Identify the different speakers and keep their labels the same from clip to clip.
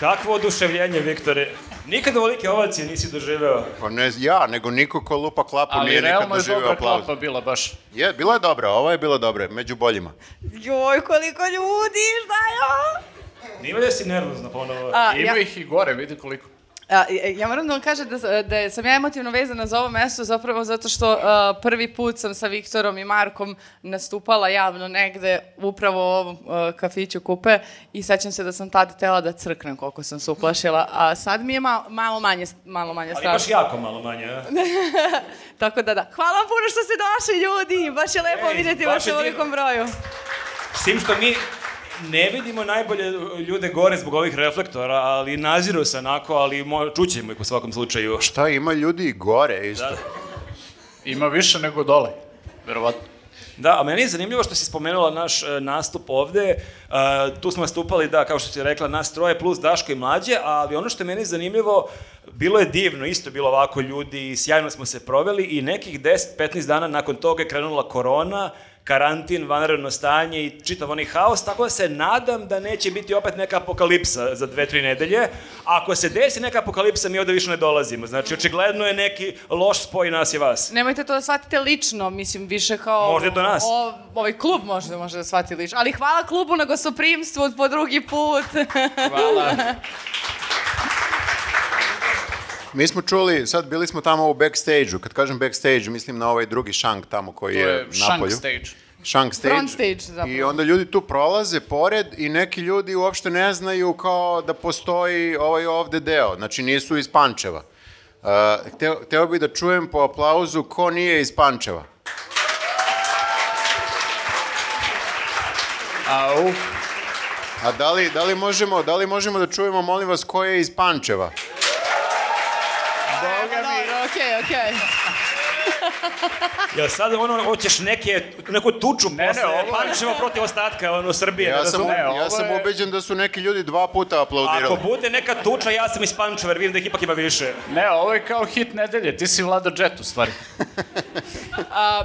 Speaker 1: Kakvo oduševljenje, Viktore. Nikada volike ovacije nisi doživeo.
Speaker 2: Pa ne ja, nego niko ko lupa klapu
Speaker 3: Ali
Speaker 2: nije nikad
Speaker 3: realno je
Speaker 2: doživio
Speaker 3: dobra
Speaker 2: aplauz.
Speaker 3: klapa bila baš.
Speaker 2: Je, bila je dobra, ova je bila dobra, među boljima.
Speaker 4: Joj, koliko ljudi, šta je ovo?
Speaker 1: Nima da si nervozna ponovo.
Speaker 4: A,
Speaker 3: Ima
Speaker 4: ja,
Speaker 3: ih i gore, vidi koliko.
Speaker 4: a, ja- ja moram da vam kažem da, s- da je- sam ja emotivno vezana za ovo mesto zapravo zato što a, prvi put sam sa Viktorom i Markom nastupala javno negde upravo u ovom a, kafiću kupe i sećam se da sam tad tela da crknem koliko sam se uplašila, a sad mi je malo, malo manje, malo manje
Speaker 1: Ali
Speaker 4: strašno.
Speaker 1: baš jako malo manje, a?
Speaker 4: Tako da da. Hvala vam puno što ste došli ljudi, baš je lepo
Speaker 1: Ej,
Speaker 4: videti
Speaker 1: baš
Speaker 4: vas u
Speaker 1: je divno.
Speaker 4: velikom broju.
Speaker 1: S tim što mi ne vidimo najbolje ljude gore zbog ovih reflektora, ali naziru se onako, ali mo, čućemo ih u svakom slučaju.
Speaker 2: Šta, ima ljudi i gore isto.
Speaker 1: Da.
Speaker 3: Ima više nego dole, verovatno.
Speaker 1: Da, a meni je zanimljivo što si spomenula naš e, nastup ovde. E, tu smo nastupali, da, kao što si rekla, nas troje plus Daško i mlađe, ali ono što je meni zanimljivo, bilo je divno, isto je bilo ovako ljudi, i sjajno smo se proveli i nekih 10-15 dana nakon toga je krenula korona, karantin, vanredno stanje i čitav onaj haos, tako da se nadam da neće biti opet neka apokalipsa za dve, tri nedelje. Ako se desi neka apokalipsa, mi ovde više ne dolazimo. Znači, očigledno je neki loš spoj nas i vas.
Speaker 4: Nemojte to da shvatite lično, mislim, više kao...
Speaker 1: Možda je do nas.
Speaker 4: O, ovaj klub možda može da shvati lično. Ali hvala klubu na gostoprimstvu po drugi put.
Speaker 3: Hvala.
Speaker 2: Mi smo čuli, sad bili smo tamo u backstage-u. Kad kažem backstage, mislim na ovaj drugi šank tamo koji
Speaker 3: To
Speaker 2: je,
Speaker 3: je
Speaker 2: napolju.
Speaker 3: shank stage.
Speaker 2: Shank stage.
Speaker 4: Front stage, zapravo.
Speaker 2: I onda ljudi tu prolaze pored i neki ljudi uopšte ne znaju kao da postoji ovaj ovde deo. Znači nisu iz Pančeva. Uh, hteo, hteo bi da čujem po aplauzu ko nije iz Pančeva.
Speaker 3: Au.
Speaker 2: A da li, da li, možemo, da li možemo da čujemo, molim vas, ko je iz Pančeva?
Speaker 3: Boga mi.
Speaker 4: Dobro, okej, okej.
Speaker 1: Jel sad ono, hoćeš neke, neku tuču
Speaker 3: Ne, ne,
Speaker 1: posle,
Speaker 3: ovo je-
Speaker 1: Pančevo protiv ostatka, ono, Srbije, ne
Speaker 2: Ja sam,
Speaker 1: razumem.
Speaker 3: da e, ovo
Speaker 2: ja sam
Speaker 3: je-
Speaker 2: ubeđen da su neki ljudi dva puta
Speaker 1: Ako
Speaker 2: aplaudirali.
Speaker 1: bude neka tuča, ja sam iz Pančeva, jer vidim da ih ipak ima više.
Speaker 3: Ne, ovo je kao hit nedelje, ti si Vlado Jet u stvari.
Speaker 4: A,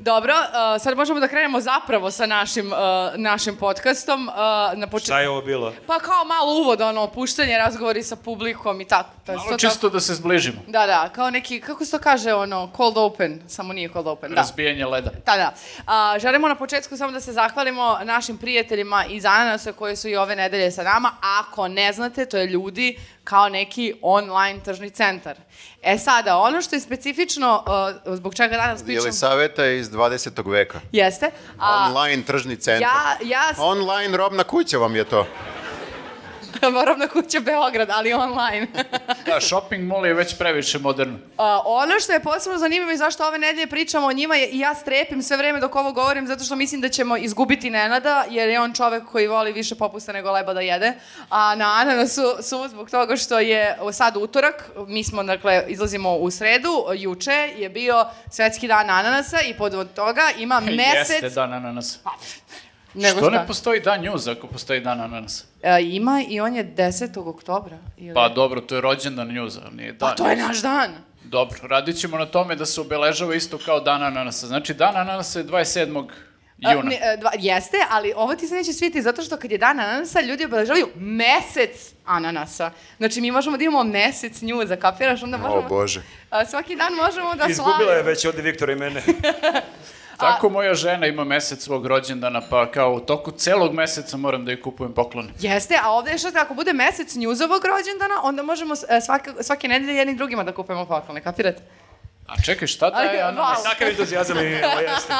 Speaker 4: Dobro, a, sad možemo da krenemo zapravo sa našim, a, našim podcastom. A, na počet...
Speaker 1: Šta je ovo bilo?
Speaker 4: Pa kao malo uvod, ono, opuštanje, razgovori sa publikom i tako. To je
Speaker 3: Malo
Speaker 4: to
Speaker 3: čisto da se zbližimo.
Speaker 4: Tako. Da, da, kao neki, kako se to kaže, ono, cold open, samo nije cold open, da.
Speaker 3: Razbijanje leda.
Speaker 4: Da, da. A, želimo na početku samo da se zahvalimo našim prijateljima iz Ananasa koji su i ove nedelje sa nama. Ako ne znate, to je ljudi kao neki online tržni centar. E sada, ono što je specifično, uh, zbog čega danas pričam...
Speaker 2: Jelisaveta je iz 20. veka.
Speaker 4: Jeste. A,
Speaker 2: Online tržni centar.
Speaker 4: ja, ja s-
Speaker 2: Online robna kuća vam je to.
Speaker 4: moram na kuće Beograd, ali online.
Speaker 3: Da, shopping mall je već previše moderno.
Speaker 4: A, ono što je posebno zanimljivo i zašto ove nedelje pričamo o njima je, i ja strepim sve vreme dok ovo govorim zato što mislim da ćemo izgubiti Nenada jer je on čovek koji voli više popusta nego leba da jede. A na Ananasu su zbog toga što je o, sad utorak, mi smo dakle izlazimo u sredu, juče je bio svetski dan ananasa i pod toga ima mesec.
Speaker 3: Jeste da, dan ananasa.
Speaker 4: nego
Speaker 3: Što
Speaker 4: šta?
Speaker 3: ne postoji dan news ako postoji dan ananasa?
Speaker 4: E, ima i on je 10. oktobra. Ili...
Speaker 3: Pa dobro, to je rođendan news, ali nije dan.
Speaker 4: pa to je naš dan.
Speaker 3: Dobro, radit ćemo na tome da se obeležava isto kao dan ananasa. Znači, dan ananasa je 27.
Speaker 4: A,
Speaker 3: juna.
Speaker 4: ne, e, dva, jeste, ali ovo ti se neće sviti zato što kad je dan ananasa, ljudi obeležavaju mesec ananasa. Znači, mi možemo da imamo mesec nju, zakapiraš, onda možemo...
Speaker 2: O Bože.
Speaker 4: A, svaki dan možemo da
Speaker 1: Izgubila je
Speaker 4: slavimo.
Speaker 1: već ovde Viktora i mene.
Speaker 3: Tako moja žena ima mesec svog rođendana, pa kao u toku celog meseca moram da joj kupujem poklone.
Speaker 4: Jeste, a ovde je što ako bude mesec njuzovog rođendana, onda možemo s- e, svake, svake nedelje jednim drugima da kupujemo poklone, kapirate?
Speaker 3: A čekaj, šta da je
Speaker 4: Ali,
Speaker 3: ananas?
Speaker 4: wow.
Speaker 1: Takav entuzijazam i ovo jeste.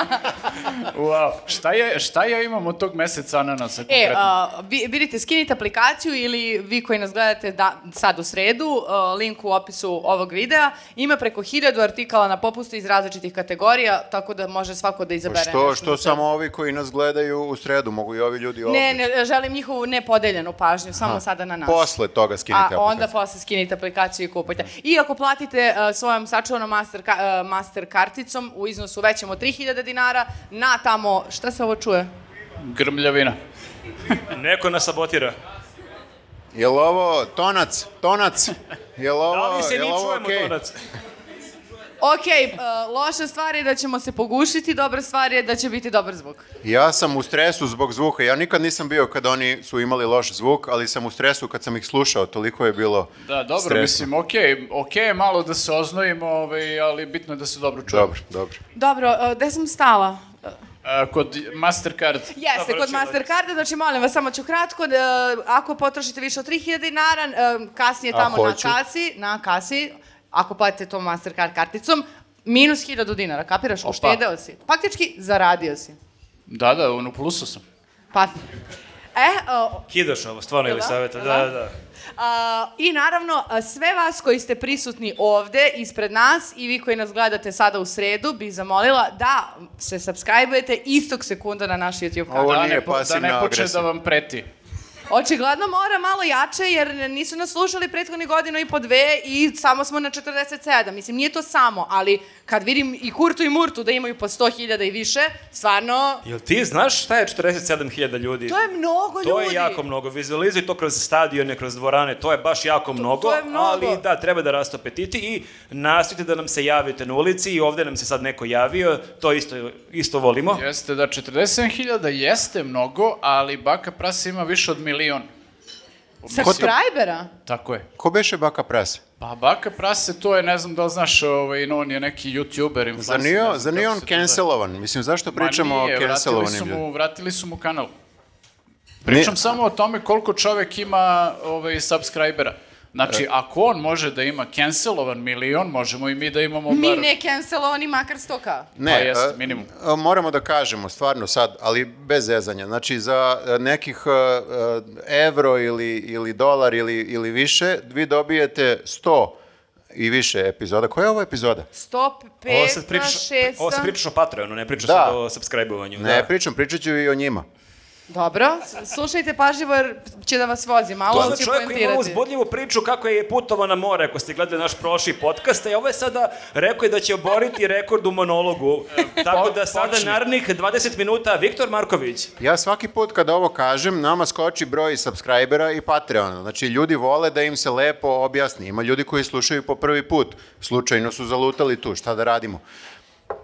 Speaker 3: Wow. Šta, je, šta ja imam od tog meseca ananasa
Speaker 4: E,
Speaker 3: konkretno?
Speaker 4: a, vi, vidite, skinite aplikaciju ili vi koji nas gledate da, sad u sredu, a, link u opisu ovog videa, ima preko hiljadu artikala na popustu iz različitih kategorija, tako da može svako da
Speaker 2: Pa
Speaker 4: izabere.
Speaker 2: Što,
Speaker 4: nešto za
Speaker 2: što
Speaker 4: sebe.
Speaker 2: samo ovi koji nas gledaju u sredu, mogu i ovi ljudi ovde.
Speaker 4: Ne, ne, želim njihovu nepodeljenu pažnju, samo sada na nas.
Speaker 2: Posle toga skinite
Speaker 4: A
Speaker 2: aplikaciju. Mhm.
Speaker 4: onda posle skinite aplikaciju i kupajte. I ako platite uh, svojom sačuvanom master, ka, uh, master karticom u iznosu većem od 3000 dinara na tamo, šta se ovo čuje?
Speaker 3: Grmljavina.
Speaker 1: Neko nas sabotira.
Speaker 2: Jel ovo tonac? Tonac? Jel ovo,
Speaker 1: Da li se
Speaker 2: jel
Speaker 1: mi
Speaker 2: ovo
Speaker 1: čujemo,
Speaker 2: okej?
Speaker 1: Tonac?
Speaker 4: Ok, uh, loša stvar je da ćemo se pogušiti, dobra stvar je da će biti dobar zvuk.
Speaker 2: Ja sam u stresu zbog zvuka. Ja nikad nisam bio kad oni su imali loš zvuk, ali sam u stresu kad sam ih slušao. Toliko je bilo
Speaker 3: Da, dobro,
Speaker 2: stresno.
Speaker 3: mislim, okej, okej je malo da se oznojimo, ovaj, ali bitno je da se dobro čujemo.
Speaker 2: Dobro, dobro.
Speaker 4: Dobro, uh, gde sam stala? Uh,
Speaker 3: A, kod Mastercard,
Speaker 4: Jeste,
Speaker 1: Dobro,
Speaker 4: kod
Speaker 1: čilo.
Speaker 4: Mastercarda, znači molim vas, samo ću kratko, e, ako potrošite više od 3000 dinara, e, kasnije
Speaker 2: A
Speaker 4: tamo na
Speaker 2: hoću?
Speaker 4: kasi, na kasi, ako platite tom Mastercard karticom, minus 1000 dinara, kapiraš, uštedeo si. Faktički, zaradio si.
Speaker 3: da, da, ono, u plusu sam.
Speaker 4: Pa, e, o,
Speaker 1: Kidaš ovo, stvarno, ili saveta, da, da. da.
Speaker 4: a, Uh, I naravno, a, sve vas koji ste prisutni ovde, ispred nas i vi koji nas gledate sada u sredu, bi zamolila da se subscribe-ujete istog sekunda na naš YouTube kanal.
Speaker 2: Ovo
Speaker 3: da,
Speaker 2: nije
Speaker 3: ne, po- da
Speaker 2: pasivna
Speaker 3: ne počne
Speaker 2: agresija.
Speaker 3: da vam preti.
Speaker 4: Očigledno mora malo jače jer nisu nas slušali prethodni godinu i po dve i samo smo na 47. Mislim, nije to samo, ali kad vidim i Kurtu i Murtu da imaju po 100.000 i više, stvarno,
Speaker 1: Jel ti znaš šta je 47.000 ljudi?
Speaker 4: to je mnogo Pa ljudi.
Speaker 1: To je jako mnogo. Vizualizuj to kroz stadione, kroz dvorane. To je baš jako mnogo,
Speaker 4: to je mnogo.
Speaker 1: ali da, treba da rastu apetiti i nastavite da nam se javite na ulici i ovde nam se sad neko javio. To isto, isto volimo.
Speaker 3: Jeste da 47.000 jeste mnogo, ali baka prasa ima više od milion.
Speaker 4: Subscribera?
Speaker 3: Tako je.
Speaker 2: Ko beše baka prase?
Speaker 3: Pa baka prase, to je, ne znam da li znaš, ovaj, no, on je neki youtuber, influencer.
Speaker 2: Zar
Speaker 3: ne
Speaker 2: nije,
Speaker 3: znam
Speaker 2: zar nije
Speaker 3: kako
Speaker 2: on
Speaker 3: se to zove.
Speaker 2: cancelovan? Mislim, zašto
Speaker 3: Ma
Speaker 2: pričamo
Speaker 3: nije,
Speaker 2: o
Speaker 3: vratili su
Speaker 2: cancelovanim ljudima?
Speaker 3: mu- Vratili su mu kanal. Pričam samo o tome koliko čovek ima ovaj, subscribera. Znači,
Speaker 2: E.
Speaker 3: ako on može da ima cancelovan milion, možemo i mi da imamo
Speaker 4: Mi
Speaker 3: bar...
Speaker 4: ne cancelovani makar 100k.
Speaker 2: Ne,
Speaker 3: Pa jeste,
Speaker 2: a,
Speaker 3: minimum.
Speaker 2: a, moramo da kažemo, stvarno sad, ali bez zezanja. Znači, za e, nekih e, e, evro ili, ili dolar ili, ili više, vi dobijete 100 i više epizoda. Koja je ovo epizoda?
Speaker 4: 105,
Speaker 1: Ovo sad pričaš,
Speaker 4: 600.
Speaker 1: ovo sad pričaš o Patreonu, ne pričaš
Speaker 2: Da.
Speaker 1: sad o subscribe-ovanju.
Speaker 2: Ne,
Speaker 1: da.
Speaker 2: pričam, pričat ću i o njima.
Speaker 4: Dobro, s- slušajte pažljivo jer će da vas vozi malo,
Speaker 1: To
Speaker 4: on
Speaker 1: je
Speaker 4: će
Speaker 1: čovjek koji ima
Speaker 4: poentirati.
Speaker 1: ovu uzbudljivu priču kako je putovao na more, ako ste gledali naš prošli podcast, a ovo je sada rekao je da će oboriti rekord u monologu.
Speaker 2: Pa,
Speaker 1: Tako da sada
Speaker 3: počni.
Speaker 1: narednih 20 minuta Viktor Marković.
Speaker 2: Ja svaki put kada ovo kažem, nama skoči broj subscribera i Patreona. Znači, ljudi vole da im se lepo objasni. Ima ljudi koji slušaju po prvi put. Slučajno su zalutali tu, šta da radimo.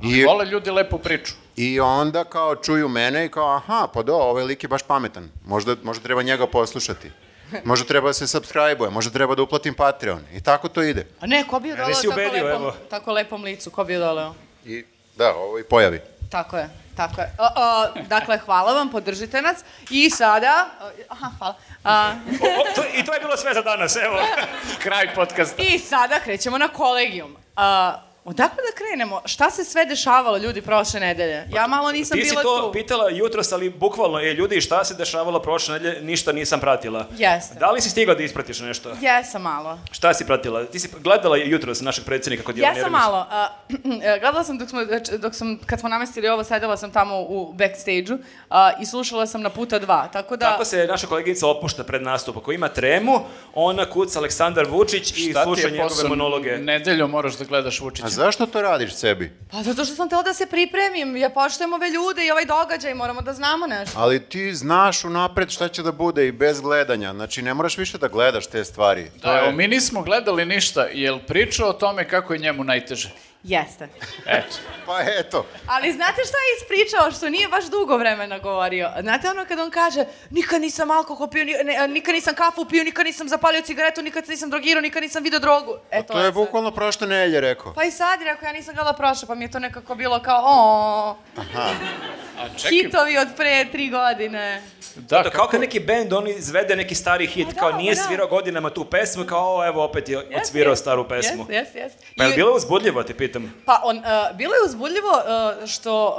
Speaker 2: I,
Speaker 3: Vole ljudi lepu priču.
Speaker 2: I onda kao čuju mene i kao, aha, pa do, ovaj lik je baš pametan. Možda, možda treba njega poslušati. Možda treba da se subscribe-uje, možda treba da uplatim Patreon. I tako to ide.
Speaker 4: A ne, ko bi je doleo
Speaker 1: si
Speaker 4: tako,
Speaker 1: ubedio,
Speaker 4: lepom,
Speaker 1: evo.
Speaker 4: tako lepom licu, ko bi je doleo?
Speaker 2: I da, ovo i pojavi.
Speaker 4: Tako je, tako je. O, o, dakle, hvala vam, podržite nas. I sada... Aha, hvala. A,
Speaker 1: O, o, to, I to je bilo sve za danas, evo.
Speaker 3: Kraj podcasta.
Speaker 4: I sada krećemo na kolegijum. A, odakle da krenemo? Šta se sve dešavalo, ljudi, prošle nedelje? Ja malo nisam
Speaker 1: Pa, Ti si
Speaker 4: bila
Speaker 1: to
Speaker 4: tu.
Speaker 1: pitala jutros, ali bukvalno, e, ljudi, šta se dešavalo prošle nedelje, ništa nisam pratila.
Speaker 4: Jeste.
Speaker 1: Da li si stigao da ispratiš nešto?
Speaker 4: Jesam malo.
Speaker 1: Šta si pratila? Ti si gledala jutros našeg predsednika kod Jelena
Speaker 4: Jesam
Speaker 1: Jeremića?
Speaker 4: malo. A, e, gledala sam dok smo, znači, dok sam, kad smo namestili ovo, sedela sam tamo u backstage-u a, i slušala sam na puta dva. Tako da...
Speaker 1: Tako se naša koleginica opušta pred nastup. Ako ima tremu, ona kuca Aleksandar Vučić i sluša njegove monologe.
Speaker 3: Nedelju moraš da gledaš Vučića.
Speaker 2: A zašto to radiš sebi?
Speaker 4: Pa zato što sam htela da se pripremim, ja poštujem ove ljude i ovaj događaj, moramo da znamo nešto.
Speaker 2: Ali ti znaš unapred šta će da bude i bez gledanja. Znači, ne moraš više da gledaš te stvari. To
Speaker 3: Da,
Speaker 2: je-
Speaker 3: evo, mi nismo gledali ništa, jel pričao o tome kako je njemu najteže?
Speaker 4: Jeste.
Speaker 3: Eto.
Speaker 2: Pa eto.
Speaker 4: Ali znate šta je ispričao, što nije baš dugo vremena govorio? Znate ono kad on kaže, nikad nisam alkohol pio, ni- ne, nikad nisam kafu pio, nikad nisam zapalio cigaretu, nikad se nisam drogirao, nikad nisam video drogu. E,
Speaker 2: To je
Speaker 4: sad.
Speaker 2: bukvalno prošle nelje rekao.
Speaker 4: Pa i sad je rekao, ja nisam gledala prošle, pa mi je to nekako bilo kao, o,
Speaker 3: A čekaj,
Speaker 4: hitovi od pre tri godine.
Speaker 3: da,
Speaker 1: Da,
Speaker 3: kako,
Speaker 1: kao kad neki bend, on izvede neki stari hit,
Speaker 4: Pa
Speaker 1: kao
Speaker 4: da,
Speaker 1: nije
Speaker 4: da.
Speaker 1: svirao godinama tu pesmu, kao o, evo opet je odsvirao staru pesmu.
Speaker 4: Jes, jes, jes.
Speaker 1: Pa je
Speaker 4: I-
Speaker 1: li bilo uzbudljivo, te pitam?
Speaker 4: Pa on, uh, bilo je uzbudljivo uh, što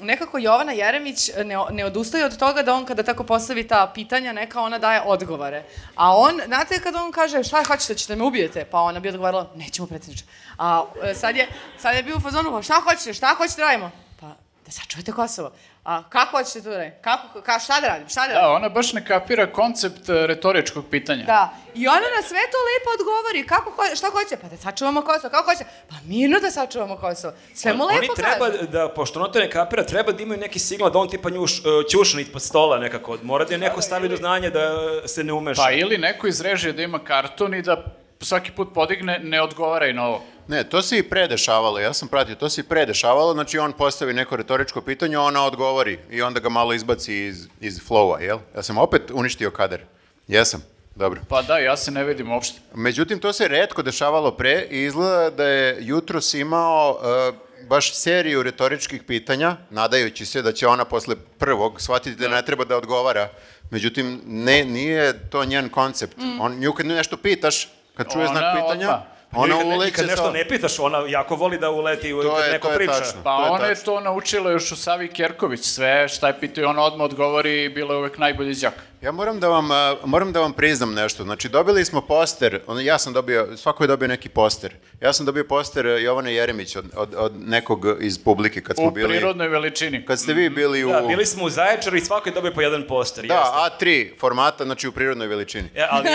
Speaker 4: um, nekako Jovana Jeremić ne, ne odustaje od toga da on kada tako postavi ta pitanja, neka ona daje odgovore. A on, znate kada on kaže šta hoćete, ćete me ubijete? Pa ona bi odgovarala, nećemo predsjedniče. A e, sad je, sad je bio u fazonu, "Pa šta hoćete, šta hoćete da radimo? Pa da sačuvate Kosovo. A kako hoćete to da radim? Kako, ka, šta da radim? Šta da radim?
Speaker 3: Da, ona baš ne kapira koncept e, retoričkog pitanja.
Speaker 4: Da. I ona na sve to lepo odgovori. Kako, ho- šta hoće? Pa da sačuvamo Kosovo. Kako hoće? Pa mirno da sačuvamo Kosovo. Sve mu
Speaker 1: Oni
Speaker 4: lepo
Speaker 1: treba
Speaker 4: kaže.
Speaker 1: da, pošto ona to ne kapira, treba da imaju neki signal da on tipa njuš, ćušni ispod stola nekako. Mora da je neko stavi do znanja da se ne umeša.
Speaker 3: Pa ili neko iz režije da ima karton i da svaki put podigne, ne odgovaraj na ovo.
Speaker 2: Ne, to se i predešavalo, ja sam pratio, to se i predešavalo, znači on postavi neko retoričko pitanje, ona odgovori i onda ga malo izbaci iz, iz flowa, jel? Ja sam opet uništio kadar. Jesam, dobro.
Speaker 3: Pa da, ja se ne vidim uopšte.
Speaker 2: Međutim, to se redko dešavalo pre i izgleda da je jutros imao e, baš seriju retoričkih pitanja, nadajući se da će ona posle prvog shvatiti da ne treba da odgovara. Međutim, ne, nije to njen koncept. On, nju kad nešto pitaš, kad čuje
Speaker 3: Mm. Ona
Speaker 2: znak pitanja,
Speaker 3: odmah.
Speaker 2: ona
Speaker 1: I kad ne- i
Speaker 2: uleće
Speaker 1: kad nešto
Speaker 2: sa-
Speaker 1: ne pitaš, ona jako voli da uleti u kad neko priča.
Speaker 3: Pa
Speaker 2: to je
Speaker 3: ona je
Speaker 2: tačno.
Speaker 3: to naučila još u Savi Kerković, sve šta je pitao i ona odmah odgovori i bila je uvek najbolji đak.
Speaker 2: Ja moram da vam a, moram da vam priznam nešto. Znači dobili smo poster, on ja sam dobio, svako je dobio neki poster. Ja sam dobio poster e, Jovane Jeremić od, od, od nekog iz publike kad smo
Speaker 3: U
Speaker 2: bili
Speaker 3: prirodnoj veličini.
Speaker 2: kad ste vi bili u
Speaker 1: Da, bili smo u Zaječaru i svako je dobio po jedan poster. jeste.
Speaker 2: Da, A3 formata, znači u prirodnoj veličini.
Speaker 1: E, ali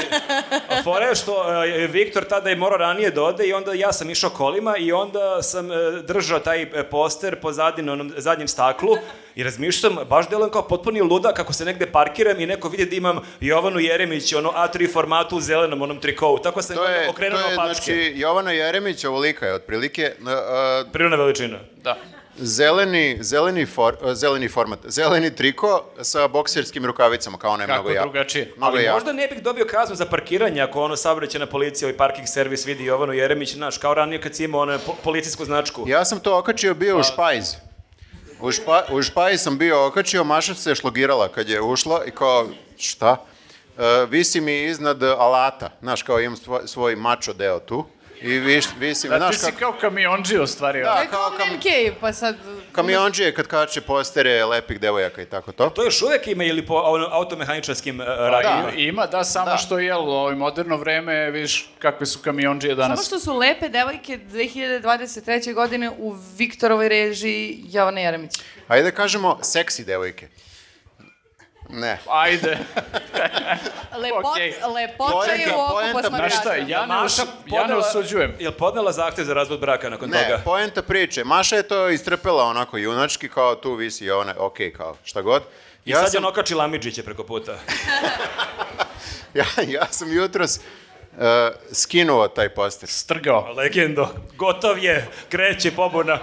Speaker 1: a fora je što e, Viktor tada je morao ranije da ode i onda ja sam išao kolima i onda sam e, držao taj e, poster pozadi na onom zadnjem staklu i razmišljam, baš delujem kao potpuni luda kako se negde parkiram i neko vidi da imam Jovanu Jeremić, ono A3 formatu u zelenom onom trikovu. Tako sam
Speaker 2: To je, to
Speaker 1: okrenuo na
Speaker 2: je
Speaker 1: pačke.
Speaker 2: znači, Jovana Jeremić, ovolika je otprilike, e, e,
Speaker 1: Prirodna veličina.
Speaker 3: Da.
Speaker 2: zeleni, zeleni, for, e, zeleni format, zeleni triko sa bokserskim rukavicama, kao onaj
Speaker 3: Kako
Speaker 2: mnogo ja.
Speaker 3: drugačije.
Speaker 2: Mnogo
Speaker 1: Ali
Speaker 2: jak.
Speaker 1: možda ne bih dobio kaznu za parkiranje ako ono saobraćena policija i parking servis vidi Jovanu Jeremić, znaš, kao ranije kad si imao onu po- policijsku značku.
Speaker 2: Ja sam to okačio bio
Speaker 1: Pa-
Speaker 2: u špajz. U, špa, u špajz sam bio okačio, Maša se šlogirala kad je ušla i kao, šta? E, visi mi iznad alata, znaš, kao imam svoj, svoj mačo deo tu. I viš, visi mi,
Speaker 3: Da,
Speaker 2: znaš,
Speaker 3: ti si
Speaker 2: kako,
Speaker 3: kao kamionđi ostvario.
Speaker 2: Da.
Speaker 4: To
Speaker 2: a
Speaker 4: je kao
Speaker 2: kao kam-
Speaker 4: MK, pa sad...
Speaker 2: kamionđije kad kače postere lepih devojaka i tako to.
Speaker 1: To još uvek ima ili po ono, automehaničarskim
Speaker 2: Pa
Speaker 1: e, radnjama?
Speaker 3: I- Ima, da, samo
Speaker 2: Da.
Speaker 3: što je u ovo moderno vreme, viš kakve su kamionđije danas.
Speaker 4: Samo što su lepe devojke 2023. godine u Viktorovoj režiji Jovane Jeremić.
Speaker 2: Ajde da kažemo seksi devojke. Ne.
Speaker 3: Ajde.
Speaker 4: Lepot,
Speaker 3: Okej.
Speaker 4: Lepota je
Speaker 2: Poenta-
Speaker 4: u oku pa
Speaker 2: poenta
Speaker 4: posmatrača.
Speaker 3: Znaš šta, ja ne,
Speaker 1: Maša
Speaker 3: osu, ja ne
Speaker 1: podnela-
Speaker 3: osuđujem.
Speaker 1: Jel podnela zahtev za razvod braka nakon
Speaker 2: Ne,
Speaker 1: toga?
Speaker 2: poenta priče. Maša je to istrpela onako junački, kao tu visi ona, okej, kao šta god.
Speaker 1: I sad je on okači Lamidžiće preko puta.
Speaker 2: ja, ja sam jutros uh, skinuo taj poster.
Speaker 3: Strgao.
Speaker 1: Legendo, gotov je, kreće pobuna.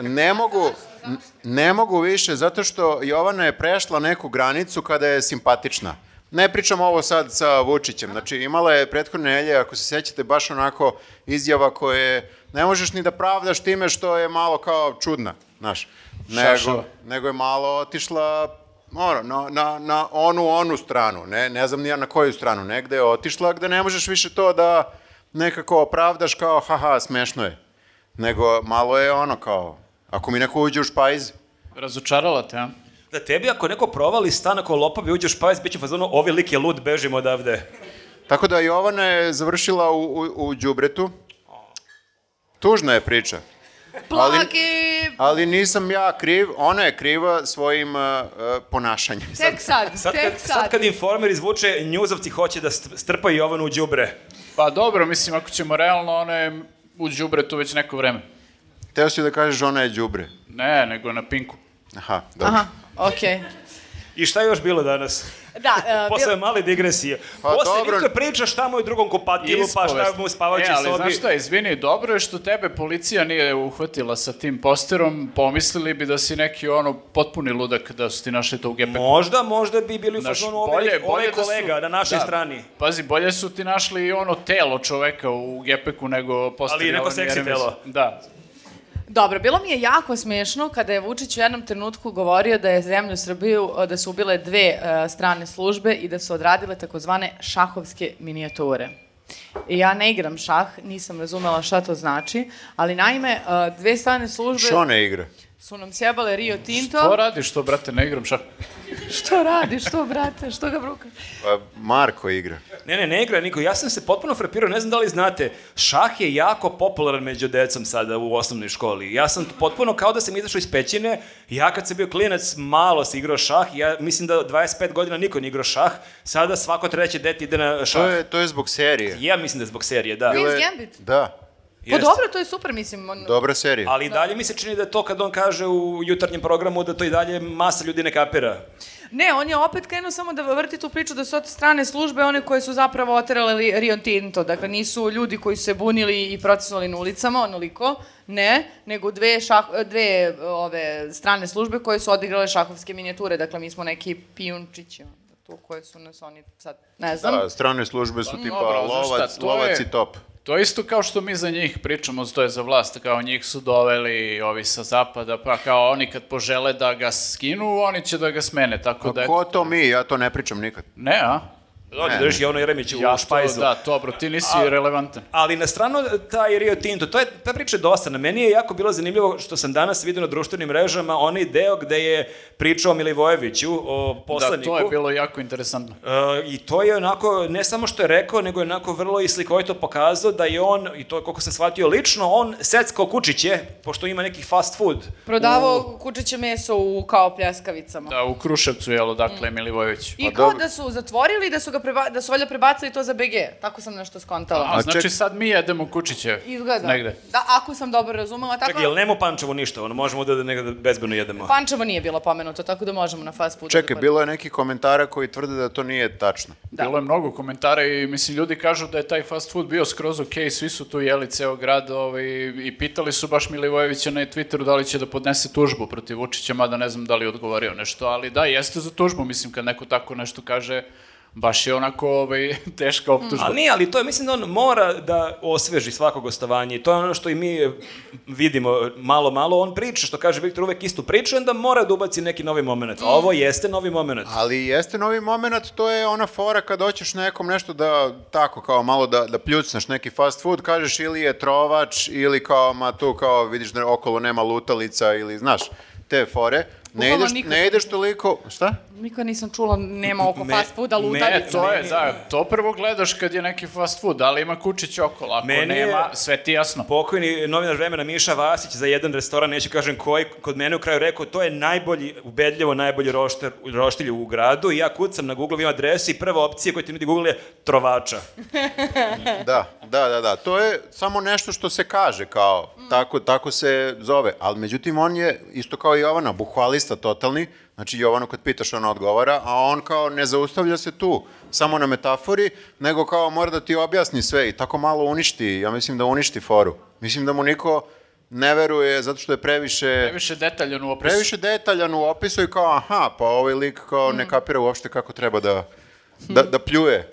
Speaker 2: Ne mogu, n- ne mogu više, zato što Jovana je prešla neku granicu kada je simpatična. Ne pričam ovo sad sa Vučićem, znači imala je prethodne nelje, ako se sećate, baš onako izjava koje ne možeš ni da pravdaš time što je malo kao čudna, znaš.
Speaker 3: Šašava.
Speaker 2: Nego, nego je malo otišla ono, na, na, na onu, onu stranu, ne, ne znam ni ja na koju stranu, negde je otišla gde ne možeš više to da nekako opravdaš kao haha, smešno je. Nego malo je ono kao, ako mi neko uđe u špajz,
Speaker 3: Razočarala te, a?
Speaker 1: Da tebi ako neko provali stan, ako lopavi uđe u špajs, bit će u fazonu, ovi lik je lud, bežimo odavde.
Speaker 2: Tako da Jovana je završila u, u, u džubretu. Tužna je priča. Ali-
Speaker 4: Plaki!
Speaker 2: Ali nisam ja kriv, ona je kriva svojim uh, uh, ponašanjem.
Speaker 4: Tek sad,
Speaker 1: Sad kad,
Speaker 4: tek
Speaker 1: sad
Speaker 4: sad.
Speaker 1: kad informer izvuče, njuzovci hoće da st- strpaju Jovanu u đubre.
Speaker 3: Pa dobro, mislim, ako ćemo realno, ona je u džubretu već neko vreme.
Speaker 2: Teo si da kažeš ona je džubre.
Speaker 3: Ne, nego na pinku.
Speaker 2: Aha, dobro.
Speaker 4: Aha, okej.
Speaker 1: I šta je još bilo danas?
Speaker 4: Da, e,
Speaker 1: Posle
Speaker 4: bil-
Speaker 1: male digresije.
Speaker 2: Pa
Speaker 1: Posle
Speaker 2: dobro.
Speaker 1: Viktor priča šta mu je u drugom kupatilu, pa šta
Speaker 3: Ispovest.
Speaker 1: mu u spavaćoj
Speaker 3: E, ali
Speaker 1: sobi.
Speaker 3: znaš šta, izvini, dobro je što tebe policija nije uhvatila sa tim posterom, pomislili bi da si neki ono potpuni ludak da su ti našli to u gepeku.
Speaker 1: Možda, možda bi bili u
Speaker 3: Znaš,
Speaker 1: fazonu ove, ove
Speaker 3: da su-
Speaker 1: kolega na našoj
Speaker 3: da.
Speaker 1: strani.
Speaker 3: Pazi, bolje su ti našli i ono telo čoveka u gepeku nego poster.
Speaker 1: Ali neko
Speaker 3: Jovane
Speaker 1: seksi
Speaker 3: Jeremić.
Speaker 1: telo.
Speaker 3: Da.
Speaker 4: Dobro, bilo mi je jako smešno kada je Vučić u jednom trenutku govorio da je zemlju Srbiju, e, da su ubile dve e, strane službe i da su odradile takozvane šahovske minijature. Ja ne igram šah, nisam razumela šta to znači, ali naime, uh, dve strane službe
Speaker 2: Što ne igra?
Speaker 4: su nam sjebale Rio Tinto.
Speaker 3: To radiš to, brate, ne igram šah.
Speaker 4: Što radiš, što brate, što ga brukaš?
Speaker 2: Pa, Marko igra.
Speaker 1: Ne, ne, ne igra niko. Ja sam se potpuno frapirao, ne znam da li znate, šah je jako popularan među decom sada u osnovnoj školi. Ja sam potpuno kao da sam izašao iz pećine, ja kad sam bio klinac malo se igrao šah, ja mislim da 25 godina niko nije igrao šah, sada svako treće dete ide na šah.
Speaker 2: To je, to je zbog serije.
Speaker 1: Ja mislim da je zbog serije, da.
Speaker 4: Bilo-
Speaker 2: Bilo je-
Speaker 4: Queen's Gambit?
Speaker 2: Da,
Speaker 4: Pa
Speaker 1: Jeste.
Speaker 4: dobro, to je super, mislim. On...
Speaker 2: dobra serija.
Speaker 1: Ali i dalje mi se čini da je to kad on kaže u jutarnjem programu da to i dalje masa ljudi ne kapira.
Speaker 4: Ne, on je opet krenuo samo da vrti tu priču da su od strane službe one koje su zapravo oterale Li- Rio Tinto. Dakle, nisu ljudi koji su se bunili i protestovali na ulicama, onoliko, ne, nego dve, šah, dve e, ove, strane službe koje su odigrale šahovske minijature. Dakle, mi smo neki pijunčići onda tu koje su nas oni sad, ne znam.
Speaker 2: Da, strane službe su tipa
Speaker 3: Mm, Dobro, znaš šta,
Speaker 2: lovac,
Speaker 3: to
Speaker 2: lovac
Speaker 3: je-
Speaker 2: i top.
Speaker 3: To je isto kao što mi za njih pričamo, to je za vlast, kao njih su doveli ovi sa zapada, pa kao oni kad požele da ga skinu, oni će da ga smene, tako da...
Speaker 2: A
Speaker 3: je-
Speaker 2: Pa ko to mi? Ja to ne pričam nikad.
Speaker 3: Ne, a?
Speaker 1: Dođe, drži Jovno Jeremić u
Speaker 3: Ja što,
Speaker 1: špajzu.
Speaker 3: da, dobro, ti nisi relevantan.
Speaker 1: Ali na stranu e, taj Rio Tinto, to je, ta priča je dosta. Na meni je jako bilo zanimljivo što sam danas vidio na društvenim mrežama onaj deo gde je pričao o Milivojeviću, o
Speaker 3: Da,
Speaker 1: poslaniku.
Speaker 3: to je bilo jako interesantno.
Speaker 1: E, I to je onako, ne samo što je rekao, nego je onako vrlo i slikovito pokazao da je on, i to je koliko sam shvatio lično, on seckao kučiće, pošto ima neki fast food.
Speaker 4: Prodavao kučiće meso u kao pljaskavicama.
Speaker 3: Da, u Kruševcu, jel, odakle je Milivojević.
Speaker 4: I
Speaker 2: Pa
Speaker 4: kao
Speaker 2: dobro.
Speaker 4: da su zatvorili, i da su ga preba, da su valjda prebacili to za BG. Tako sam nešto skontala.
Speaker 3: A,
Speaker 2: A
Speaker 3: znači
Speaker 2: ček-
Speaker 3: sad mi jedemo kučiće.
Speaker 4: Izgleda.
Speaker 3: Negde.
Speaker 4: Da, ako sam dobro razumela, tako...
Speaker 1: Čekaj, jel nema u Pančevu ništa? Ono, možemo da, da negde bezbedno jedemo.
Speaker 4: Pančevo nije bilo pomenuto, tako da možemo na fast da food.
Speaker 3: pa-
Speaker 2: Čekaj, bilo je neki komentara koji tvrde da to nije tačno.
Speaker 3: Bilo je mnogo komentara i mislim ljudi kažu da je taj fast food bio skroz okej, svi su tu jeli ceo grad ovaj, i pitali su baš Milivojevića na Twitteru da li će da podnese tužbu protiv Vučića, mada ne znam da li je odgovorio nešto, ali da, jeste za tužbu, mislim kad neko tako nešto kaže, baš je onako ovaj, teška optužba.
Speaker 1: Ali nije, ali to je, mislim da on mora da osveži svako gostovanje i to je ono što i mi vidimo malo, malo. On priča, što kaže Viktor, uvek istu priču, onda mora da ubaci neki novi moment. A ovo jeste novi moment.
Speaker 2: Ali jeste novi moment, to je ona fora kad hoćeš nekom nešto da, tako kao malo da, da pljucneš neki fast food, kažeš ili je trovač, ili kao, ma tu kao vidiš da okolo nema lutalica, ili znaš, te fore. Ne
Speaker 4: Bukvalno
Speaker 2: ideš,
Speaker 4: nikad
Speaker 2: ne ideš toliko, šta?
Speaker 4: Nikad nisam čula, nema oko
Speaker 1: Me-
Speaker 4: fast fooda,
Speaker 1: me-
Speaker 4: luda.
Speaker 3: Ne, to je,
Speaker 1: meni-
Speaker 3: da, to prvo gledaš kad je neki fast food, ali ima kučić okolo, ako
Speaker 1: Meni je-
Speaker 3: nema, sve ti jasno.
Speaker 1: Pokojni novinar vremena Miša Vasić za jedan restoran, neću kažem koji, kod mene u kraju rekao, to je najbolji, ubedljivo najbolji rošter, roštilj u gradu i ja kucam na Google, imam adresu i prva opcija koju ti nudi Google je trovača.
Speaker 2: Da, da, da, da. To je samo nešto što se kaže kao, tako, tako se zove. Ali međutim, on je isto kao Jovana, bukvalista totalni. Znači, Jovanu kad pitaš, ona odgovara, a on kao ne zaustavlja se tu, samo na metafori, nego kao mora da ti objasni sve i tako malo uništi, ja mislim da uništi foru. Mislim da mu niko ne veruje zato što je previše...
Speaker 3: Previše detaljan u opisu.
Speaker 2: Previše detaljan u opisu i kao, aha, pa ovaj lik kao ne kapira uopšte kako treba da, da, da pljuje.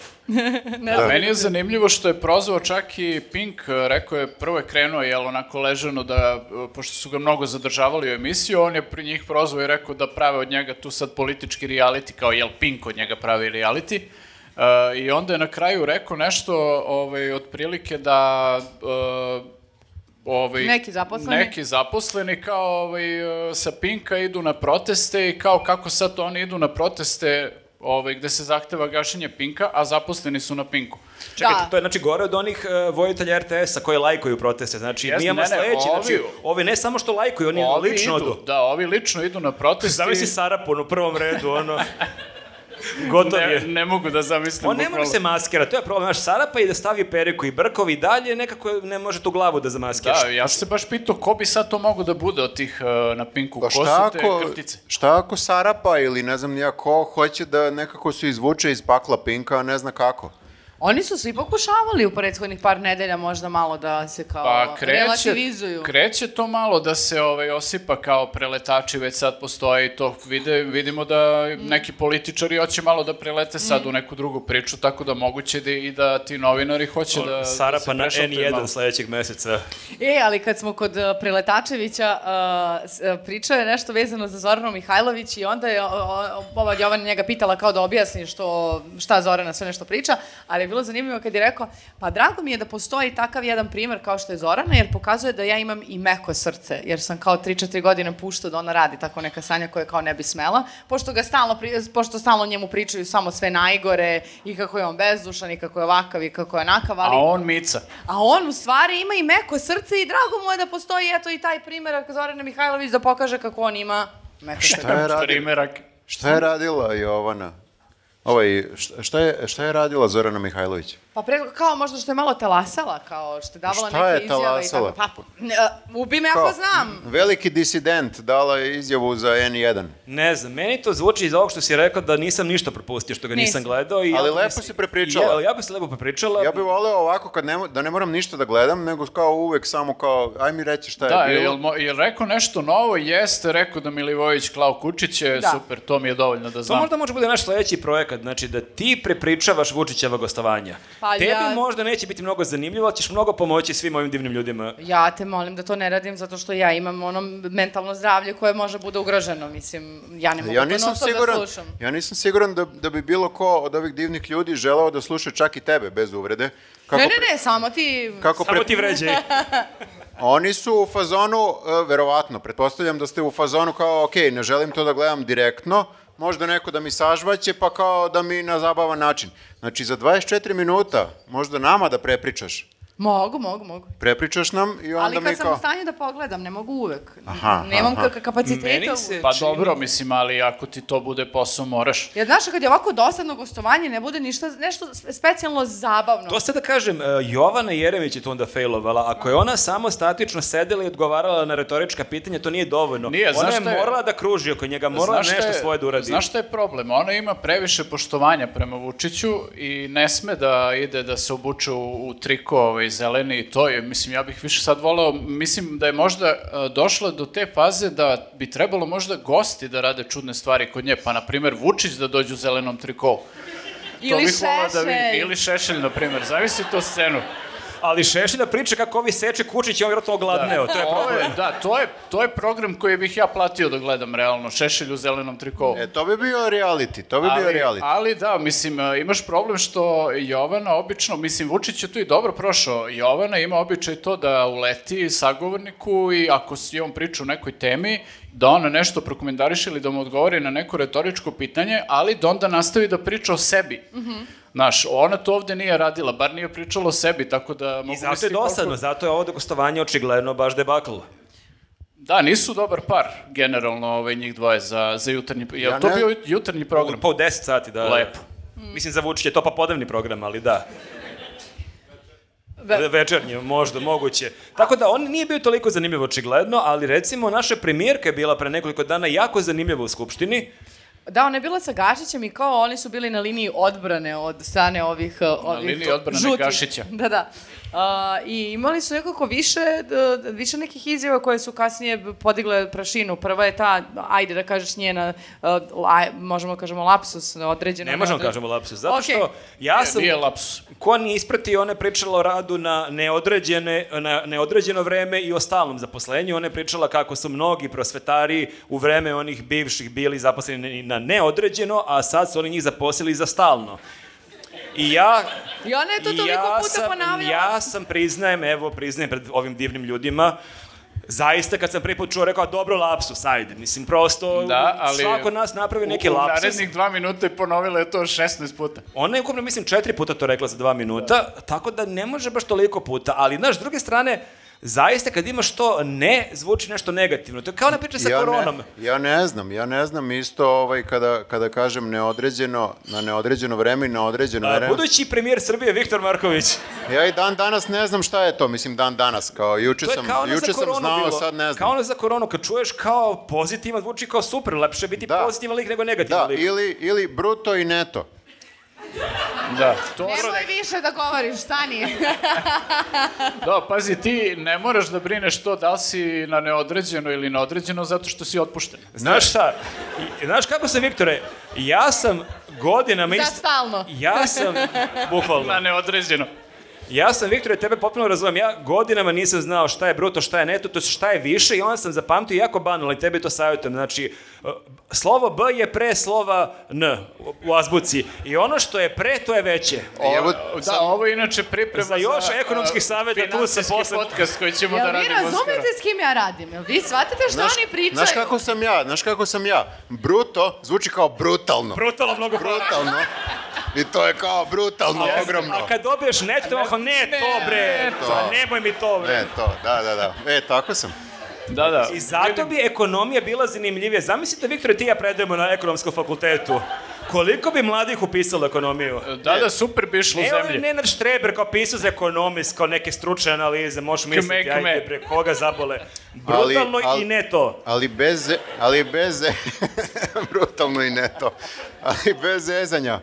Speaker 3: Da. Meni je zanimljivo što je prozvao čak i Pink, e, rekao je, prvo je krenuo, jel, onako ležano da, e, pošto su ga mnogo zadržavali u emisiju, on je pri njih prozvao i rekao da prave od njega tu sad politički reality, kao jel Pink od njega pravi reality. E, I onda je na kraju rekao nešto, ovaj, otprilike da... e, ovaj,
Speaker 4: Neki zaposleni.
Speaker 3: Neki zaposleni kao ovaj, e, sa Pinka idu na proteste i kao kako sad oni idu na proteste ovaj, gde se zahteva gašenje Pinka, a zaposleni su na Pinku.
Speaker 1: Čekajte,
Speaker 4: Da.
Speaker 1: to je znači gore od onih uh, vojitelja RTS-a koji lajkuju proteste. Znači,
Speaker 3: Jeste,
Speaker 1: mi imamo
Speaker 3: ne, ne,
Speaker 1: sledeći, znači,
Speaker 3: ovi-
Speaker 1: ovi ne samo što lajkuju, oni lično
Speaker 3: idu,
Speaker 1: odu.
Speaker 3: Da, ovi lično idu na proteste.
Speaker 1: Zavisi Sarapon u prvom redu, ono. Gotov
Speaker 3: ne,
Speaker 1: je.
Speaker 3: ne mogu da zamislim.
Speaker 1: On ne može
Speaker 3: bukvalno.
Speaker 1: se maskira, to je problem. Znaš, Sarapa i da stavi periku i brkovi i dalje, nekako ne može tu glavu da zamaskiraš.
Speaker 3: Da, ja sam se baš pitao ko bi sad to mogo da bude od tih e, na Pinku.
Speaker 2: Pa
Speaker 3: ko su
Speaker 2: šta
Speaker 3: te
Speaker 2: ako,
Speaker 3: krtice?
Speaker 2: šta ako Sarapa ili ne znam nija ko hoće da nekako se izvuče iz pakla Pinka, a ne zna kako?
Speaker 4: Oni su svi pokušavali u prethodnih par nedelja možda malo da se kao
Speaker 3: Pa kreće,
Speaker 4: relativizuju.
Speaker 3: kreće to malo da se ovaj, osipa kao preletači, već sad postoji to. Vide, vidimo da neki političari hoće malo da prelete sad u neku drugu priču, tako da moguće da i da ti novinari hoće da- da... se
Speaker 1: Sarapa pa na
Speaker 3: prešaltaju
Speaker 1: N1
Speaker 3: malo.
Speaker 1: sledećeg meseca.
Speaker 4: E, ali kad smo kod uh, Preletačevića, uh, s- uh, pričao je nešto vezano za Zoranu Mihajlović i onda je o- o- ova Jovana njega pitala kao da objasni što, šta Zorana sve nešto priča, ali bilo zanimljivo kad je rekao, pa drago mi je da postoji takav jedan primer kao što je Zorana, jer pokazuje da ja imam i meko srce, jer sam kao 3-4 godine puštao da ona radi tako neka sanja koja kao ne bi smela, pošto, ga stalno, pri- pošto stalno njemu pričaju samo sve najgore i kako je on bezdušan i kako je ovakav i kako je onakav, ali...
Speaker 3: A on mica.
Speaker 4: A on u stvari ima i meko srce i drago mu je da postoji eto i taj primerak Zorana Mihajlović da pokaže kako on ima meko srce.
Speaker 2: Šta je radila,
Speaker 3: Primerak.
Speaker 2: šta je radila Jovana? Ovaj, šta- šta, je, šta je radila Zorana Mihajlović?
Speaker 4: Pa pre, kao možda što je malo talasala, kao što je davala
Speaker 2: Šta je
Speaker 4: neke izjave i
Speaker 2: talasala?
Speaker 4: tako. Pa, ne, e, ubi me ako znam.
Speaker 2: Veliki disident dala je izjavu za N1.
Speaker 1: Ne znam, meni to zvuči iz ovog što si rekao da nisam ništa propustio što ga nisam,
Speaker 4: Nisam.
Speaker 1: gledao. I
Speaker 2: Ali
Speaker 1: jako mi
Speaker 2: lepo
Speaker 1: se-
Speaker 2: si prepričala.
Speaker 1: Ja, jako si lepo prepričala.
Speaker 2: Ja bih voleo ovako kad ne, mo- da ne moram ništa da gledam, nego kao uvek samo kao, aj mi reći šta
Speaker 3: Da,
Speaker 2: je bilo.
Speaker 3: jel, mo- jel rekao nešto novo? Jeste, rekao da Milivojević klao kučiće,
Speaker 4: Da.
Speaker 3: super, to mi je dovoljno da
Speaker 1: To
Speaker 3: znam.
Speaker 1: možda može bude naš sledeći projekat, znači da ti prepričavaš Vučićeva gostovanja.
Speaker 4: Pa
Speaker 1: Tebi
Speaker 4: ja-
Speaker 1: možda neće biti mnogo zanimljivo, ali ćeš mnogo pomoći svim ovim divnim ljudima.
Speaker 4: Ja te molim da to ne radim zato što ja imam ono mentalno zdravlje koje može bude ugroženo, mislim, ja ne mogu
Speaker 2: Ja
Speaker 4: ja
Speaker 2: nisam,
Speaker 4: da
Speaker 2: siguran,
Speaker 4: slušam.
Speaker 2: ja nisam siguran da, da bi bilo ko od ovih divnih ljudi želeo da sluša čak i tebe, bez uvrede. Kako
Speaker 4: ne,
Speaker 2: pre-
Speaker 4: ne, ne, samo ti...
Speaker 2: Kako
Speaker 1: Samo
Speaker 2: pre-
Speaker 1: ti vređaj.
Speaker 2: Oni su u fazonu, e, verovatno, pretpostavljam da ste u fazonu kao, ok, ne želim to da gledam direktno, možda neko da mi sažvaće, pa kao da mi na zabavan način. Znači, za 24 minuta, možda nama da prepričaš.
Speaker 4: Mogu, mogu, mogu.
Speaker 2: Prepričaš nam i onda
Speaker 4: Ali kad
Speaker 2: mi
Speaker 4: sam
Speaker 2: kao...
Speaker 4: u stanju da pogledam, ne mogu uvek.
Speaker 2: Aha,
Speaker 4: Nemam
Speaker 2: aha.
Speaker 4: ka- kapaciteta.
Speaker 1: Meni se
Speaker 4: uvek.
Speaker 3: Pa
Speaker 1: čini-
Speaker 3: dobro, mislim, ali ako ti to bude posao, moraš.
Speaker 4: Jer znaš, kad je ovako dosadno gostovanje, ne bude ništa, nešto spe- specijalno zabavno.
Speaker 1: To sad da kažem, e, Jovana Jeremić je tu onda failovala. Ako je ona samo statično sedela i odgovarala na retorička pitanja, to nije dovoljno.
Speaker 3: Nije,
Speaker 1: ona
Speaker 3: znaš
Speaker 1: je
Speaker 3: šta je-
Speaker 1: morala da kruži oko njega, morala
Speaker 3: šta
Speaker 1: nešto
Speaker 3: je-
Speaker 1: svoje da uradi.
Speaker 3: Znaš šta je problem? Ona ima previše poštovanja prema Vučiću i ne sme da ide da se obuče u, u triko ovaj, zeleni i to je, mislim, ja bih više sad volao, mislim da je možda e, došla do te faze da bi trebalo možda gosti da rade čudne stvari kod nje, pa na primer Vučić da dođe u zelenom trikovu.
Speaker 4: Ili
Speaker 3: bih volao
Speaker 1: da
Speaker 4: Šešelj.
Speaker 3: Ili Šešelj, na primer, zavisi to scenu.
Speaker 1: Ali Šešelja priča kako ovi seče kučić i on vjerojatno ogladneo. To je
Speaker 3: Ovo
Speaker 1: problem.
Speaker 3: da, to je, to je program koji bih ja platio da gledam realno, Šešelj u zelenom trikovu.
Speaker 2: E, to bi bio reality, to bi bio reality.
Speaker 3: ali da, mislim, e, imaš problem što Jovana obično, mislim, Vučić je tu i dobro prošao. Jovana ima običaj to da uleti sagovorniku i ako si on priča o nekoj temi, da ona nešto prokomentariše ili da mu odgovori na neko retoričko pitanje, ali da onda nastavi da priča o sebi.
Speaker 1: Mhm.
Speaker 3: Znaš, ona to ovde nije radila, bar nije pričala o sebi, tako da... mogu
Speaker 1: I zato je
Speaker 3: misliti
Speaker 1: dosadno,
Speaker 3: koliko-
Speaker 1: zato je ovo gostovanje očigledno baš debakl.
Speaker 3: Da, nisu dobar par, generalno, ovaj, njih dvoje za, za jutarnji... Je
Speaker 2: Ja
Speaker 3: to
Speaker 2: ne-
Speaker 3: bio jutarnji program?
Speaker 1: Pa u 10 sati, da.
Speaker 3: Lepo.
Speaker 1: Mislim, za Vučić je to pa podavni program, ali da.
Speaker 4: Ve-
Speaker 1: Večernji, možda, moguće. Tako da, on nije bio toliko zanimljiv očigledno, ali recimo naša premijerka je bila pre nekoliko dana jako zanimljiva u Skupštini.
Speaker 4: Da, ona je bila sa Gašićem i kao oni su bili na liniji odbrane od strane ovih, uh, ovih
Speaker 3: liniji odbrane
Speaker 4: žutih.
Speaker 3: Gašića.
Speaker 4: Da, da. A, I imali su nekako više, d- više nekih izjava koje su kasnije b- podigle prašinu. Prva je ta, ajde da kažeš njena, uh, la- možemo da kažemo lapsus određeno.
Speaker 1: Ne možemo da kažemo lapsus, zato
Speaker 4: Okej.
Speaker 1: što ja sam...
Speaker 3: Nije lapsus.
Speaker 1: Ko nije ispratio, ona je pričala o radu na, neodređene, na neodređeno vreme i o stalnom zaposlenju. Ona je pričala kako su mnogi prosvetari u vreme onih bivših bili zaposleni na neodređeno, a sad su oni njih zaposlili za stalno. I ja...
Speaker 4: I ona je E, to toliko puta ponavljala.
Speaker 1: Ja sam, priznajem, evo, priznajem pred ovim divnim ljudima, Zaista, kad sam prvi put čuo, rekao, "A, dobro, lapsus, ajde. Mislim, prosto,
Speaker 3: Da, ali...
Speaker 1: svako od nas napravi neki
Speaker 3: u,
Speaker 1: lapsus.
Speaker 3: U narednih dva minuta je ponovila je to 16 puta.
Speaker 1: Ona je ukupno, mislim, četiri puta to rekla za dva minuta, tako da ne može baš toliko puta. Ali, znaš, s druge strane, zaista kad imaš to ne, zvuči nešto negativno. To je kao ona priča sa koronom.
Speaker 2: Ne, ja ne znam, ja ne znam isto ovaj, kada, kada kažem neodređeno, na neodređeno vreme i na određeno
Speaker 1: A,
Speaker 2: vreme.
Speaker 1: budući premijer Srbije, Viktor Marković.
Speaker 2: Ja i dan danas ne znam šta je to, mislim dan danas, kao juče
Speaker 1: To je
Speaker 2: sam,
Speaker 1: kao ono
Speaker 2: juče
Speaker 1: za
Speaker 2: sam
Speaker 1: koronu
Speaker 2: znao,
Speaker 1: bilo.
Speaker 2: sad ne znam.
Speaker 1: Kao ono za koronu, kad čuješ kao pozitivan, zvuči kao super, lepše je biti
Speaker 2: Da.
Speaker 1: pozitivan lik nego negativan
Speaker 2: Da,
Speaker 1: lik.
Speaker 2: ili, ili bruto i neto.
Speaker 3: Da. To,
Speaker 4: Nemoj više da govoriš, stani.
Speaker 3: da, pazi, ti ne moraš da brineš to da li si na neodređeno ili neodređeno zato što si otpušten.
Speaker 1: Znaš šta? I- Znaš kako sam, Viktore? Ja sam godinama...
Speaker 4: Za
Speaker 1: ist-
Speaker 4: stalno.
Speaker 1: Ja sam, bukvalno.
Speaker 3: Na neodređeno.
Speaker 1: Ja sam, Viktore, tebe potpuno razumem. Ja godinama nisam znao šta je bruto, šta je neto, to je šta je više i onda sam zapamtio jako banalno i tebi to savjetujem. Znači, e, slovo B je pre slova N u- u azbuci i ono što je pre, to je veće.
Speaker 2: I evo,
Speaker 3: Da,
Speaker 2: sad-
Speaker 3: ovo je inače priprema
Speaker 1: E, Za još ekonomskih
Speaker 3: a,
Speaker 1: saveta, tu se
Speaker 3: finansijski
Speaker 1: posle-
Speaker 3: podcast koji ćemo
Speaker 4: Jel
Speaker 3: da
Speaker 4: vi
Speaker 3: radimo
Speaker 4: razumete s kim ja radim? Jel vi shvatate šta
Speaker 2: znaš-
Speaker 4: oni pričaju?
Speaker 2: Znaš kako sam ja, znaš kako sam ja. Bruto zvuči kao brutalno.
Speaker 1: Brutalno mnogo hvala.
Speaker 2: Brutalno. I to je kao brutalno,
Speaker 1: A-
Speaker 2: ogromno.
Speaker 1: A kad dobiješ neto, to je ovako, ne, to bre,
Speaker 3: ne,
Speaker 2: to.
Speaker 1: to. nemoj mi to bre.
Speaker 2: Ne, to, da, da, da. E, tako sam.
Speaker 3: Da, da.
Speaker 1: I zato bi ekonomija bila zanimljivija. Zamislite, Viktor, ti i ja predajemo na ekonomskom fakultetu. Koliko bi mladih upisalo ekonomiju?
Speaker 3: Da, da, super bi išlo u
Speaker 1: Evo je
Speaker 3: zemlji.
Speaker 1: Nenad Štreber kao pisao za ekonomist, kao neke stručne analize, možeš misliti,
Speaker 3: kme.
Speaker 1: ajde bre, koga zabole. Brutalno
Speaker 2: ali-
Speaker 1: i ne to.
Speaker 2: Ali bez, ze- ali bez, ze- brutalno i ne to, ali bez zezanja.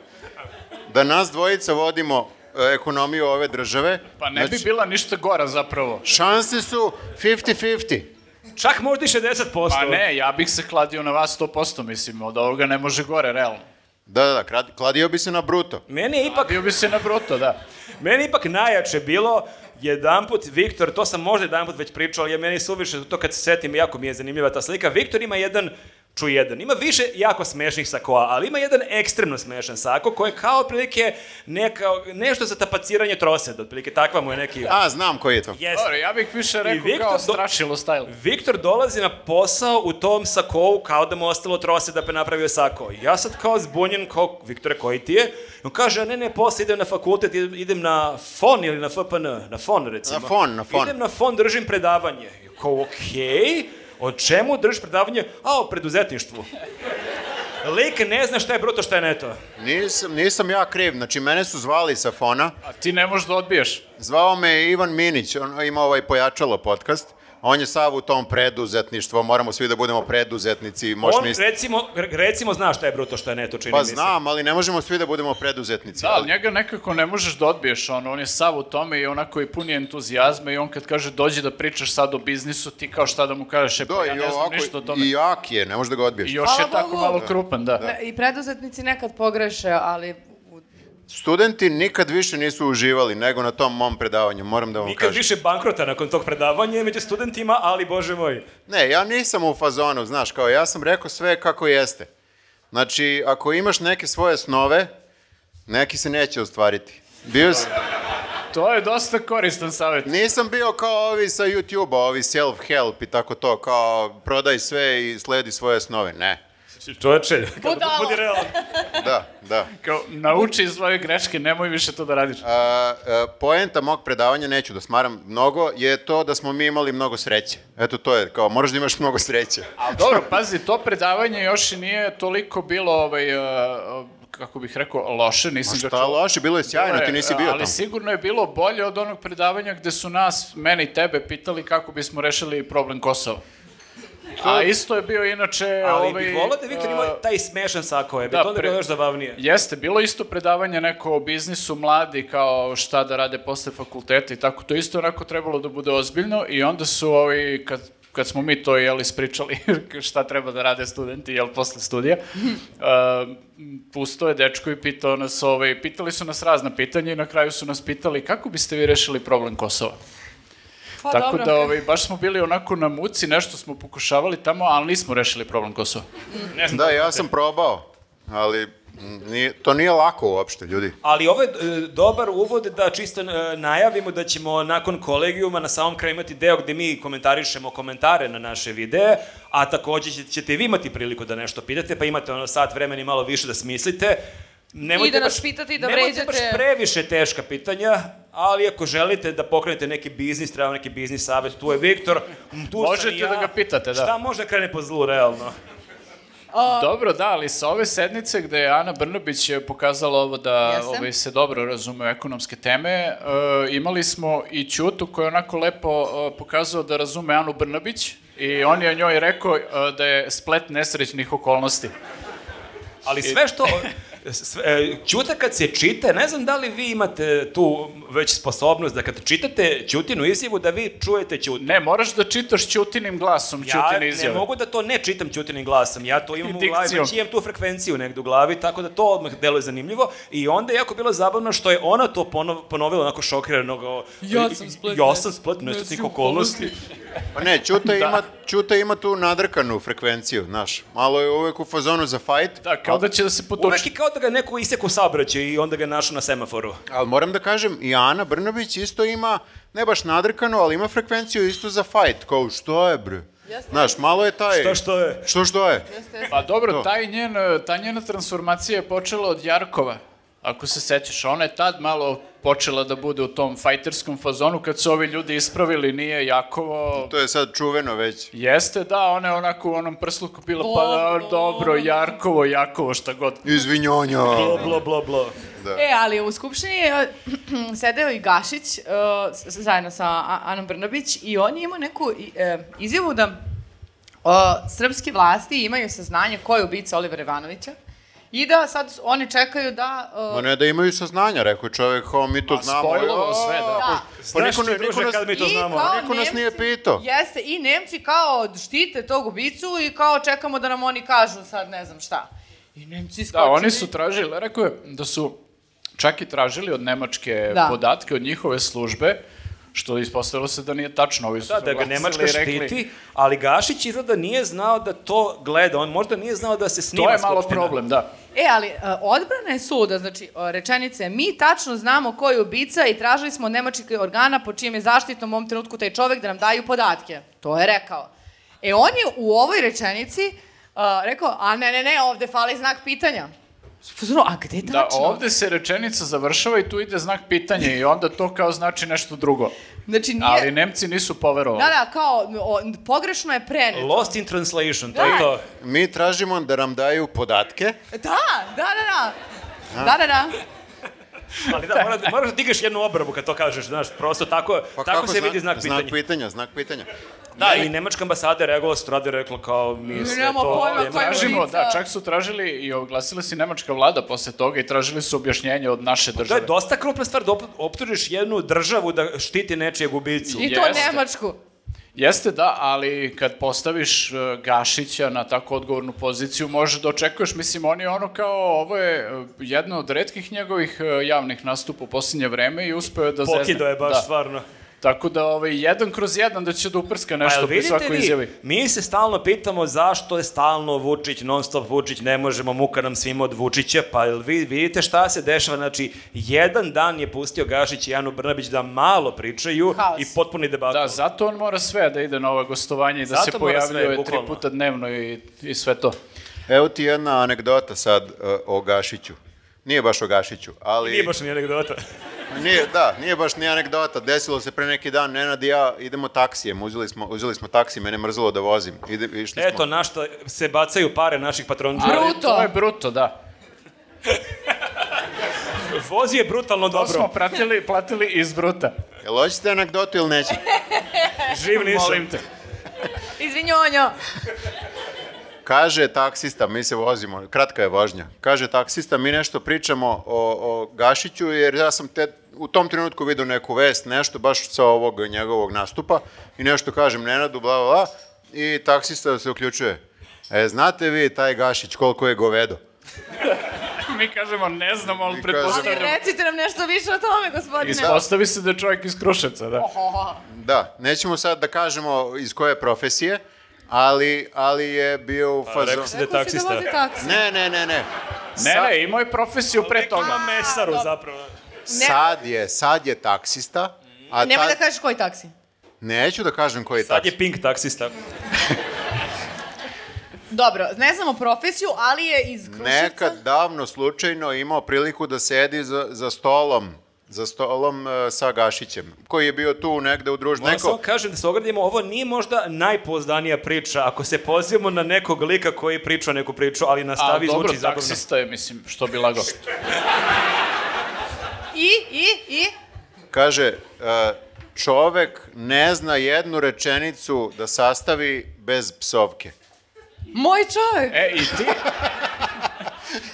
Speaker 2: Da nas dvojica vodimo e, ekonomiju ove države,
Speaker 3: Pa ne bi
Speaker 2: znači,
Speaker 3: bila ništa gora zapravo.
Speaker 2: šanse su 50-50.
Speaker 1: Čak možda i 60%.
Speaker 3: Pa ne, ja bih se kladio na vas 100%, mislim, od ovoga ne može gore, realno.
Speaker 2: Da, da, da, krad- kladio bi se na bruto.
Speaker 1: Meni je ipak,
Speaker 3: Bio bi se na bruto, da.
Speaker 1: meni je ipak najjače bilo jedanput Viktor, to sam možda jedanput već pričao, ali je meni suviše to kad se setim, jako mi je zanimljiva ta slika. Viktor ima jedan ču jedan. Ima više jako smešnih sakoa, ali ima jedan ekstremno smešan sako koji je kao otprilike neka, nešto za tapaciranje troseda, otprilike takva mu je neki...
Speaker 2: A, znam koji je to.
Speaker 1: Jeste.
Speaker 3: Dobro, ja bih više rekao
Speaker 1: Viktor
Speaker 3: kao
Speaker 1: do-
Speaker 3: strašilo style.
Speaker 1: Viktor dolazi na posao u tom sakovu kao da mu ostalo trose da bi napravio sako. Ja sad kao zbunjen, kao, Viktore, koji ti je? I on kaže, "A ne, ne, posle idem na fakultet, idem, idem na fon ili na FPN, na fon recimo.
Speaker 2: Na fon, na fon.
Speaker 1: Idem na fon, držim predavanje. I kao, okej, o čemu držiš predavanje? A, o preduzetništvu. Lik ne zna šta je bruto, šta je neto.
Speaker 2: Nisam, nisam ja kriv, znači mene su zvali sa fona,
Speaker 3: A ti ne možeš da odbiješ.
Speaker 2: Zvao me je Ivan Minić, on ima ovaj pojačalo podcast. On je sav u tom preduzetništvu, moramo svi da budemo preduzetnici, možeš
Speaker 1: on,
Speaker 2: misliti.
Speaker 1: recimo, re- recimo, zna šta je bruto, šta je neto, čini
Speaker 2: Pa
Speaker 1: mi se.
Speaker 2: znam, ali ne možemo svi da budemo preduzetnici.
Speaker 3: Da, ali njega nekako ne možeš da odbiješ, on, on je sav u tome i onako i puni entuzijazma i on kad kaže dođi da pričaš sad o biznisu, ti kao šta da mu kažeš, e,
Speaker 2: Do,
Speaker 3: pa ja
Speaker 2: i
Speaker 3: ne znam
Speaker 2: ovako,
Speaker 3: ništa o tome.
Speaker 2: i jak je, ne možeš da ga odbiješ.
Speaker 3: I još
Speaker 4: Hvala
Speaker 3: je tako
Speaker 4: Bogu.
Speaker 3: malo krupan, da.
Speaker 4: Ne, I preduzetnici nekad pogreše, ali u-
Speaker 2: Studenti nikad više nisu uživali nego na tom mom predavanju, moram da vam
Speaker 1: Nikad
Speaker 2: kažem.
Speaker 1: više bankrota nakon tog predavanja među studentima, ali bože moj.
Speaker 2: Ne, ja nisam u fazonu, znaš, kao ja sam rekao sve kako jeste. Znači, ako imaš neke svoje snove, neki se neće ostvariti. Bio sam...
Speaker 3: To je dosta koristan savjet.
Speaker 2: Nisam bio kao ovi sa YouTube-a, ovi self-help i tako to, kao prodaj sve i sledi svoje snove. Ne.
Speaker 1: Čoveče, kako
Speaker 4: Budalo.
Speaker 1: budi realan.
Speaker 2: Da, da.
Speaker 3: Kao, nauči iz svoje greške, nemoj više to da radiš.
Speaker 2: A, a, poenta mog predavanja, neću da smaram mnogo, je to da smo mi imali mnogo sreće. Eto, to je kao, moraš da imaš mnogo sreće.
Speaker 3: A dobro, pazi, to predavanje još i nije toliko bilo, ovaj, uh, kako bih rekao, loše, nisam ga
Speaker 2: Šta Pa loše, bilo je sjajno,
Speaker 3: Bilo Da je,
Speaker 2: ti nisi bio
Speaker 3: Ali
Speaker 2: tamo.
Speaker 3: sigurno je bilo bolje od onog predavanja gde su nas, mene i tebe, pitali kako bismo rešili problem Kosova. A isto je bio inače...
Speaker 1: Ali
Speaker 3: ovaj,
Speaker 1: bih volao da Viktor ima
Speaker 3: a,
Speaker 1: taj smešan sako, je bi
Speaker 3: da,
Speaker 1: to onda
Speaker 3: pre-
Speaker 1: bilo još zabavnije.
Speaker 3: Jeste, bilo je isto predavanje neko o biznisu mladi, kao šta da rade posle fakulteta i tako. To je isto onako trebalo da bude ozbiljno i onda su ovi, kad, kad smo mi to jel ispričali šta treba da rade studenti jel posle studija, uh, pusto je dečko i pitao nas, ovaj, pitali su nas razna pitanja i na kraju su nas pitali kako biste vi rešili problem Kosova.
Speaker 4: pa
Speaker 3: Tako
Speaker 4: dobro.
Speaker 3: da ovaj, baš smo bili onako na muci, nešto smo pokušavali tamo, ali nismo rešili problem Kosova.
Speaker 2: Da, ja sam probao, ali m, nije, to nije lako uopšte, ljudi.
Speaker 1: Ali ovo je e, dobar uvod da čisto e, najavimo da ćemo nakon kolegijuma na samom kraju imati deo gde mi komentarišemo komentare na naše videe, a takođe će- ćete i vi imati priliku da nešto pitate, pa imate ono sat vremena i malo više da smislite. Nemojte
Speaker 4: I da nas pitate i da
Speaker 1: nemojte baš
Speaker 4: vređate.
Speaker 1: previše teška pitanja, ali ako želite da pokrenete neki biznis, treba neki biznis savjet, tu je Viktor, tu sam
Speaker 3: Možete
Speaker 1: i ja.
Speaker 3: da ga pitate, da.
Speaker 1: Šta može da krene po zlu, realno?
Speaker 3: Dobro, da, ali sa ove sednice gde je Ana Brnabić je pokazala ovo da
Speaker 4: Jesam.
Speaker 3: ovaj, se dobro razume u ekonomske teme, e, imali smo i Ćutu koji je onako lepo e, pokazao da razume Anu Brnabić i on je njoj rekao e, da je splet nesrećnih okolnosti.
Speaker 1: Ali sve što s- e, Ćuta kad se čita, ne znam da li vi imate tu već sposobnost da kad čitate Ćutinu izjavu da vi čujete Ćutu.
Speaker 3: Ne, moraš da čitaš Ćutinim glasom
Speaker 1: Ja
Speaker 3: Ćutine izjave.
Speaker 1: ne mogu da to ne čitam Ćutinim glasom, ja to imam u glavi,
Speaker 3: Dikcijom.
Speaker 1: već imam tu frekvenciju negde u glavi, tako da to odmah deluje zanimljivo i onda je jako bilo zabavno što je ona to ponov, ponovila onako šokiranog. o,
Speaker 5: Ja
Speaker 1: i-
Speaker 5: sam
Speaker 1: i-
Speaker 5: splet
Speaker 1: Ja
Speaker 5: nes-
Speaker 1: sam splet nesretnih
Speaker 5: nesretnih
Speaker 1: okolnosti.
Speaker 2: Pa ne,
Speaker 3: Da.
Speaker 2: Ćuta, ima, Ćuta ima tu nadrkanu frekvenciju, znaš. Malo je uvek u fazonu za fajt.
Speaker 3: Da, kao da će da se
Speaker 1: Uvek
Speaker 3: potuči.
Speaker 1: je kao da ga neko iseku saobraćaj i onda ga je našao na semaforu.
Speaker 2: Ali moram da kažem, i Ana Brnović isto ima, ne baš nadrkanu, ali ima frekvenciju isto za fajt. Kao, što je, bre? Znaš, malo je taj...
Speaker 1: Šta što je?
Speaker 2: Što što je?
Speaker 3: Pa dobro, taj njen, e, ta njena transformacija je počela od Jarkova. Ako se sećaš, ona je tad malo počela da bude u tom fajterskom fazonu kad su ovi ljudi ispravili, nije Jakovo.
Speaker 2: To je sad čuveno već.
Speaker 3: Jeste, da, ona je onako u onom prsluku bila, pa da, dobro, Jarkovo, Jakovo, šta god.
Speaker 2: Izvinjonjo.
Speaker 1: Blo, blo, blo, blo.
Speaker 4: E, ali u Skupštini je eh, sedeo i Gašić eh, s- zajedno sa A- Anom Brnabić i on je imao neku i- eh, izjavu da eh, srpske vlasti imaju saznanje ko je ubica Olivera Ivanovića i da sad oni čekaju da... eh,
Speaker 2: Ma ne da imaju saznanja, rekao je čovek, kao mi to
Speaker 3: Pa,
Speaker 2: znamo.
Speaker 3: spojlovo
Speaker 2: a,
Speaker 3: sve, da.
Speaker 4: Da.
Speaker 2: Pa
Speaker 1: Znaš
Speaker 2: niko,
Speaker 1: ti,
Speaker 2: ne, niko,
Speaker 1: druže,
Speaker 2: nas,
Speaker 1: kad mi to
Speaker 4: I
Speaker 1: znamo.
Speaker 4: kao
Speaker 2: niko nas nije pitao.
Speaker 4: Jeste, i Nemci kao štite tog ubicu i kao čekamo da nam oni kažu sad ne znam šta. I Nemci skočili.
Speaker 3: Da, oni su tražili, rekao je da su čak i tražili od Nemačke
Speaker 4: Da.
Speaker 3: podatke, od njihove službe, što ispostavilo se da nije tačno. Ovi su
Speaker 1: Da,
Speaker 3: se
Speaker 1: da ga
Speaker 3: oglasili i
Speaker 1: Nemačka
Speaker 3: rekli,
Speaker 1: štiti, ali Gašić izgleda nije znao da to gleda, on možda nije znao da se snima
Speaker 3: To je malo
Speaker 1: Skupština.
Speaker 3: problem, da.
Speaker 4: E, ali e, odbrana je suda, znači e, rečenica je mi tačno znamo ko je ubica i tražili smo od nemačkih organa po čijem je zaštitom u ovom trenutku taj čovek da nam daju podatke. To je rekao. E, on je u ovoj rečenici e, rekao, a ne, ne, ne, ovde fali znak pitanja. Fuzno, a gde tačno?
Speaker 3: Da, ovde se rečenica završava i tu ide znak pitanja i onda to kao znači nešto drugo.
Speaker 4: Znači, nije...
Speaker 3: Ali Nemci nisu poverovali.
Speaker 4: Da, da, kao, o, pogrešno je prenet.
Speaker 1: Lost in translation, to je
Speaker 4: Da.
Speaker 1: to.
Speaker 2: Mi tražimo da nam daju podatke.
Speaker 4: Da, da, da, da. Da, da, da.
Speaker 1: Ali da, mora, moraš da digaš jednu obrabu kad to kažeš, znaš, prosto tako,
Speaker 2: Pa
Speaker 1: tako
Speaker 2: kako
Speaker 1: se
Speaker 2: zna-
Speaker 1: vidi znak pitanja.
Speaker 2: Znak pitanja, znak pitanja.
Speaker 1: da, i nemačka ambasada je reagovala stradio, rekla kao, mi sve
Speaker 4: nemamo
Speaker 1: to...
Speaker 4: pojma
Speaker 1: nema-
Speaker 4: ko je
Speaker 3: Tražimo,
Speaker 4: ulica.
Speaker 3: da, čak su tražili i oglasila se i nemačka vlada posle toga i tražili su objašnjenje od naše
Speaker 1: Pa To je
Speaker 3: države.
Speaker 1: dosta krupna stvar da op- optužiš jednu državu da štiti nečijeg ubicu.
Speaker 4: I to
Speaker 3: Jeste.
Speaker 4: Nemačku.
Speaker 3: Jeste, da, ali kad postaviš e, Gašića na tako odgovornu poziciju, možeš da očekuješ, mislim, on je ono kao, ovo je e, jedno od redkih njegovih e, javnih nastupa u posljednje vreme i uspeo je da zezne.
Speaker 1: Pokido je baš
Speaker 3: da.
Speaker 1: stvarno.
Speaker 3: Tako da, ovaj, jedan kroz jedan da će da uprska
Speaker 1: Pa jel
Speaker 3: nešto pri
Speaker 1: vidite
Speaker 3: svakoj
Speaker 1: vi,
Speaker 3: izjavi.
Speaker 1: mi se stalno pitamo zašto je stalno Vučić, non stop Vučić, ne možemo, muka nam svima od Vučića, pa jel vi vidite šta se dešava, znači, jedan dan je pustio Gašić i Janu Brnabić da malo pričaju
Speaker 4: Haos.
Speaker 1: i potpuni debat.
Speaker 3: Da, zato on mora sve da ide na ova gostovanja i da
Speaker 1: Zato
Speaker 3: se
Speaker 1: mora sve,
Speaker 3: pojavljuje tri
Speaker 1: bukvalno.
Speaker 3: puta dnevno i, i sve to.
Speaker 2: Evo ti jedna anegdota sad uh, o Gašiću. Nije baš o Gašiću, ali...
Speaker 1: Nije baš ni anegdota.
Speaker 2: Nije, da, nije baš ni anegdota. Desilo se pre neki dan, Nenad i ja idemo taksijem. Uzeli smo, uzeli smo taksi, mene je mrzelo da vozim. Ide, išli
Speaker 1: Eto,
Speaker 2: smo.
Speaker 1: na šta se bacaju pare naših patronđa.
Speaker 4: Bru-
Speaker 3: Ali
Speaker 4: Bruto.
Speaker 3: To je bruto, da.
Speaker 1: Vozi je brutalno
Speaker 3: To smo
Speaker 1: dobro.
Speaker 3: pratili, platili iz bruta.
Speaker 2: Jel hoćete anegdotu ili nećete?
Speaker 1: Živ nisam.
Speaker 3: Molim te.
Speaker 4: Izvinjonjo.
Speaker 2: Kaže taksista, mi se vozimo, kratka je vožnja. Kaže taksista, mi nešto pričamo o, o Gašiću, jer ja sam te, u tom trenutku vidio neku vest, nešto baš sa ovog njegovog nastupa i nešto kažem Nenadu, bla, bla, bla, i taksista se uključuje. E, znate vi taj Gašić koliko je govedo?
Speaker 3: Mi kažemo, ne znamo, ali
Speaker 2: Mi
Speaker 4: Ali
Speaker 2: kažemo.
Speaker 3: pretpostavljamo.
Speaker 4: recite nam nešto više o tome, gospodine.
Speaker 3: Ispostavi se da je čovjek iz Kruševca, da.
Speaker 4: Oho.
Speaker 2: Da, nećemo sad da kažemo iz koje profesije, ali, ali je bio u fazonu...
Speaker 1: rekao si da-
Speaker 4: Rekao si
Speaker 1: taksista.
Speaker 4: da vozi taksi.
Speaker 2: Ne, ne, ne, ne.
Speaker 3: Ne, ne, imao je profesiju pre
Speaker 1: Ima
Speaker 3: toga.
Speaker 1: mesaru zapravo.
Speaker 2: Sad je, sad je taksista, a
Speaker 4: Nemoj da
Speaker 2: tad...
Speaker 4: kažeš koji taksi.
Speaker 2: Neću da kažem koji je
Speaker 1: Sad
Speaker 2: taksista.
Speaker 1: je pink taksista.
Speaker 4: Dobro, ne znamo profesiju, ali je iz Kruševca.
Speaker 2: Nekad davno slučajno imao priliku da sedi za, za stolom za stolom e, sa Gašićem, koji je bio tu negde u družbi.
Speaker 1: Moram samo
Speaker 2: Neko,
Speaker 1: kažem da se ogradimo, ovo nije možda najpouzdanija priča, ako se pozivamo na nekog lika koji priča neku priču, ali
Speaker 3: A
Speaker 1: nastavi i
Speaker 3: dobro,
Speaker 1: zvuči zabavno.
Speaker 3: taksista je, mislim, što bi lago.
Speaker 4: I, i, i.
Speaker 2: kaže, e, čovek ne zna jednu rečenicu da sastavi bez psovke.
Speaker 4: Moj čovek.
Speaker 3: E, i ti?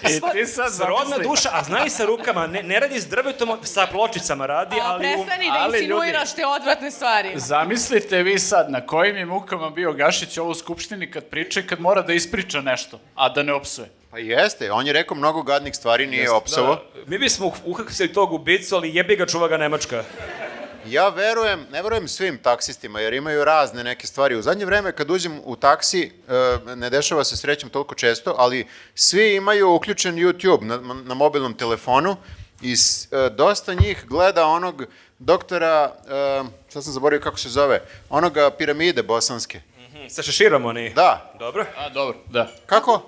Speaker 3: I ti sad
Speaker 1: Srodna
Speaker 3: zamisli.
Speaker 1: duša, a zna i sa rukama, ne, ne radi s drvetom, sa pločicama radi,
Speaker 4: A,
Speaker 1: ali... um-
Speaker 4: prestani da
Speaker 3: E, ali ljudi-
Speaker 4: insinuiraš te odvratne stvari.
Speaker 3: Zamislite vi sad na kojim je mukama bio Gašić ovo u Skupštini kad priča i kad mora da ispriča nešto, a da ne opsuje.
Speaker 2: Pa jeste, on je rekao mnogo gadnih stvari, nije opsovo.
Speaker 1: Da, mi bismo uh- uhapsili tog ubicu, ali jebi ga čuva ga Nemačka.
Speaker 2: Ja verujem, ne verujem svim taksistima, jer imaju razne neke stvari. U zadnje vreme kad uđem u taksi, e, ne dešava se srećom toliko često, ali svi imaju uključen YouTube na, na mobilnom telefonu i s, e, dosta njih gleda onog doktora, e, sad sam zaboravio kako se zove, onoga piramide bosanske.
Speaker 1: Mhm, Sa šeširom oni.
Speaker 2: Da,
Speaker 1: Dobro.
Speaker 3: A, dobro, da.
Speaker 2: kako?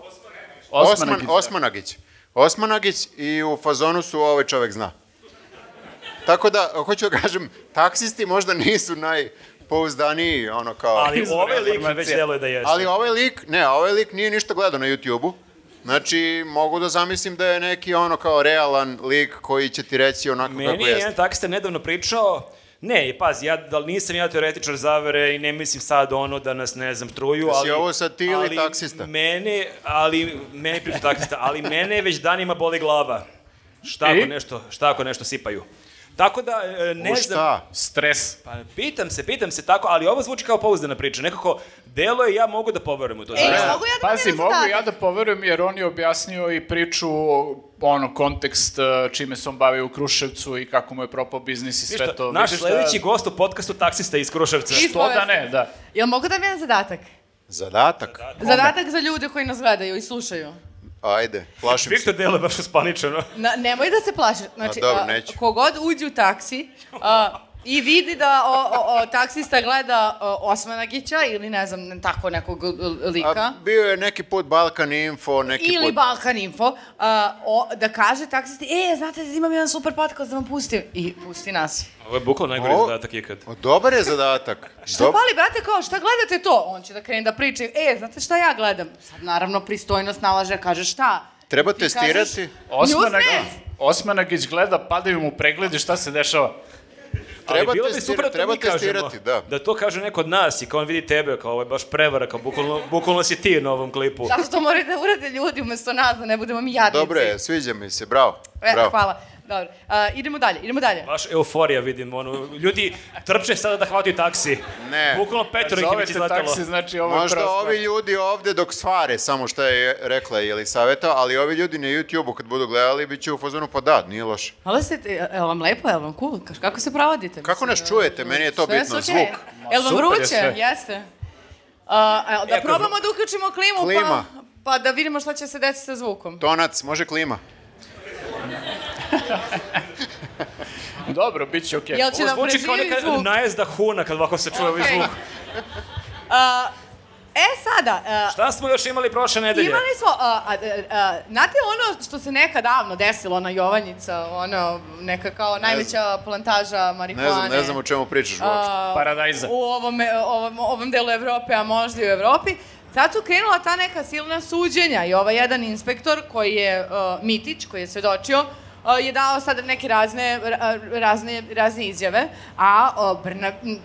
Speaker 2: Osman,
Speaker 3: Osmanagić, da.
Speaker 2: Osmanagić. Osmanagić i u fazonu su ovaj čovek zna. Tako da, hoću da kažem, taksisti možda nisu najpouzdaniji, ono kao... Ali,
Speaker 1: Ali ovaj lik mi već
Speaker 3: informacija.
Speaker 1: deluje da jeste.
Speaker 2: ali ovaj lik, ne, ovaj lik nije ništa gledao na YouTube-u. Znači, mogu da zamislim da je neki ono kao realan lik koji će ti reći onako
Speaker 1: Meni
Speaker 2: kako
Speaker 1: je
Speaker 2: jeste.
Speaker 1: jedan taksista nedavno pričao, ne, i pazi, ja, da nisam ja teoretičar zavere i ne mislim sad ono da nas, ne znam, truju,
Speaker 2: Jesi
Speaker 1: ali...
Speaker 2: ovo sad ti ili
Speaker 1: ali
Speaker 2: taksista?
Speaker 1: Mene, ali, meni priča taksista, ali mene već danima boli glava. Šta
Speaker 3: I?
Speaker 1: ako nešto, šta ako nešto sipaju. Tako da, e, ne znam...
Speaker 2: U šta?
Speaker 4: E,
Speaker 3: Stres.
Speaker 1: Pa pitam se, pitam se tako, ali ovo zvuči kao pouzdana priča. Nekako, delo je, ja mogu da poverujem u
Speaker 2: E,
Speaker 1: to.
Speaker 4: Ej,
Speaker 1: Znaš,
Speaker 4: mogu ja da
Speaker 3: E, Pazi,
Speaker 4: Pazi,
Speaker 3: mogu ja da poverujem jer on je objasnio i priču, ono, kontekst e, čime se on bavio u Kruševcu i kako mu je propao biznis i sve
Speaker 1: ništa,
Speaker 3: to.
Speaker 1: naš
Speaker 3: Vidiš
Speaker 1: sledeći
Speaker 3: da-
Speaker 1: gost u podcastu taksista iz Kruševca.
Speaker 4: I-
Speaker 3: Što da ne, da.
Speaker 4: Jel mogu da mi jedan zadatak?
Speaker 2: Zadatak?
Speaker 4: Zadatak za ljude koji nas gledaju i slušaju.
Speaker 2: Ajde, plašim se.
Speaker 1: Viktor deluje baš uspaničeno.
Speaker 4: Na, nemoj da se plašiš.
Speaker 2: A,
Speaker 4: Znači,
Speaker 2: dobro,
Speaker 4: a,
Speaker 2: neću.
Speaker 4: kogod uđe u taksi a, i vidi da o, o, o, taksista gleda o, Osmanagića ili ne znam, ne- tako nekog l- l- lika.
Speaker 2: A, bio je neki put Balkan Info, neki
Speaker 4: ili
Speaker 2: put...
Speaker 4: Balkan Info, a, o, da kaže taksisti, e, znate, imam jedan super podcast da vam pustim. I pusti nas.
Speaker 1: Ovo je bukvalno najgori
Speaker 2: Ovo-
Speaker 1: zadatak ikad.
Speaker 2: O, dobar je zadatak.
Speaker 4: Što pali, brate, kao, šta gledate to? On će da krene da priča. E, znate šta ja gledam? Sad, naravno, pristojnost nalaže, kaže šta?
Speaker 2: Treba
Speaker 4: Ti kažeš,
Speaker 2: testirati.
Speaker 3: Osmanagić,
Speaker 4: Newsnet!
Speaker 3: Osmanagić gleda, padaju mu pregledi, šta se dešava.
Speaker 2: Treba
Speaker 1: ali bilo bi
Speaker 2: testira-
Speaker 1: super da to
Speaker 2: treba
Speaker 1: mi kažemo.
Speaker 2: testirati, da.
Speaker 1: Da to kaže neko od nas i kao on vidi tebe, kao ovo je baš prevara, kao bukvalno, bukvalno si ti na ovom klipu.
Speaker 4: Zato što morate da urade ljudi umesto nas, da ne budemo mi jadnici.
Speaker 2: Dobro je, sviđa mi se, bravo.
Speaker 4: E,
Speaker 2: bravo.
Speaker 4: hvala. Dobro. A, idemo dalje, idemo dalje.
Speaker 1: Baš euforija vidim, ono, ljudi trče sada da hvataju taksi.
Speaker 2: Ne.
Speaker 1: Bukvalno petoro ih je već
Speaker 3: Zovete
Speaker 1: izletelo.
Speaker 3: taksi, znači ovo je
Speaker 2: Možda
Speaker 3: prva stvar.
Speaker 2: ovi ljudi ovde dok svare, samo što je rekla Jelisaveta, ali ovi ljudi na YouTube-u kad budu gledali, bit će u fazonu, pa da, nije loše.
Speaker 4: Hvala se, je vam lepo, je vam cool? Kaš- Kako se provodite?
Speaker 2: Kako
Speaker 4: Mislim,
Speaker 2: nas
Speaker 4: e,
Speaker 2: čujete? Meni je to
Speaker 4: sve
Speaker 2: bitno,
Speaker 4: je okej.
Speaker 2: zvuk.
Speaker 3: Ma,
Speaker 4: Jel vam
Speaker 3: super je
Speaker 4: vruće?
Speaker 3: sve.
Speaker 4: Jeste. A, a, da
Speaker 1: Jako
Speaker 4: probamo da uključimo klimu,
Speaker 2: Klima.
Speaker 4: Pa, pa da vidimo šta će se desiti sa zvukom.
Speaker 2: Tonac, može klima?
Speaker 3: Dobro, bit će okej.
Speaker 4: Jel će
Speaker 1: Ovo
Speaker 4: da
Speaker 1: zvuči kao
Speaker 4: preživi
Speaker 1: neka
Speaker 4: zvuk?
Speaker 1: najezda huna kad ovako se čuje ovaj
Speaker 4: Okej.
Speaker 1: zvuk.
Speaker 4: A, e, sada, a,
Speaker 1: Šta smo još imali prošle nedelje?
Speaker 4: imali smo, a, a, a, a, znate ono što se nekad davno desilo, ona Jovanjica, ono, neka kao najveća plantaža marihuane.
Speaker 2: Ne znam, ne znam o čemu pričaš uopšte.
Speaker 4: A,
Speaker 3: Paradajza.
Speaker 4: U ovom, ovom, ovom delu Evrope, a možda i u Evropi. Sad su krenula ta neka silna suđenja i ovaj jedan inspektor koji je uh, Mitić, koji je svedočio, uh, je dao sada neke razne, ra- razne, razne izjave, a uh, Brna, m,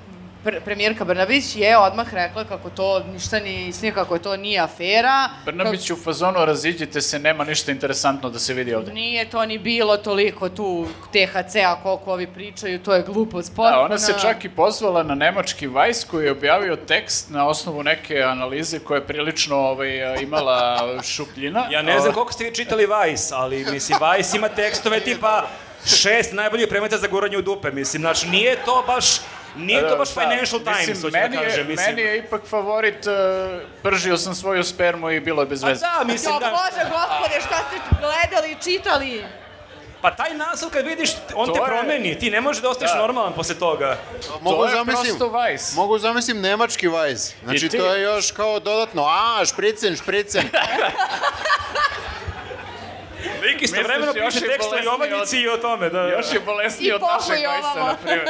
Speaker 4: pr- premijerka Brnabić je odmah rekla kako to ništa ni istina, kako to nije afera.
Speaker 3: Brnabić u fazonu raziđite se, nema ništa interesantno da se vidi ovde.
Speaker 4: Nije to ni bilo toliko tu THC-a koliko ovi pričaju, to je glupost potpuna.
Speaker 3: Da, ona se čak i pozvala na nemački Vice koji je objavio tekst na osnovu neke analize koja je prilično ovaj, imala šupljina.
Speaker 1: Ja ne znam koliko ste vi čitali Vice, ali mislim, Vice ima tekstove tipa šest najboljih premeta za guranje u dupe, mislim, znači nije to baš, nije to baš
Speaker 3: Da,
Speaker 1: Financial Times, hoću da
Speaker 3: meni je-
Speaker 1: kažem, mislim.
Speaker 3: Meni je ipak favorit, eh, pržio sam svoju spermu i bilo je bez
Speaker 1: Pa
Speaker 3: veze.
Speaker 1: da, mislim
Speaker 4: Jo,
Speaker 1: da...
Speaker 4: Bože, gospode, šta ste gledali i čitali?
Speaker 1: Pa taj naslov kad vidiš, on
Speaker 3: To
Speaker 1: te
Speaker 3: je-
Speaker 1: promeni, ti ne možeš da ostaneš
Speaker 3: Da.
Speaker 1: normalan posle toga.
Speaker 2: Mogu
Speaker 3: to je
Speaker 2: zamislim,
Speaker 3: prosto Vice.
Speaker 2: mogu zamislim nemački vajz. Znači,
Speaker 3: I ti-
Speaker 2: to je još kao dodatno, a, špricen, špricen.
Speaker 1: Lik istovremeno
Speaker 3: Misliš, još
Speaker 1: piše
Speaker 3: je
Speaker 1: tekst o
Speaker 3: bolesniji
Speaker 1: Jovanjici i o tome, da.
Speaker 3: Još je bolesniji
Speaker 4: I
Speaker 3: od našeg
Speaker 4: pohuj
Speaker 3: Vice-a,
Speaker 4: ovamo.
Speaker 3: na primjer.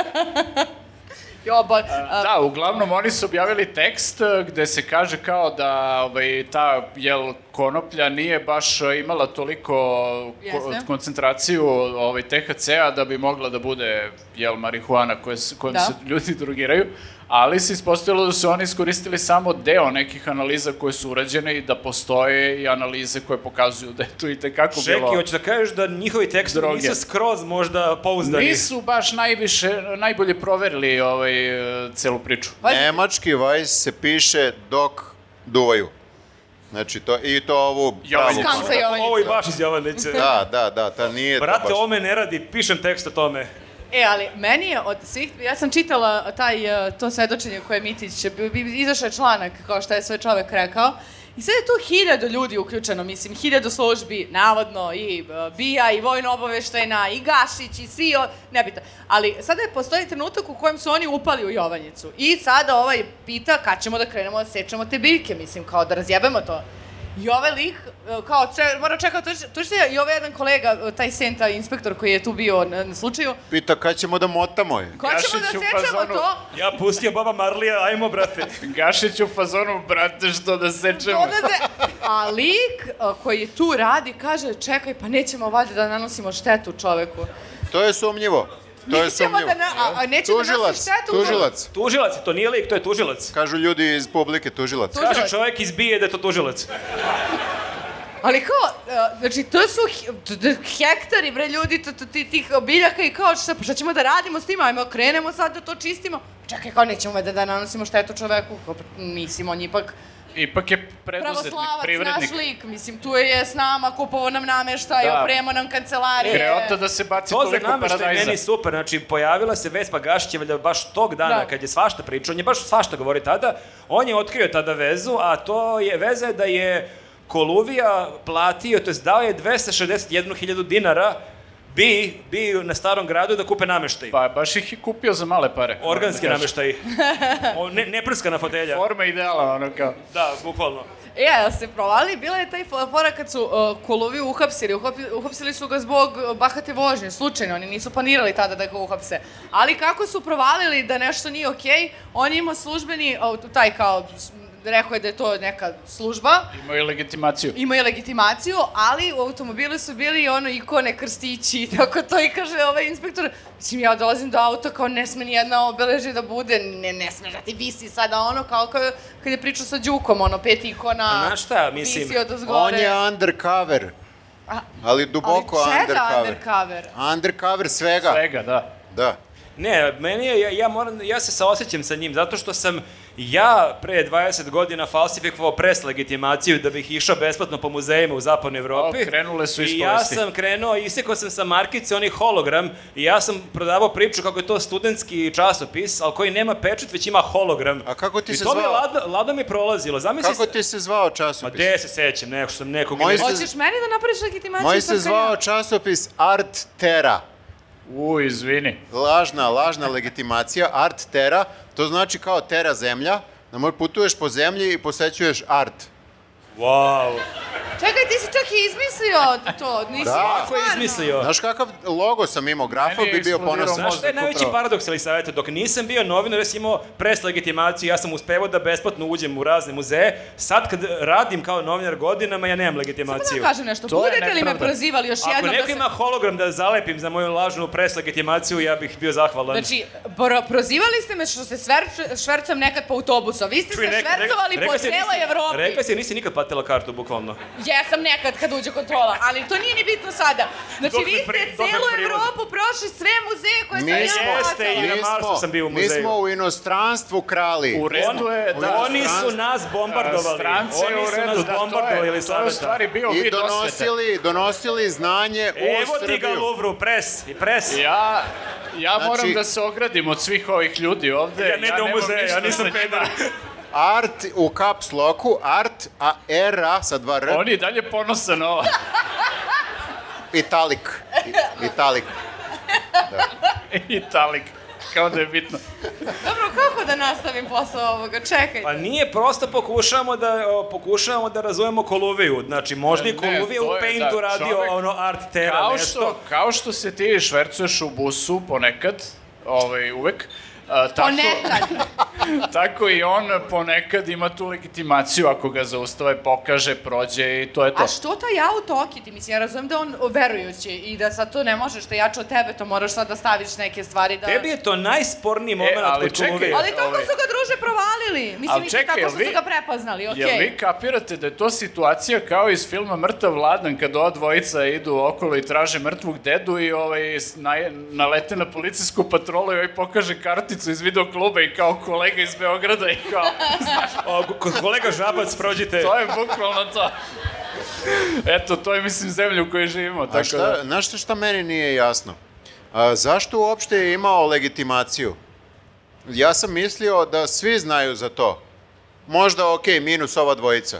Speaker 4: Jo, bo, a,
Speaker 3: Da, uglavnom oni su objavili tekst eh, gde se kaže kao da ovaj, ta jel, konoplja nije baš eh, imala toliko ko
Speaker 4: Jeste.
Speaker 3: koncentraciju ovaj, THC-a da bi mogla da bude jel, marihuana koje, s- kojom
Speaker 4: Da.
Speaker 3: se ljudi drogiraju. ali se ispostavilo da su oni iskoristili samo deo nekih analiza koje su urađene i da postoje i analize koje pokazuju da je to i tekako
Speaker 1: Čekaj,
Speaker 3: bilo...
Speaker 1: hoćeš da kažeš da njihovi tekstovi
Speaker 3: Droge.
Speaker 1: nisu skroz možda pouzdani.
Speaker 3: Nisu baš najviše, najbolje proverili ovaj, e, celu priču.
Speaker 4: Pazi.
Speaker 2: Nemački Vice se piše dok duvaju. Znači, to, i to ovu pravu...
Speaker 3: Jovanjicu.
Speaker 2: formu.
Speaker 4: Skansa Jovanjica.
Speaker 1: Ovo je baš iz Jovanjice.
Speaker 2: Da, da, da, ta nije to
Speaker 1: Brate,
Speaker 2: baš...
Speaker 1: ovo me ne radi, pišem tekst o tome.
Speaker 4: E, ali meni je od svih, ja sam čitala taj, e, to svedočenje koje je Mitić, bi- bi- izašao je članak kao šta je sve čovek rekao, I sad je tu hiljadu ljudi uključeno, mislim, hiljadu službi, navodno, i e, BIA, i vojno obaveštajna, i Gašić, i svi, o- nebitno. Ali sada je postoji trenutak u kojem su oni upali u Jovanjicu. I sada ovaj pita kad ćemo da krenemo da sečemo te biljke, mislim, kao da razjebemo to. I ovaj lik, e, kao, če, mora čekati, tu što je i ovaj jedan kolega, e, taj Senta, inspektor koji je tu bio na, na slučaju,
Speaker 2: Pita kad ćemo da motamo je.
Speaker 4: Ko ćemo da
Speaker 3: Gašić u
Speaker 4: sečemo
Speaker 3: fazonu.
Speaker 4: to?
Speaker 1: Ja pustio Baba Marlija, ajmo, brate.
Speaker 3: Gašić u fazonu, brate, što da sečemo.
Speaker 4: Dolaze, a lik a, koji tu radi kaže čekaj pa nećemo valjda da nanosimo štetu čoveku.
Speaker 2: To je sumnjivo. To je
Speaker 4: Nećemo
Speaker 2: sumnjivo.
Speaker 4: da, na, a, a nećemo da
Speaker 2: Tužilac,
Speaker 4: nanosimo štetu.
Speaker 2: tužilac.
Speaker 1: Tužilac, je, to nije lik, to je tužilac.
Speaker 2: Kažu ljudi iz publike tužilac.
Speaker 4: Tužilac.
Speaker 1: Kaže čovjek izbije da je to tužilac.
Speaker 4: Ali kao, a, znači to su he- t- t- hektari bre ljudi t- t- ti- tih biljaka i kao šta, pa šta ćemo da radimo s tim, ajmo krenemo sad da to čistimo. Čekaj kao nećemo valjda da nanosimo štetu čoveku, kao, pa, mislim on je ipak
Speaker 3: Ipak je preduzetnik,
Speaker 4: pravoslavac,
Speaker 3: privrednik.
Speaker 4: naš lik, mislim tu je s nama, kupovo nam nameštaj,
Speaker 3: Da.
Speaker 4: opremo nam kancelarije.
Speaker 3: Kreota da se baci
Speaker 1: To za
Speaker 3: toliko
Speaker 1: nama što je
Speaker 3: paradajza.
Speaker 1: meni super, znači pojavila se Vespa Gašić, je valjda baš tog dana
Speaker 4: Da.
Speaker 1: kad je svašta pričao, on je baš svašta govori tada, on je otkrio tada vezu, a to je veza je da je Koluvija platio, to je dao je 261.000 dinara bi, bi na starom gradu da kupe nameštaj.
Speaker 3: Pa baš ih je kupio za male pare.
Speaker 1: Organski
Speaker 3: moram da kažem.
Speaker 1: nameštaj. O, ne, ne prskana fotelja.
Speaker 3: Forma ideala, ono kao.
Speaker 1: Da, bukvalno.
Speaker 4: E, jel ste provali? Bila je taj fo- fora kad su uh, kolovi uhapsili. Uhapi- uhapsili su ga zbog uh, bahate vožnje, slučajno. Oni nisu planirali tada da ga uhapse. Ali kako su provalili da nešto nije okej, on je imao službeni, uh, taj kao, s- rekao je da je to neka služba,
Speaker 3: Imao je legitimaciju.
Speaker 4: imao je legitimaciju, ali u automobilu su bili ono ikone, krstići i tako to i kaže ovaj inspektor, mislim ja dolazim do auta kao ne sme ni jedna obeležja da bude, ne, ne sme da ti visi sada ono kao kad, kad je pričao sa Đukom, ono pet ikona,
Speaker 1: A znaš šta, mislim,
Speaker 4: visi od
Speaker 2: On
Speaker 4: ozgore.
Speaker 2: je undercover.
Speaker 4: A-
Speaker 2: Ali duboko
Speaker 4: ali čega
Speaker 2: undercover.
Speaker 4: undercover?
Speaker 2: Undercover svega.
Speaker 3: Svega, da.
Speaker 2: Da.
Speaker 1: Ne, meni je, ja, ja, moram, ja se saosećam sa njim, zato što sam ja pre 20 godina falsifikovao pres legitimaciju da bih išao besplatno po muzejima u zapadnoj Evropi.
Speaker 3: O, krenule su
Speaker 1: I ja
Speaker 3: ispovesti.
Speaker 1: sam krenuo, isekao sam sa markice, onaj hologram, i ja sam prodavao priču kako je to studentski časopis, ali koji nema pečet, već ima hologram.
Speaker 2: A kako ti
Speaker 1: I
Speaker 2: se
Speaker 1: to mi je
Speaker 2: zvao?
Speaker 1: ladno, ladno mi je prolazilo. Zamisli,
Speaker 2: Kako ti se zvao časopis?
Speaker 1: Ma gde se sećam, neko što sam nekog...
Speaker 2: Moj se-
Speaker 4: Hoćeš meni da napraviš legitimaciju?
Speaker 2: Moj
Speaker 4: sad
Speaker 2: se
Speaker 4: kad
Speaker 2: zvao
Speaker 4: ja-
Speaker 2: časopis Art Terra.
Speaker 3: U, izvini.
Speaker 2: Lažna, lažna legitimacija. Art Terra, to znači kao Terra zemlja. Na moj putuješ po zemlji i posećuješ art.
Speaker 1: Wow.
Speaker 4: Čekaj, ti si čak i izmislio to, nisi
Speaker 2: Da.
Speaker 1: Kako je
Speaker 4: stvarno.
Speaker 1: izmislio?
Speaker 2: Znaš kakav logo sam imao? Grafo
Speaker 3: Meni je
Speaker 2: bi bio
Speaker 3: eksplodirao
Speaker 2: ponosan.
Speaker 1: Znaš šta je
Speaker 3: mozak
Speaker 1: najveći
Speaker 3: upravo.
Speaker 1: paradoks ili savjeta? Dok nisam bio novinar, ja sam imao pres legitimaciju, ja sam uspevao da besplatno uđem u razne muzeje. Sad kad radim kao novinar godinama, ja nemam
Speaker 4: Samo
Speaker 1: legitimaciju.
Speaker 4: da kažem nešto,
Speaker 3: To je
Speaker 4: budete li me
Speaker 3: nepravda.
Speaker 4: prozivali još
Speaker 1: Ako
Speaker 4: jednom da
Speaker 1: neko
Speaker 4: se
Speaker 1: ima hologram da zalepim za moju lažnu pres legitimaciju, ja bih bio zahvalan.
Speaker 4: Znači, bro, prozivali ste me što se sverč, švercam nekad po autobusu, a vi ste
Speaker 1: Čuj,
Speaker 4: se
Speaker 1: neka-
Speaker 4: švercovali
Speaker 1: rekla
Speaker 4: po
Speaker 1: si da
Speaker 4: celoj
Speaker 1: nisi-
Speaker 4: Evropi.
Speaker 1: Rekla si da nisi nikad platila kartu, bukvalno.
Speaker 4: Jesam nekad kad uđe kontrola, ali to nije ni bitno sada. Znači,
Speaker 1: Dok me
Speaker 4: vi ste
Speaker 1: pri- dok me
Speaker 4: celu
Speaker 1: priroda-
Speaker 4: Evropu prošli sve muzeje koje sam ja
Speaker 2: Nismo,
Speaker 1: Jeste, i
Speaker 4: platila.
Speaker 1: na Marsu sam bio u
Speaker 2: nismo,
Speaker 1: muzeju.
Speaker 2: nismo u inostranstvu krali.
Speaker 3: U redu je da...
Speaker 1: Oni su nas bombardovali.
Speaker 3: Strance je
Speaker 1: Oni
Speaker 3: u
Speaker 1: su
Speaker 3: redu,
Speaker 1: nas
Speaker 3: da, to
Speaker 1: bombardovali,
Speaker 3: je, to je u
Speaker 1: Elisaveta.
Speaker 3: stvari bio
Speaker 2: I
Speaker 3: vid osvete.
Speaker 2: donosili, donosili znanje
Speaker 1: Evo
Speaker 2: u
Speaker 1: ti ga,
Speaker 2: Srbiju.
Speaker 1: Luvru, pres i pres.
Speaker 3: Ja, ja
Speaker 2: Znači-
Speaker 3: moram da se ogradim od svih ovih ljudi ovde.
Speaker 1: Ja ne idem u
Speaker 3: nemam
Speaker 1: muzeje,
Speaker 3: ništa
Speaker 1: ja nisam
Speaker 3: sa njima.
Speaker 1: pedar.
Speaker 2: Art u caps locku, art, a era sa dva r,
Speaker 3: On je i dalje ponosan ovo.
Speaker 2: italik. I- Italik.
Speaker 3: Italik. Kao da je bitno.
Speaker 4: Dobro, kako da nastavim posao ovoga? Čekajte.
Speaker 1: Pa nije prosto pokušavamo da o, pokušavamo da razumemo Koluviju. Znači možda i
Speaker 3: Ne,
Speaker 1: Koluvija
Speaker 3: to
Speaker 1: u
Speaker 3: je,
Speaker 1: Paintu
Speaker 3: da,
Speaker 1: radio
Speaker 3: čovek-
Speaker 1: ono art tera
Speaker 3: Kao
Speaker 1: nešto.
Speaker 3: što, kao što se ti švercuješ u busu ponekad, ovaj, uvek, a, tako,
Speaker 4: Ponekad.
Speaker 3: Tako i on ponekad ima tu legitimaciju ako ga zaustave, pokaže, prođe i to je to.
Speaker 4: A što taj auto okiti? Mislim, ja razumem da je on verujući i da sad to ne možeš, da je jače od tebe, to moraš sad da staviš neke stvari da...
Speaker 1: Tebi je to najsporniji moment e,
Speaker 3: ali
Speaker 1: kod
Speaker 3: čekaj,
Speaker 1: komedije.
Speaker 4: Ali tako
Speaker 3: ovaj-
Speaker 4: su ga druže provalili. Mislim,
Speaker 3: Ali
Speaker 4: nisu
Speaker 3: čekaj,
Speaker 4: tako
Speaker 3: jel
Speaker 4: što
Speaker 3: vi-
Speaker 4: su ga prepoznali, okej.
Speaker 3: Jel vi kapirate da je to situacija kao iz filma Mrtav Vladan, kad ova dvojica idu okolo i traže mrtvog dedu i ovaj, s- na, nalete na policijsku patrolu i ovaj pokaže karticu iz videokluba i kao kolega iz Beograda i kao, znaš,
Speaker 1: O, ko- kolega Žabac, prođite.
Speaker 3: to je bukvalno to. Eto, to je, mislim, zemlja u kojoj živimo. Tako
Speaker 2: A šta,
Speaker 3: da,
Speaker 2: znaš šta, šta meni nije jasno? A, zašto uopšte je imao legitimaciju? Ja sam mislio da svi znaju za to. Možda, ok, minus ova dvojica.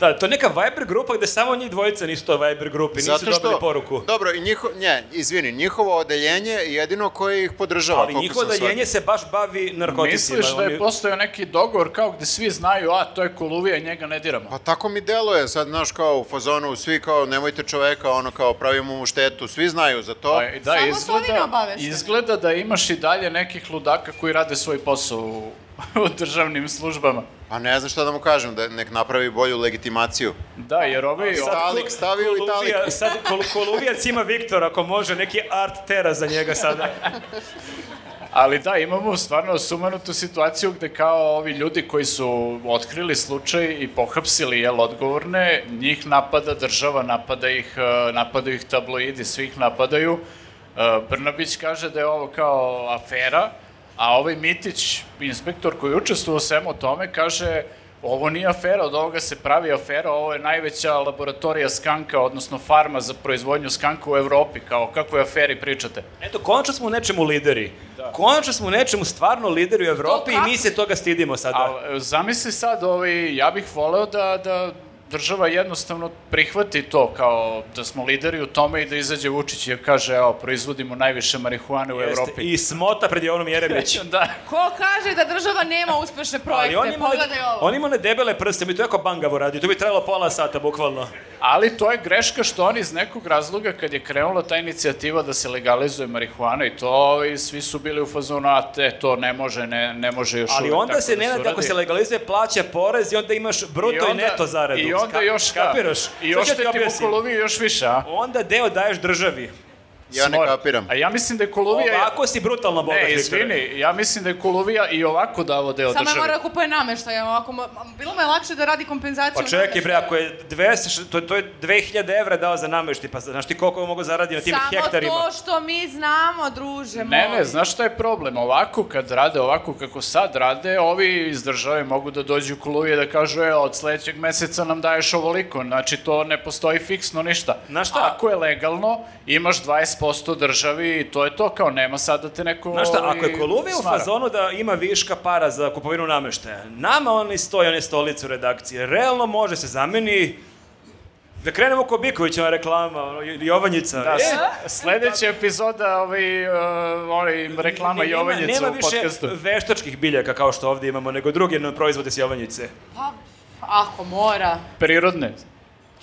Speaker 1: Da, to je neka Viber grupa gde samo njih dvojica nisu to Viber grupi, nisu dobili poruku.
Speaker 2: Dobro, i njiho, ne, izvini, njihovo odeljenje je jedino koje ih podržava.
Speaker 1: Ali
Speaker 2: koliko
Speaker 1: njihovo
Speaker 2: da, sam shvatio.
Speaker 1: daljenje se baš bavi narkoticima.
Speaker 3: misliš da je
Speaker 1: Oni-
Speaker 3: postojao neki dogovor kao gde svi znaju, a to je Koluvija, njega ne diramo.
Speaker 2: Pa tako mi deluje, sad, znaš, kao u fazonu, svi kao, nemojte čoveka, ono, kao, pravimo mu štetu, svi znaju za to.
Speaker 3: Pa, da,
Speaker 4: Samo su ovi
Speaker 3: izgleda,
Speaker 4: neobavešteni.
Speaker 3: izgleda da imaš i dalje nekih ludaka koji rade svoj posao u, u državnim službama.
Speaker 2: Pa ne znam šta da mu kažem, da nek napravi bolju legitimaciju.
Speaker 3: Da, jer ovi...
Speaker 1: Sad
Speaker 3: o-
Speaker 2: Talik, stavi u Italik.
Speaker 1: Koluvija, sad kol, Koluvijac ima Viktor, ako može, neki art tera za njega sada.
Speaker 3: ali da, imamo stvarno sumanutu situaciju gde kao ovi ljudi koji su otkrili slučaj i pohapsili jel, odgovorne, njih napada država, napada ih, eh, napadaju ih tabloidi, svi ih napadaju. Eh, Brnabić kaže da je ovo kao afera, a ovaj Mitić, inspektor koji je učestvovao u svemu tome, kaže ovo nije afera, od ovoga se pravi afera, ovo je najveća laboratorija skanka, odnosno farma za proizvodnju skanka u Evropi, kao kakvoj aferi pričate?
Speaker 1: Eto, konačno smo u nečemu lideri.
Speaker 3: Da.
Speaker 1: Konačno smo u nečemu stvarno lideri u Evropi i
Speaker 4: kako?
Speaker 1: mi se toga stidimo sada.
Speaker 3: A e, zamisli sad, ovaj, ja bih voleo da, da država jednostavno prihvati to kao da smo lideri u tome i da izađe Vučić i kaže, evo, proizvodimo najviše marihuane u
Speaker 1: Jeste,
Speaker 3: Evropi.
Speaker 1: I smota pred Jovanom Jeremić.
Speaker 3: da.
Speaker 4: Ko kaže da država nema uspešne projekte?
Speaker 1: Ali on ima,
Speaker 4: Pogledaj ovo.
Speaker 1: on ima one debele prste, mi to jako bangavo radi, to bi trajalo pola sata, bukvalno.
Speaker 3: Ali to je greška što oni iz nekog razloga kad je krenula ta inicijativa da se legalizuje marihuana i to i svi su bili u fazonu, a te, to ne može, ne, ne može još
Speaker 1: Ali
Speaker 3: uvek
Speaker 1: onda
Speaker 3: tako da
Speaker 1: se ne da,
Speaker 3: uradi."
Speaker 1: ako se legalizuje, plaća porez i onda imaš bruto i,
Speaker 3: onda-
Speaker 1: neto zaradu.
Speaker 3: I onda
Speaker 1: Ka-
Speaker 3: još, da,
Speaker 1: kapiraš?
Speaker 3: i
Speaker 1: Sad ću ti
Speaker 3: oštetimo
Speaker 1: objasnim.
Speaker 3: Koloviju još više, a?
Speaker 1: Onda deo daješ državi.
Speaker 2: Ja ne
Speaker 3: Smor.
Speaker 2: kapiram.
Speaker 3: A ja mislim da je Kolovija...
Speaker 1: Ovako si brutalno bogat,
Speaker 3: Ne,
Speaker 1: Viktore.
Speaker 3: E, izvini, ja mislim da je Kolovija i ovako davo deo
Speaker 4: Samo je
Speaker 3: države.
Speaker 4: mora da kupuje nameštaj, ovako, mo- bilo mu je lakše da radi kompenzaciju.
Speaker 1: Pa čekaj bre,
Speaker 4: nameštaja.
Speaker 1: ako je 200, to, to je 2000 evra dao za namešti, pa znaš ti koliko mogu zaradi na tim hektarima?
Speaker 4: Samo to što mi znamo, druže
Speaker 3: Ne,
Speaker 4: moj.
Speaker 3: ne, znaš šta je problem? Ovako kad rade, ovako kako sad rade, ovi iz države mogu da dođu u Kolovije da kažu, e, od sledećeg meseca nam daješ ovoliko, znači to ne postoji fiksno ništa.
Speaker 1: Znaš šta?
Speaker 3: Ako je legalno, imaš 20% državi i to je to, kao nema sad da te neko...
Speaker 1: Znaš šta,
Speaker 3: ovaj,
Speaker 1: ako je Koluvija u
Speaker 3: smara.
Speaker 1: fazonu da ima viška para za kupovinu nameštaja, nama oni stoji, one stolicu redakcije, realno može se zameni, da krenemo ko Biković, ona reklama, ono, Jovanjica.
Speaker 3: Da,
Speaker 1: E,
Speaker 3: s- sledeća epizoda ovaj, uh, ovaj reklama
Speaker 1: nema-
Speaker 3: Jovanjica u podcastu.
Speaker 1: Nema više veštačkih biljaka kao što ovdje imamo, nego druge nam proizvode s Jovanjice.
Speaker 4: Pa, ako mora.
Speaker 3: Prirodne.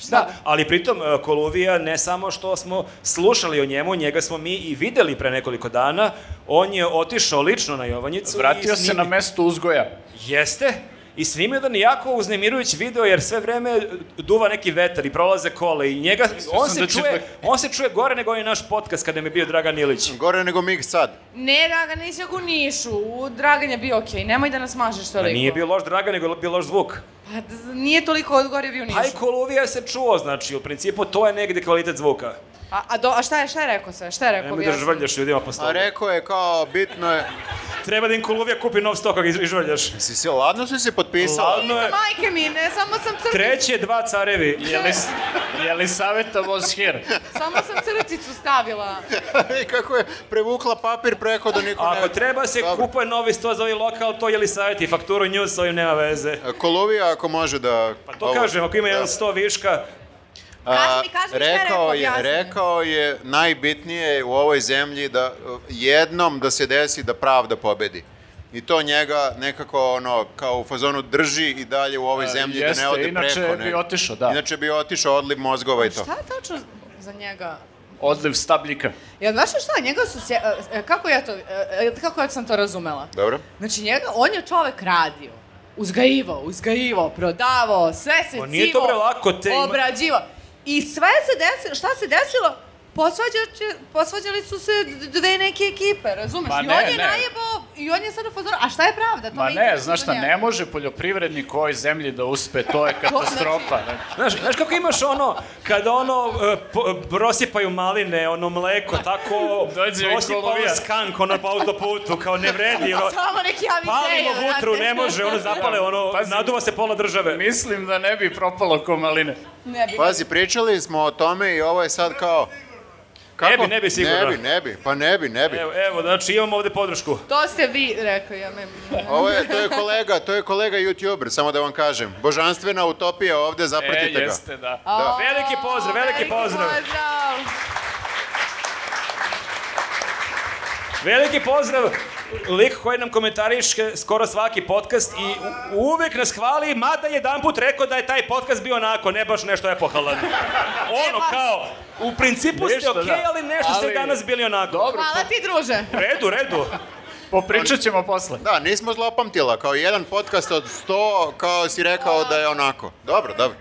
Speaker 1: Da, ali pritom e, Koluvija ne samo što smo slušali o njemu, njega smo mi i videli pre nekoliko dana. On je otišao lično na Jovanjicu. i
Speaker 3: Vratio se
Speaker 1: snimi-
Speaker 3: na mesto uzgoja.
Speaker 1: Jeste. I snimio jedan jako uznemirujući video jer sve vreme duva neki vetar i prolaze kole i njega, on
Speaker 3: sam
Speaker 1: se,
Speaker 3: da ćeš
Speaker 1: čuje, on se čuje gore nego i naš podcast kada mi je bio Dragan Ilić.
Speaker 2: Gore nego mig sad.
Speaker 4: Ne, Dragan, nisi ako nišu. U, Dragan je bio okej, nemoj da nas mažeš
Speaker 1: Pa
Speaker 4: toliko.
Speaker 1: nije bio loš Dragan, nego je bio loš zvuk.
Speaker 4: Pa, d- nije toliko odgore bio nišu.
Speaker 1: Pa i Koluvija se čuo, znači, u principu to je negde kvalitet zvuka.
Speaker 4: A, a, do, a šta je, šta je rekao sve? Šta je rekao?
Speaker 1: Nemoj da
Speaker 4: objasni.
Speaker 1: žvrljaš ljudima po
Speaker 2: A
Speaker 1: stolu.
Speaker 2: rekao je kao, bitno je...
Speaker 1: Treba da im Koluvija kupi nov stok ako ga žvrljaš.
Speaker 2: Si se, ladno si se potpisala?
Speaker 1: Slavno je,
Speaker 4: Majke mi, ne, samo sam
Speaker 2: da-
Speaker 4: crticu,
Speaker 1: Treće, dva carevi.
Speaker 3: Je li, je li saveta was here?
Speaker 4: samo sam crticu stavila.
Speaker 2: I kako je prevukla papir preko da niko ne...
Speaker 1: Ako treba se
Speaker 2: Dobro.
Speaker 1: kupuje novi sto za ovaj lokal, to je li savjeti, fakturu nju s ovim nema veze.
Speaker 2: Koluvija ako može da...
Speaker 1: Pa to kažem, ako ima jedan sto viška,
Speaker 4: Kaži mi, kaži mi šta je rekao,
Speaker 2: rekao je,
Speaker 4: objasni.
Speaker 2: rekao je najbitnije u ovoj zemlji da e, jednom da se desi da pravda pobedi. I to njega nekako ono, kao u fazonu drži i dalje u ovoj
Speaker 3: E,
Speaker 2: zemlji da
Speaker 3: jeste,
Speaker 2: ne ode
Speaker 3: inače
Speaker 2: preko.
Speaker 3: bi
Speaker 2: ne.
Speaker 3: otišao, da.
Speaker 2: Inače bi otišao odliv mozgova i to.
Speaker 4: Šta tačno za njega?
Speaker 3: odliv stabljika.
Speaker 4: Ja, znaš šta, njega su se, e, kako ja to, e, kako ja sam to razumela?
Speaker 2: Dobro.
Speaker 4: Znači, njega, on je čovek radio. Uzgajivao, uzgajivao, prodavao, sve se
Speaker 1: Pa nije to, bre, lako, te ima-
Speaker 4: obrađivao. I sve se desilo, šta se desilo? Posvađaće, posvađali su se d- dve neke ekipe, razumeš?
Speaker 3: Ma
Speaker 4: I
Speaker 3: ne,
Speaker 4: on je
Speaker 3: ne.
Speaker 4: najebao, i on je sad u fazoru, a šta je pravda? To
Speaker 3: Ma
Speaker 4: me
Speaker 3: ne,
Speaker 4: interesuje
Speaker 3: znaš šta,
Speaker 4: njega.
Speaker 3: ne može poljoprivrednik u ovoj zemlji da uspe, to je katastrofa. Znači, ne.
Speaker 1: Znaš, znaš kako imaš ono, kada ono, e, po- e, prosipaju maline, ono mleko, tako
Speaker 3: Dođe
Speaker 1: prosipao
Speaker 3: ekologija.
Speaker 1: skank, ono po autoputu, kao ne vredi, ono,
Speaker 4: Samo neki javi
Speaker 1: palimo
Speaker 4: ideje,
Speaker 1: vutru,
Speaker 4: brate.
Speaker 1: ne može, ono zapale, ono,
Speaker 3: Pazi.
Speaker 1: naduva se pola države.
Speaker 3: Mislim da ne bi propalo ko maline. E,
Speaker 4: Ne bi.
Speaker 2: Pazi, pričali smo o tome i ovo je sad kao...
Speaker 1: Ne bi, ne bi sigurno.
Speaker 2: Ne bi, ne bi, pa ne bi, ne bi.
Speaker 1: Evo, evo, znači imamo ovde podršku.
Speaker 4: To ste vi rekli, ja ne...
Speaker 2: Ovo je, to je kolega, to je kolega youtuber, samo da vam kažem. Božanstvena utopija ovde, zapratite
Speaker 3: e,
Speaker 2: ga.
Speaker 3: jeste, da.
Speaker 4: A,
Speaker 1: Veliki pozdrav, veliki pozdrav.
Speaker 4: pozdrav.
Speaker 1: Veliki pozdrav lik koji nam komentariše skoro svaki podcast i u- uvek nas hvali, mada jedan put rekao da je taj podcast bio onako, ne baš nešto epohalan. Ono kao, u principu ste
Speaker 3: Nešto,
Speaker 1: okej,
Speaker 3: da.
Speaker 1: ali nešto ste
Speaker 3: Ali-
Speaker 1: danas bili onako.
Speaker 3: Dobro,
Speaker 4: Hvala ti, druže.
Speaker 1: U redu, u redu.
Speaker 3: popričat ćemo posle.
Speaker 2: Da, nismo zlopamtila, kao jedan podcast od 100, kao si rekao da je onako. Dobro, dobro.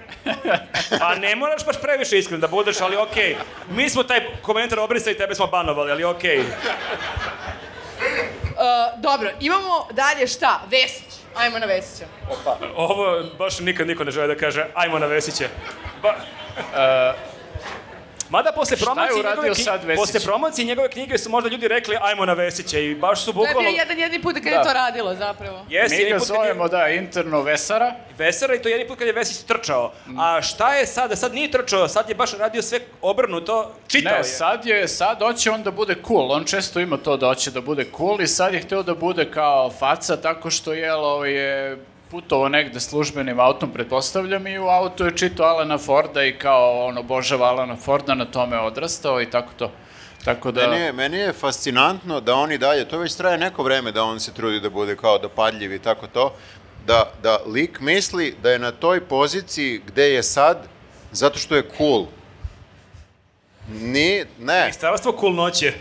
Speaker 1: A Pa ne moraš baš previše iskren da budeš, ali okej. Mi smo taj komentar obrisali, tebe smo banovali, ali okej.
Speaker 4: Uh, dobro, imamo dalje šta? Vesić. Ajmo na Vesića.
Speaker 1: Ovo baš nikad niko ne želi da kaže, ajmo na Vesiće. Ba... Uh, Mada posle
Speaker 3: Šta je
Speaker 1: promocije,
Speaker 3: uradio
Speaker 1: njegove, knji-
Speaker 3: sad Vesić?
Speaker 1: posle promocije njegove knjige su možda ljudi rekli ajmo na Vesića i baš su
Speaker 4: To je bio
Speaker 1: bukvalno...
Speaker 4: jedan jedini put kad je
Speaker 3: Da.
Speaker 4: to radilo, zapravo.
Speaker 1: Jesi,
Speaker 3: Mi
Speaker 1: jedan
Speaker 3: ga
Speaker 1: put kad je-
Speaker 3: zovemo, da, interno Vesara.
Speaker 1: Vesera i to jedan put kad je Vesić trčao. A šta je sada? Sad nije trčao, sad je baš radio sve obrnuto, čitao
Speaker 3: Ne,
Speaker 1: je.
Speaker 3: sad je, sad hoće on da bude cool, on često ima to da hoće da bude cool i sad je hteo da bude kao faca tako što jel, ovaj, je putovao negde službenim autom, pretpostavljam, i u autu je čitao Alana Forda i kao on obožava Alana Forda, na tome je odrastao i tako to. Tako da...
Speaker 2: Meni je, meni je fascinantno da on i dalje, to već traje neko vreme da on se trudi da bude kao dopadljiv i tako to, da, da lik misli da je na toj poziciji gde je sad zato što je cool. Ni, ne,
Speaker 1: Ministarstvo kulnoće.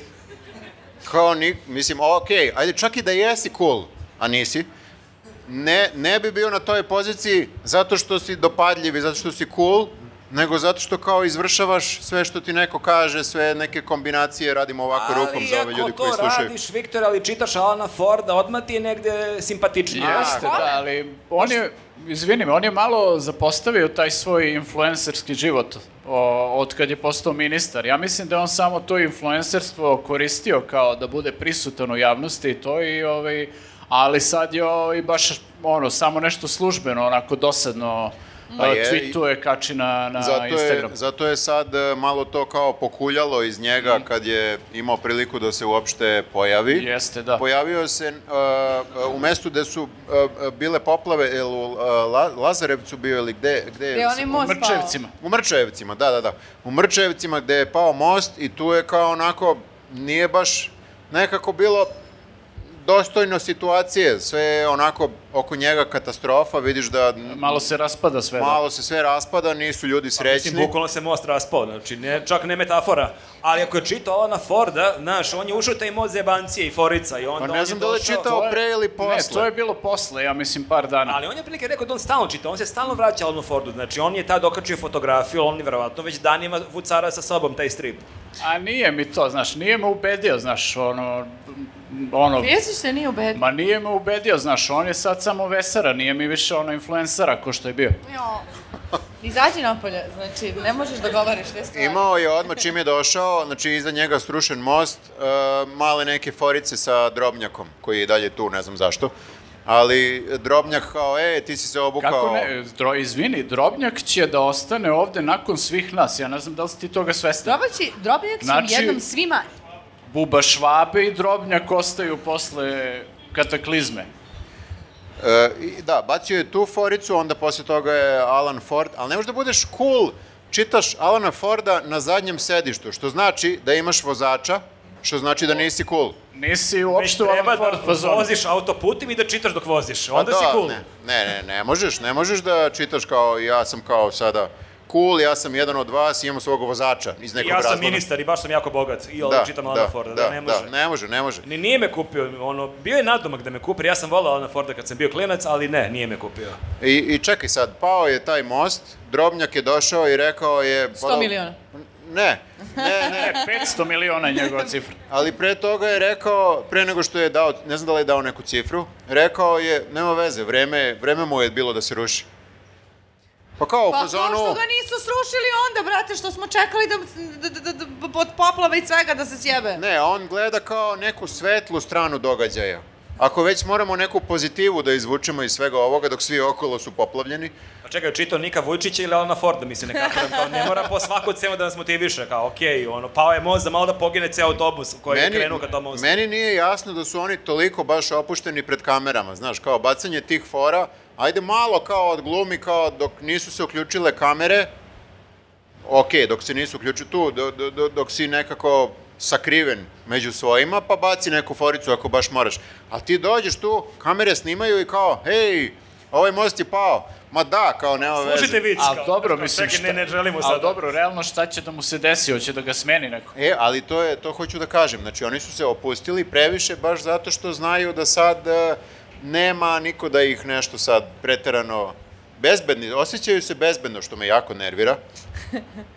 Speaker 2: kao ni, mislim, okej, ajde čak i da jesi cool, a nisi, ne, ne bi bio na toj poziciji zato što si dopadljiv i zato što si cool, nego zato što kao izvršavaš sve što ti neko kaže, sve neke kombinacije, radimo ovako rukom za ove ljudi koji
Speaker 1: Ali ako to
Speaker 2: slušaju.
Speaker 1: radiš, Viktor, ali čitaš Alana Forda, odmah ti je negde simpatičnije.
Speaker 3: Jeste, da, ali on je, izvini me, on je malo zapostavio taj svoj influencerski život o, od kad je postao ministar. Ja mislim da je on samo to influencerstvo koristio kao da bude prisutan u javnosti i to i ovaj, ali sad je ovaj, baš ono, samo nešto službeno, onako dosadno
Speaker 2: Pa
Speaker 3: pa
Speaker 2: je,
Speaker 3: tweetuje, kači na, na
Speaker 2: Zato je,
Speaker 3: Instagram.
Speaker 2: zato je sad e, malo to kao pokuljalo iz njega kad je imao priliku da se uopšte pojavi.
Speaker 3: Mhm. Jeste, da.
Speaker 2: Pojavio se e, e, u mestu gde su e, bile poplave, ili u e, La- Lazarevcu bio ili gde, gde je
Speaker 4: Gde je onaj
Speaker 2: se-
Speaker 4: most pao.
Speaker 3: Mrčevcima.
Speaker 2: U Mrčevcima, da, da, da. U Mrčevcima gde je pao most i tu je kao onako, nije baš nekako bilo dostojno situacije. Sve je onako oko njega katastrofa, vidiš da
Speaker 3: Malo se raspada sve. da.
Speaker 2: malo se sve raspada, nisu ljudi srećni.
Speaker 1: Pa Mislim, bukvalno se most raspao, znači, ne, čak ne metafora. Ali ako je čitao Alana Forda, znaš, on je ušao u taj mod zebancije i forica i onda
Speaker 2: Pa
Speaker 1: on
Speaker 2: ne
Speaker 1: je
Speaker 2: znam da li je
Speaker 1: došao-
Speaker 2: čitao pre ili posle.
Speaker 3: Ne, to je bilo posle, ja mislim par dana.
Speaker 1: Ali on je prilike rekao da on stalno čita, on se stalno vraća Alanu Fordu, znači on je tad okačio fotografiju, ali on je verovatno već danima vucara sa sobom taj strip.
Speaker 3: A nije mi to, znaš, nije me ubedio, znaš, ono, ono,
Speaker 4: Vesić se nije ubedio.
Speaker 3: ma nije me ubedio, znaš, on je sad samo vesara, nije mi više ono influencera ko što je bio.
Speaker 4: Jo. Izađi napolje, znači ne možeš da govoriš te stvari.
Speaker 2: Imao je odmah čim je došao, znači iza njega strušen most, e, male neke forice sa drobnjakom, koji je i dalje tu, ne znam zašto. Ali drobnjak kao, e, ti si se obukao...
Speaker 3: Kako ne, dro, izvini, Drobnjak će da ostane ovde nakon svih nas, ja ne znam da li si ti toga svestan.
Speaker 4: Drobaći, drobnjak
Speaker 3: Znači-
Speaker 4: znači... jednom svima.
Speaker 3: Buba Švabe i Drobnjak ostaju posle kataklizme.
Speaker 2: E, i- da, bacio je tu foricu, onda posle toga je Alan Ford, ali ne možeš da budeš cool, čitaš Alana Forda na zadnjem sedištu, što znači da imaš vozača, što znači da nisi cool.
Speaker 3: Nisi
Speaker 1: Već
Speaker 3: uopšte u
Speaker 1: treba
Speaker 3: Alan
Speaker 1: da
Speaker 3: Ford fazonu.
Speaker 1: voziš autoputem i da čitaš dok voziš, onda
Speaker 2: Pa
Speaker 1: si
Speaker 2: da,
Speaker 1: cool.
Speaker 2: Ne, ne, ne, ne možeš, ne možeš da čitaš kao ja sam kao sada cool, ja sam jedan od vas, imam svog vozača iz nekog
Speaker 1: Ja
Speaker 2: razloga.
Speaker 1: sam ministar i baš sam jako bogat. I ovo
Speaker 2: Da,
Speaker 1: čitam Alana Forda, da, ne može.
Speaker 2: Da, ne može, ne može.
Speaker 1: Ni nije me kupio, ono, bio je nadomak da me kupi, ja sam volao Alana Forda kad sam bio klinac, ali ne, nije me kupio.
Speaker 2: I, I čekaj sad, pao je taj most, Drobnjak je došao i rekao je... pa da
Speaker 4: 100 miliona.
Speaker 2: Ne, ne, ne,
Speaker 3: 500 miliona je njegova cifra.
Speaker 2: Ali pre toga je rekao, pre nego što je dao, ne znam da li je dao neku cifru, rekao je, nema veze, vreme, vreme mu je bilo da se ruši. Pa kao u
Speaker 5: Pa to
Speaker 2: fazonu,
Speaker 5: što ga nisu srušili onda, brate, što smo čekali da, da, da, da, da od poplava i svega da se sjebe.
Speaker 2: ne, on gleda kao neku svetlu stranu događaja. Ako već moramo neku pozitivu da izvučemo iz svega ovoga, dok svi okolo su poplavljeni,
Speaker 1: Pa čekaj, čitao Nika Vujčića ili Alana Forda, mislim, ne kapiram, kao ne mora po svaku cenu da nas motiviše, kao okej, ono, pao je moza, malo da pogine ceo autobus koji je krenuo ka tom mozu.
Speaker 2: meni nije jasno da su oni toliko baš opušteni pred kamerama, znaš, kao bacanje tih fora, ajde malo kao odglumi, kao dok nisu se uključile kamere, ok, dok se nisu uključili tu, do, do, do, dok si nekako sakriven među svojima, pa baci neku foricu ako baš moraš. A ti dođeš tu, kamere snimaju i kao, hej, ovaj most je pao. Ma da, kao nema veze.
Speaker 1: Slušajte vic,
Speaker 3: A
Speaker 1: kao,
Speaker 3: dobro,
Speaker 1: kao,
Speaker 3: mislim,
Speaker 1: čekaj, ne, ne želimo
Speaker 3: sad.
Speaker 1: sad.
Speaker 3: A dobro, realno šta će da mu se desi, hoće da ga smeni neko.
Speaker 2: E, ali to je, to hoću da kažem, znači oni su se opustili previše baš zato što znaju da sad e, nema niko da ih nešto sad preterano bezbedni, osjećaju se bezbedno što me jako nervira.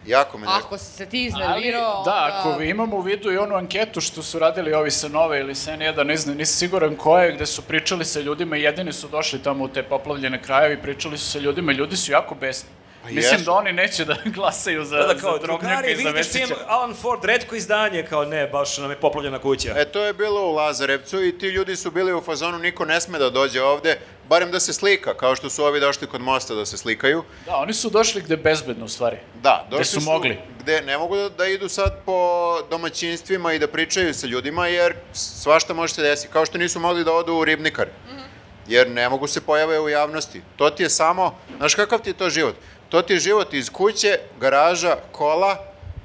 Speaker 2: Jako me nervira.
Speaker 5: Ako si se ti
Speaker 3: Ali,
Speaker 5: iznervirao,
Speaker 3: da, ako vi imamo u vidu i onu anketu što su radili ovi sa Nove ili sa N1, ne znam, nisam siguran ko je, gde su pričali sa ljudima i jedini su došli tamo u te poplavljene krajeve i pričali su sa ljudima i ljudi su jako besni.
Speaker 2: Pa
Speaker 3: Mislim
Speaker 2: jesu.
Speaker 3: da oni neće da glasaju za,
Speaker 1: Da, da,
Speaker 3: za
Speaker 1: kao,
Speaker 3: drobnjaka
Speaker 1: drugari,
Speaker 3: i za
Speaker 1: vidite što
Speaker 3: Vesića.
Speaker 1: imam Alan Ford, redko izdanje, kao ne, baš nam je poplavljena kuća.
Speaker 2: E, to je bilo u Lazarevcu i ti ljudi su bili u fazonu, niko ne sme da dođe ovde, barem da se slika, kao što su ovi došli kod mosta da se slikaju.
Speaker 3: Da, oni su došli gde je bezbedno u stvari.
Speaker 2: Da,
Speaker 3: Gde
Speaker 2: došli
Speaker 3: su mogli.
Speaker 2: Gde ne mogu da, da idu sad po domaćinstvima i da pričaju sa ljudima, jer svašta može se desiti. Kao što nisu mogli da odu u ribnikar,
Speaker 3: Mhm.
Speaker 2: jer ne mogu se pojave u javnosti. To ti je samo, znaš kakav ti je to život? To ti je život iz kuće, garaža, kola,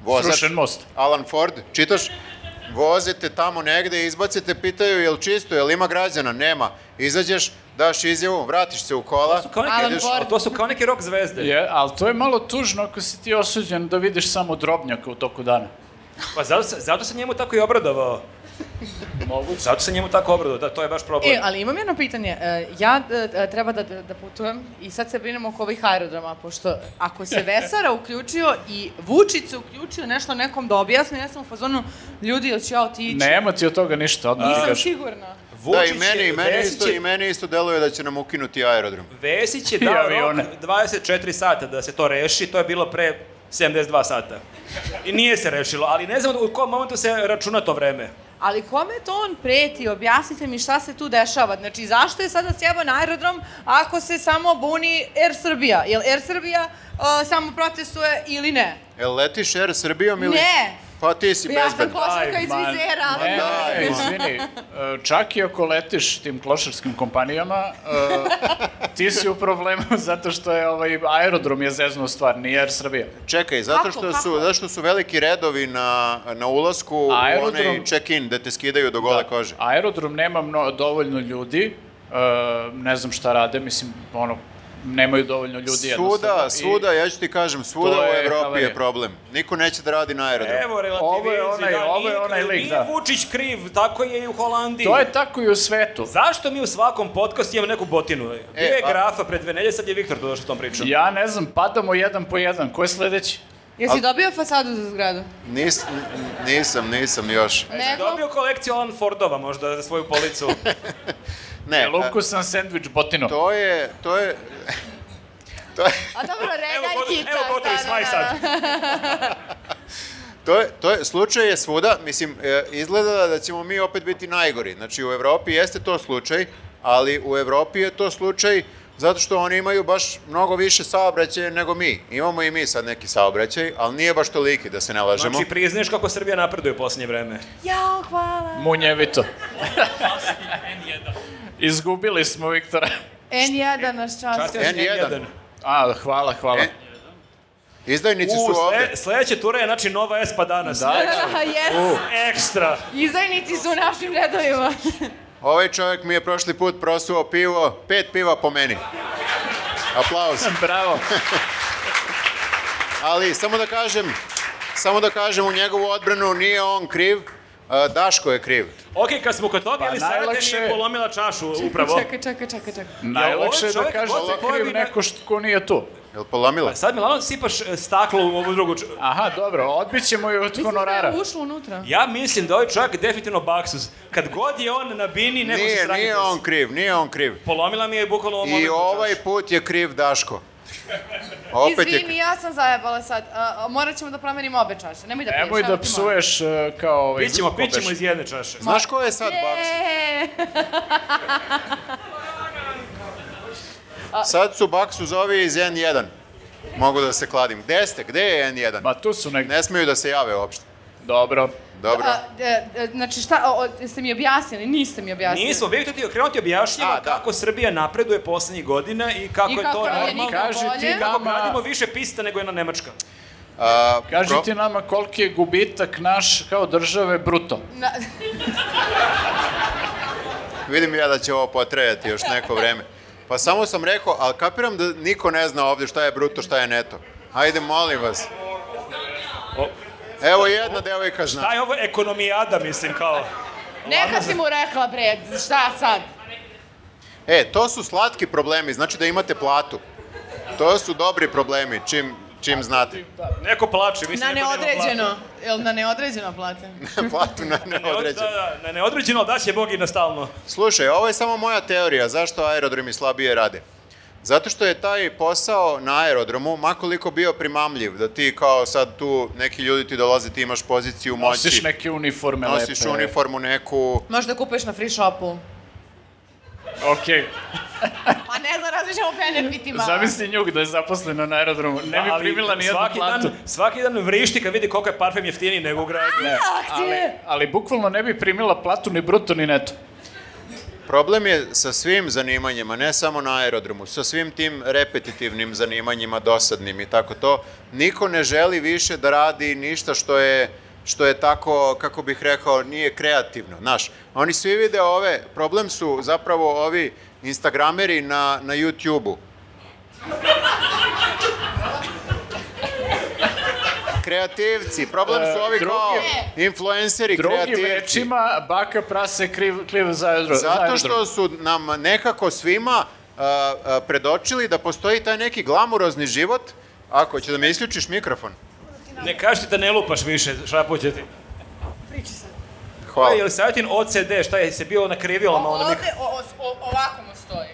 Speaker 2: vozač.
Speaker 3: Srušen most.
Speaker 2: Alan Ford, čitaš? Vozite tamo negde, izbacite, pitaju je li čisto, je li ima građana? Nema. Izađeš, daš izjavu, vratiš se u kola.
Speaker 1: To su kao neke,
Speaker 5: Alan Ford.
Speaker 1: ali to su kao neke rock zvezde.
Speaker 3: Je, ali to je malo tužno ako si ti osuđen da vidiš samo drobnjaka u toku dana.
Speaker 1: Pa zato, se- zato se njemu tako i obradovao.
Speaker 3: Moguće.
Speaker 1: Zato se njemu tako obradovao, da, to je baš problem.
Speaker 4: E, ali imam jedno pitanje. E, Ja e, e, treba da, da putujem i sad se brinem oko ovih aerodroma, pošto ako se Vesara uključio i Vučić se uključio nešto nekom da objasni, ja sam u fazonu, ljudi, jel ću ja otići?
Speaker 3: Nema ti od toga ništa, odmah ti
Speaker 4: Nisam
Speaker 3: da kažem.
Speaker 4: sigurna.
Speaker 2: Da,
Speaker 1: Vučić
Speaker 2: i meni,
Speaker 1: je-
Speaker 2: i meni,
Speaker 1: Vesić
Speaker 2: isto,
Speaker 1: je-
Speaker 2: i meni isto deluje da će nam ukinuti aerodrom.
Speaker 1: Vesić je
Speaker 3: I
Speaker 1: dao rok
Speaker 3: avione.
Speaker 1: 24 sata da se to reši, to je bilo pre 72 sata. I nije se rešilo, ali ne znam u kom momentu se računa to vreme.
Speaker 5: Ali kome to on preti? Objasnite mi šta se tu dešava. Znači, zašto je sada sjebao na aerodrom ako se samo buni Air Srbija? Jel Air Srbija
Speaker 4: e,
Speaker 5: uh, samo protestuje ili ne?
Speaker 2: Jel letiš Air Srbijom ili...
Speaker 5: Ne!
Speaker 2: Pa ti si
Speaker 5: Ja sam
Speaker 2: bezbedno.
Speaker 5: košarka iz
Speaker 3: Aj, ma-
Speaker 5: vizera,
Speaker 3: Ne,
Speaker 5: ali...
Speaker 3: ne,
Speaker 2: daj, ma.
Speaker 3: ne, izvini. E, Čak i ako letiš tim klošarskim kompanijama, e, ti si u problemu zato što je ovaj aerodrom je zeznuo stvar, nije Air Srbija.
Speaker 2: Čekaj, zato
Speaker 5: Kako,
Speaker 2: što,
Speaker 5: kako?
Speaker 2: su, zato što su veliki redovi na, na ulasku
Speaker 3: Aerodrom- Da.
Speaker 2: u onaj check-in gde te skidaju do gole kože.
Speaker 3: Aerodrom nema mno, dovoljno ljudi, e, ne znam šta rade, mislim, ono, nemaju dovoljno ljudi jednostavno.
Speaker 2: Svuda,
Speaker 3: I
Speaker 2: svuda, ja ću ti kažem, svuda
Speaker 3: To
Speaker 2: u
Speaker 3: je
Speaker 2: Evropi
Speaker 3: havarija.
Speaker 2: je problem. Niko neće da radi na aerodromu.
Speaker 1: Evo, relativizi,
Speaker 3: Ovo je onaj-
Speaker 1: da,
Speaker 3: ovo je
Speaker 1: nije-
Speaker 3: onaj lik,
Speaker 1: nije
Speaker 3: da.
Speaker 1: Vučić kriv, tako je i u Holandiji.
Speaker 3: To je tako i u svetu.
Speaker 1: Zašto mi u svakom podcastu imamo neku botinu? E, Bio je
Speaker 2: a-
Speaker 1: Grafa pred dve nedelje, sad je Viktor došao tom pričom.
Speaker 3: Ja ne znam, padamo jedan po jedan. Ko je sledeći?
Speaker 5: Jesi dobio fasadu za zgradu?
Speaker 2: Nis, n- nisam, nisam još.
Speaker 5: Nego?
Speaker 1: Dobio kolekciju Alan Fordova možda za svoju policu.
Speaker 2: Ne,
Speaker 3: Jel ukusan sandvič botino?
Speaker 2: E, to je, to je, to je,
Speaker 5: A dobro,
Speaker 1: evo,
Speaker 5: reda i
Speaker 1: gotovi,
Speaker 5: kica.
Speaker 1: evo gotovi,
Speaker 5: da, da,
Speaker 1: smaj
Speaker 5: da,
Speaker 1: sad.
Speaker 5: da.
Speaker 2: To je, to je, slučaj je svuda, mislim, e, izgleda da ćemo mi opet biti najgori. Znači, u Evropi jeste to slučaj, ali u Evropi je to slučaj zato što oni imaju baš mnogo više saobraćaja nego mi. Imamo i mi sad neki saobraćaj, ali nije baš toliki, da se ne lažemo.
Speaker 1: Znači, priznaješ kako Srbija napreduje u poslednje vreme.
Speaker 5: Jao, hvala.
Speaker 3: Munjevito. Izgubili smo Viktora.
Speaker 5: N1 nas čast.
Speaker 1: Častio si
Speaker 2: N1.
Speaker 1: N1.
Speaker 3: A, hvala, hvala.
Speaker 2: E, Izdajnici
Speaker 1: U,
Speaker 2: su ovde.
Speaker 1: sle, sledeće ture je, znači, Nova S pa danas.
Speaker 3: Da,
Speaker 5: Jes,
Speaker 1: Ekstra.
Speaker 5: izdajnici su u našim redovima.
Speaker 2: Ovaj čovjek mi je prošli put prosuo pivo, pet piva po meni. Aplauz.
Speaker 3: Bravo.
Speaker 2: Ali samo da kažem, samo da kažem u njegovu odbranu nije on kriv, e, Daško je kriv.
Speaker 1: Ok, kad smo kod toga,
Speaker 3: Pa,
Speaker 1: ili savjetnik
Speaker 3: najlakše-
Speaker 1: je polomila čašu upravo.
Speaker 4: Čekaj, čekaj, čekaj, čekaj.
Speaker 3: Najlakše je da
Speaker 1: čovjek
Speaker 3: kaže
Speaker 1: god se
Speaker 3: da je
Speaker 1: pojavi
Speaker 3: kriv
Speaker 1: na-
Speaker 3: neko što ko nije tu.
Speaker 2: Jel polomila?
Speaker 1: Pa sad mi lavno sipaš e, staklo u ovu drugu... č-
Speaker 3: Aha, dobro, odbit ćemo je od
Speaker 4: Mislim da
Speaker 3: honorara.
Speaker 4: je ušlo unutra.
Speaker 1: Ja mislim da ovaj čovjek definitivno baksuz. Kad god je on na bini, neko se
Speaker 2: Nije,
Speaker 1: sranje
Speaker 2: nije
Speaker 1: desi.
Speaker 2: on kriv, nije on kriv.
Speaker 1: Polomila mi je bukvalno u ovom
Speaker 2: I
Speaker 1: momentu
Speaker 2: ovaj
Speaker 1: čašu.
Speaker 2: put je kriv Daško. Opet je
Speaker 4: Izvini, ja sam zajebala sad. A, a, morat ćemo da promenimo obe čaše. Nemoj da piješ.
Speaker 3: Nemoj
Speaker 4: evo
Speaker 3: da
Speaker 4: ti molim.
Speaker 3: psuješ e, kao ovaj...
Speaker 1: Pićemo,
Speaker 3: kako
Speaker 1: pićemo
Speaker 3: beše?
Speaker 1: iz jedne čaše.
Speaker 2: Znaš ko je sad baksuz?
Speaker 4: Eee,
Speaker 2: Sad su baksuz ovi iz N1. Mogu da se kladim. Gde ste? Gde je N1?
Speaker 3: Ma tu su negde.
Speaker 2: Ne smiju da se jave uopšte.
Speaker 3: Dobro.
Speaker 2: Dobro.
Speaker 4: a, e, e, znači šta, o, o, jeste mi objasnili? Niste mi objasnili.
Speaker 1: Nismo, Viktor ti je okrenuo ti objašnjava
Speaker 2: A, da.
Speaker 1: kako Srbija napreduje poslednjih godina i kako
Speaker 4: I
Speaker 1: je
Speaker 4: kako
Speaker 1: to
Speaker 4: nam je
Speaker 1: normalno. da-
Speaker 4: nikad
Speaker 3: Kaži ti
Speaker 4: bolje.
Speaker 1: Kako gradimo
Speaker 3: nama...
Speaker 1: više pista nego jedna Nemačka.
Speaker 2: A,
Speaker 3: Kaži
Speaker 2: pro-
Speaker 3: ti nama koliki je gubitak naš kao države bruto.
Speaker 4: Na,
Speaker 2: Vidim ja da će ovo potrajati još neko vreme. Pa samo sam rekao, ali kapiram da niko ne zna ovde šta je bruto, šta je neto. Ajde, molim vas. Evo jedna devojka zna.
Speaker 1: Taj ovo je ekonomijada, mislim, kao...
Speaker 4: neka si mu rekla, bre, šta sad?
Speaker 2: E, to su slatki problemi, znači da imate platu. To su dobri problemi, čim, čim znate.
Speaker 1: Neko plače, mislim,
Speaker 5: Na
Speaker 1: neko nema
Speaker 5: neodređeno. Jel na neodređeno plate?
Speaker 2: Platu na
Speaker 1: platu. Da,
Speaker 2: neodređen.
Speaker 1: da, na neodređeno, da će Bog i na stalno.
Speaker 2: Slušaj, ovo je samo moja teorija zašto aerodromi slabije rade. Zato što je taj posao na aerodromu makoliko bio primamljiv, da ti kao sad tu neki ljudi ti dolaze, ti imaš poziciju moći.
Speaker 3: Nosiš neke uniforme
Speaker 2: Nosiš
Speaker 3: lepe.
Speaker 2: uniformu neku...
Speaker 5: Možda da kupuješ na free shopu.
Speaker 3: Okej.
Speaker 5: Pa ne znam, razmišljam o benefitima.
Speaker 3: Zamisli njuk da je zaposlena na aerodromu. Ne bi
Speaker 1: Ali
Speaker 3: primila ni jednu
Speaker 1: svaki
Speaker 3: platu.
Speaker 1: Dan, svaki dan vrišti kad vidi koliko je parfem jeftiniji nego u gradu.
Speaker 3: Ne, ali, ali bukvalno ne bi primila platu ni bruto ni neto.
Speaker 2: Problem je sa svim zanimanjima, ne samo na aerodromu, sa svim tim repetitivnim zanimanjima, dosadnim i tako to. Niko ne želi više da radi ništa što je što je tako, kako bih rekao, nije kreativno. Znaš, oni svi vide ove, problem su zapravo ovi Instagrameri na, na YouTube-u. Kreativci, problem su ovi
Speaker 3: drugim-
Speaker 2: kao influenceri,
Speaker 3: Drugim
Speaker 2: kreativci.
Speaker 3: rečima, baka prase kriv, kriv za aerodrom.
Speaker 2: Zato što su nam nekako svima a, a, predočili da postoji taj neki glamurozni život. Ako će da mi isključiš mikrofon.
Speaker 1: Ne kaži ti da ne lupaš više, šapuće ti.
Speaker 2: Hvala.
Speaker 1: Jel savjetin OCD, šta je se bio nakrivio lama onda mikro...
Speaker 5: o, o, ovako mu stoji.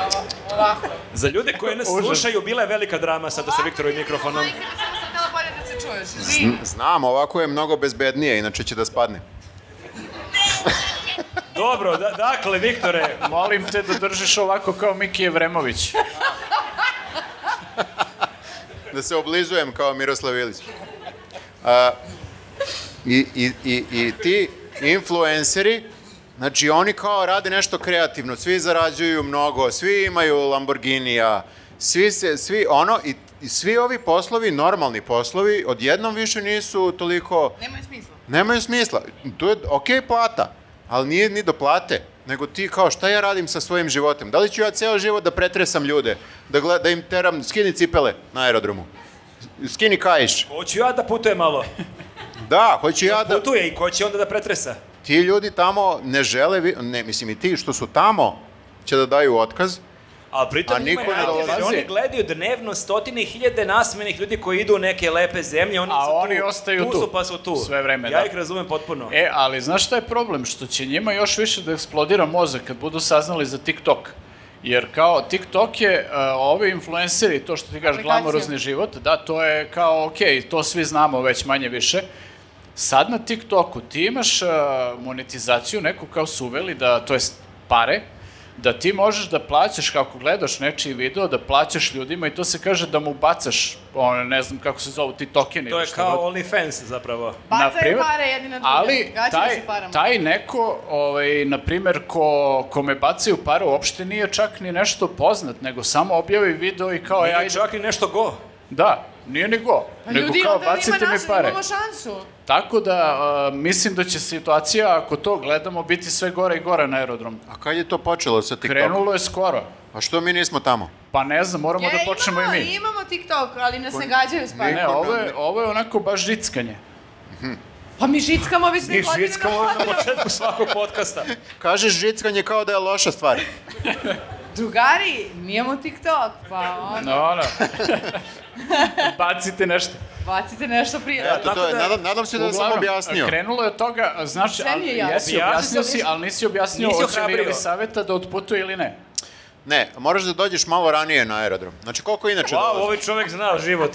Speaker 5: Ovo- Ovako.
Speaker 1: Za ljude koji nas
Speaker 3: Užas.
Speaker 1: slušaju, bila je velika drama sad da sa Viktorovim mikrofonom.
Speaker 4: Majke mi, samo sam htjela bolje da se čuješ. Izvini.
Speaker 2: Znam, ovako je mnogo bezbednije, inače će da spadne.
Speaker 1: Dobro, da, dakle, Viktore,
Speaker 3: Molim te da držiš ovako kao Miki Evremović.
Speaker 2: Da se oblizujem kao Miroslav Ilić. A, i, i, i, I ti influenceri, znači oni kao rade nešto kreativno, svi zarađuju mnogo, svi imaju Lamborghinija, svi se, svi ono, i, i svi ovi poslovi, normalni poslovi, odjednom više nisu toliko...
Speaker 5: Nema smisla.
Speaker 2: Nemaju smisla. To je okej plata, ali nije ni do plate. Nego ti kao šta ja radim sa svojim životem? Da li ću ja ceo život da pretresam ljude? Da, gled, da im teram, skini cipele na aerodromu. Skini kajiš.
Speaker 1: hoću ja da putujem malo.
Speaker 2: Da, hoću ja da...
Speaker 1: Putuje i ko će onda da pretresa?
Speaker 2: Ti ljudi tamo ne žele, vi- ne, mislim i ti što su tamo će da daju otkaz.
Speaker 1: A pritom
Speaker 2: A
Speaker 1: njima je
Speaker 2: niko ne
Speaker 1: najteže,
Speaker 3: dolazi.
Speaker 1: oni gledaju dnevno stotine i hiljade nasmenih ljudi koji idu u neke lepe zemlje, oni
Speaker 3: A
Speaker 1: su tu,
Speaker 3: oni ostaju tu.
Speaker 1: su pa su tu.
Speaker 3: Sve vreme,
Speaker 1: ja
Speaker 3: da.
Speaker 1: ih razumem potpuno.
Speaker 3: E, ali znaš šta je problem? Što će njima još više da eksplodira mozak kad budu saznali za TikTok. Jer kao TikTok je, uh, ovi influenceri, to što ti kažeš,
Speaker 4: Aplikacija.
Speaker 3: glamorozni život, da, to je kao, ok, to svi znamo već manje više. Sad na TikToku ti imaš uh, monetizaciju, neku kao su uveli, da, to jest pare, da ti možeš da plaćaš, kako gledaš nečiji video, da plaćaš ljudima i to se kaže da mu bacaš, ono, ne znam kako se zovu, ti tokeni.
Speaker 1: to
Speaker 3: ili
Speaker 1: je
Speaker 3: šta god.
Speaker 1: kao OnlyFans zapravo.
Speaker 4: Bacaju
Speaker 3: Na primer-
Speaker 4: pare jedni na druge.
Speaker 3: Ali
Speaker 4: Gađaju
Speaker 3: taj,
Speaker 4: se parama.
Speaker 3: taj neko, ovaj, na primer, ko, kome bacaju pare, uopšte nije čak ni nešto poznat, nego samo objavi video i kao,
Speaker 1: Ja
Speaker 3: ja,
Speaker 1: i čak i nešto go.
Speaker 3: da, nije ni go,
Speaker 4: Pa
Speaker 3: nego
Speaker 4: ljudi,
Speaker 3: kao,
Speaker 4: onda
Speaker 3: bacite
Speaker 4: ima
Speaker 3: mi
Speaker 4: naša,
Speaker 3: pare.
Speaker 4: Imamo šansu.
Speaker 3: Tako da, a, mislim da će situacija, ako to gledamo, biti sve gore i gore na aerodromu.
Speaker 2: A kad je to počelo sa TikTokom?
Speaker 3: Krenulo je skoro.
Speaker 2: A što mi nismo tamo?
Speaker 3: Pa ne znam, moramo
Speaker 4: E,
Speaker 3: da počnemo
Speaker 4: imamo,
Speaker 3: i mi.
Speaker 4: imamo TikTok, ali nas ne gađaju s
Speaker 3: Ne, ovo je, ovo je onako baš žickanje.
Speaker 4: Pa mi žickamo već
Speaker 2: Mi žickamo na
Speaker 1: početku svakog podcasta.
Speaker 2: Kažeš žickanje kao da je loša stvar.
Speaker 1: E,
Speaker 4: Drugari, nijemo TikTok, pa on,
Speaker 3: No, ono. Bacite nešto.
Speaker 4: bacite nešto
Speaker 3: E,
Speaker 4: prije.
Speaker 2: Eto,
Speaker 1: tako
Speaker 2: to je.
Speaker 1: da-
Speaker 2: Nadam, nadam se da sam objasnio.
Speaker 3: krenulo je od toga, a, znači,
Speaker 4: Sve mi
Speaker 3: ali,
Speaker 4: je jasno.
Speaker 3: jesi
Speaker 1: Objasnio
Speaker 3: objasnio
Speaker 1: sam,
Speaker 3: si, ali nisi objasnio
Speaker 1: nisi
Speaker 3: hoće li
Speaker 1: ohrabrio.
Speaker 3: ili saveta da otputuje ili ne.
Speaker 2: Ne, moraš da dođeš malo ranije na aerodrom. Znači, koliko inače
Speaker 1: Wow,
Speaker 2: dolaziš?
Speaker 1: ovaj čovek zna život.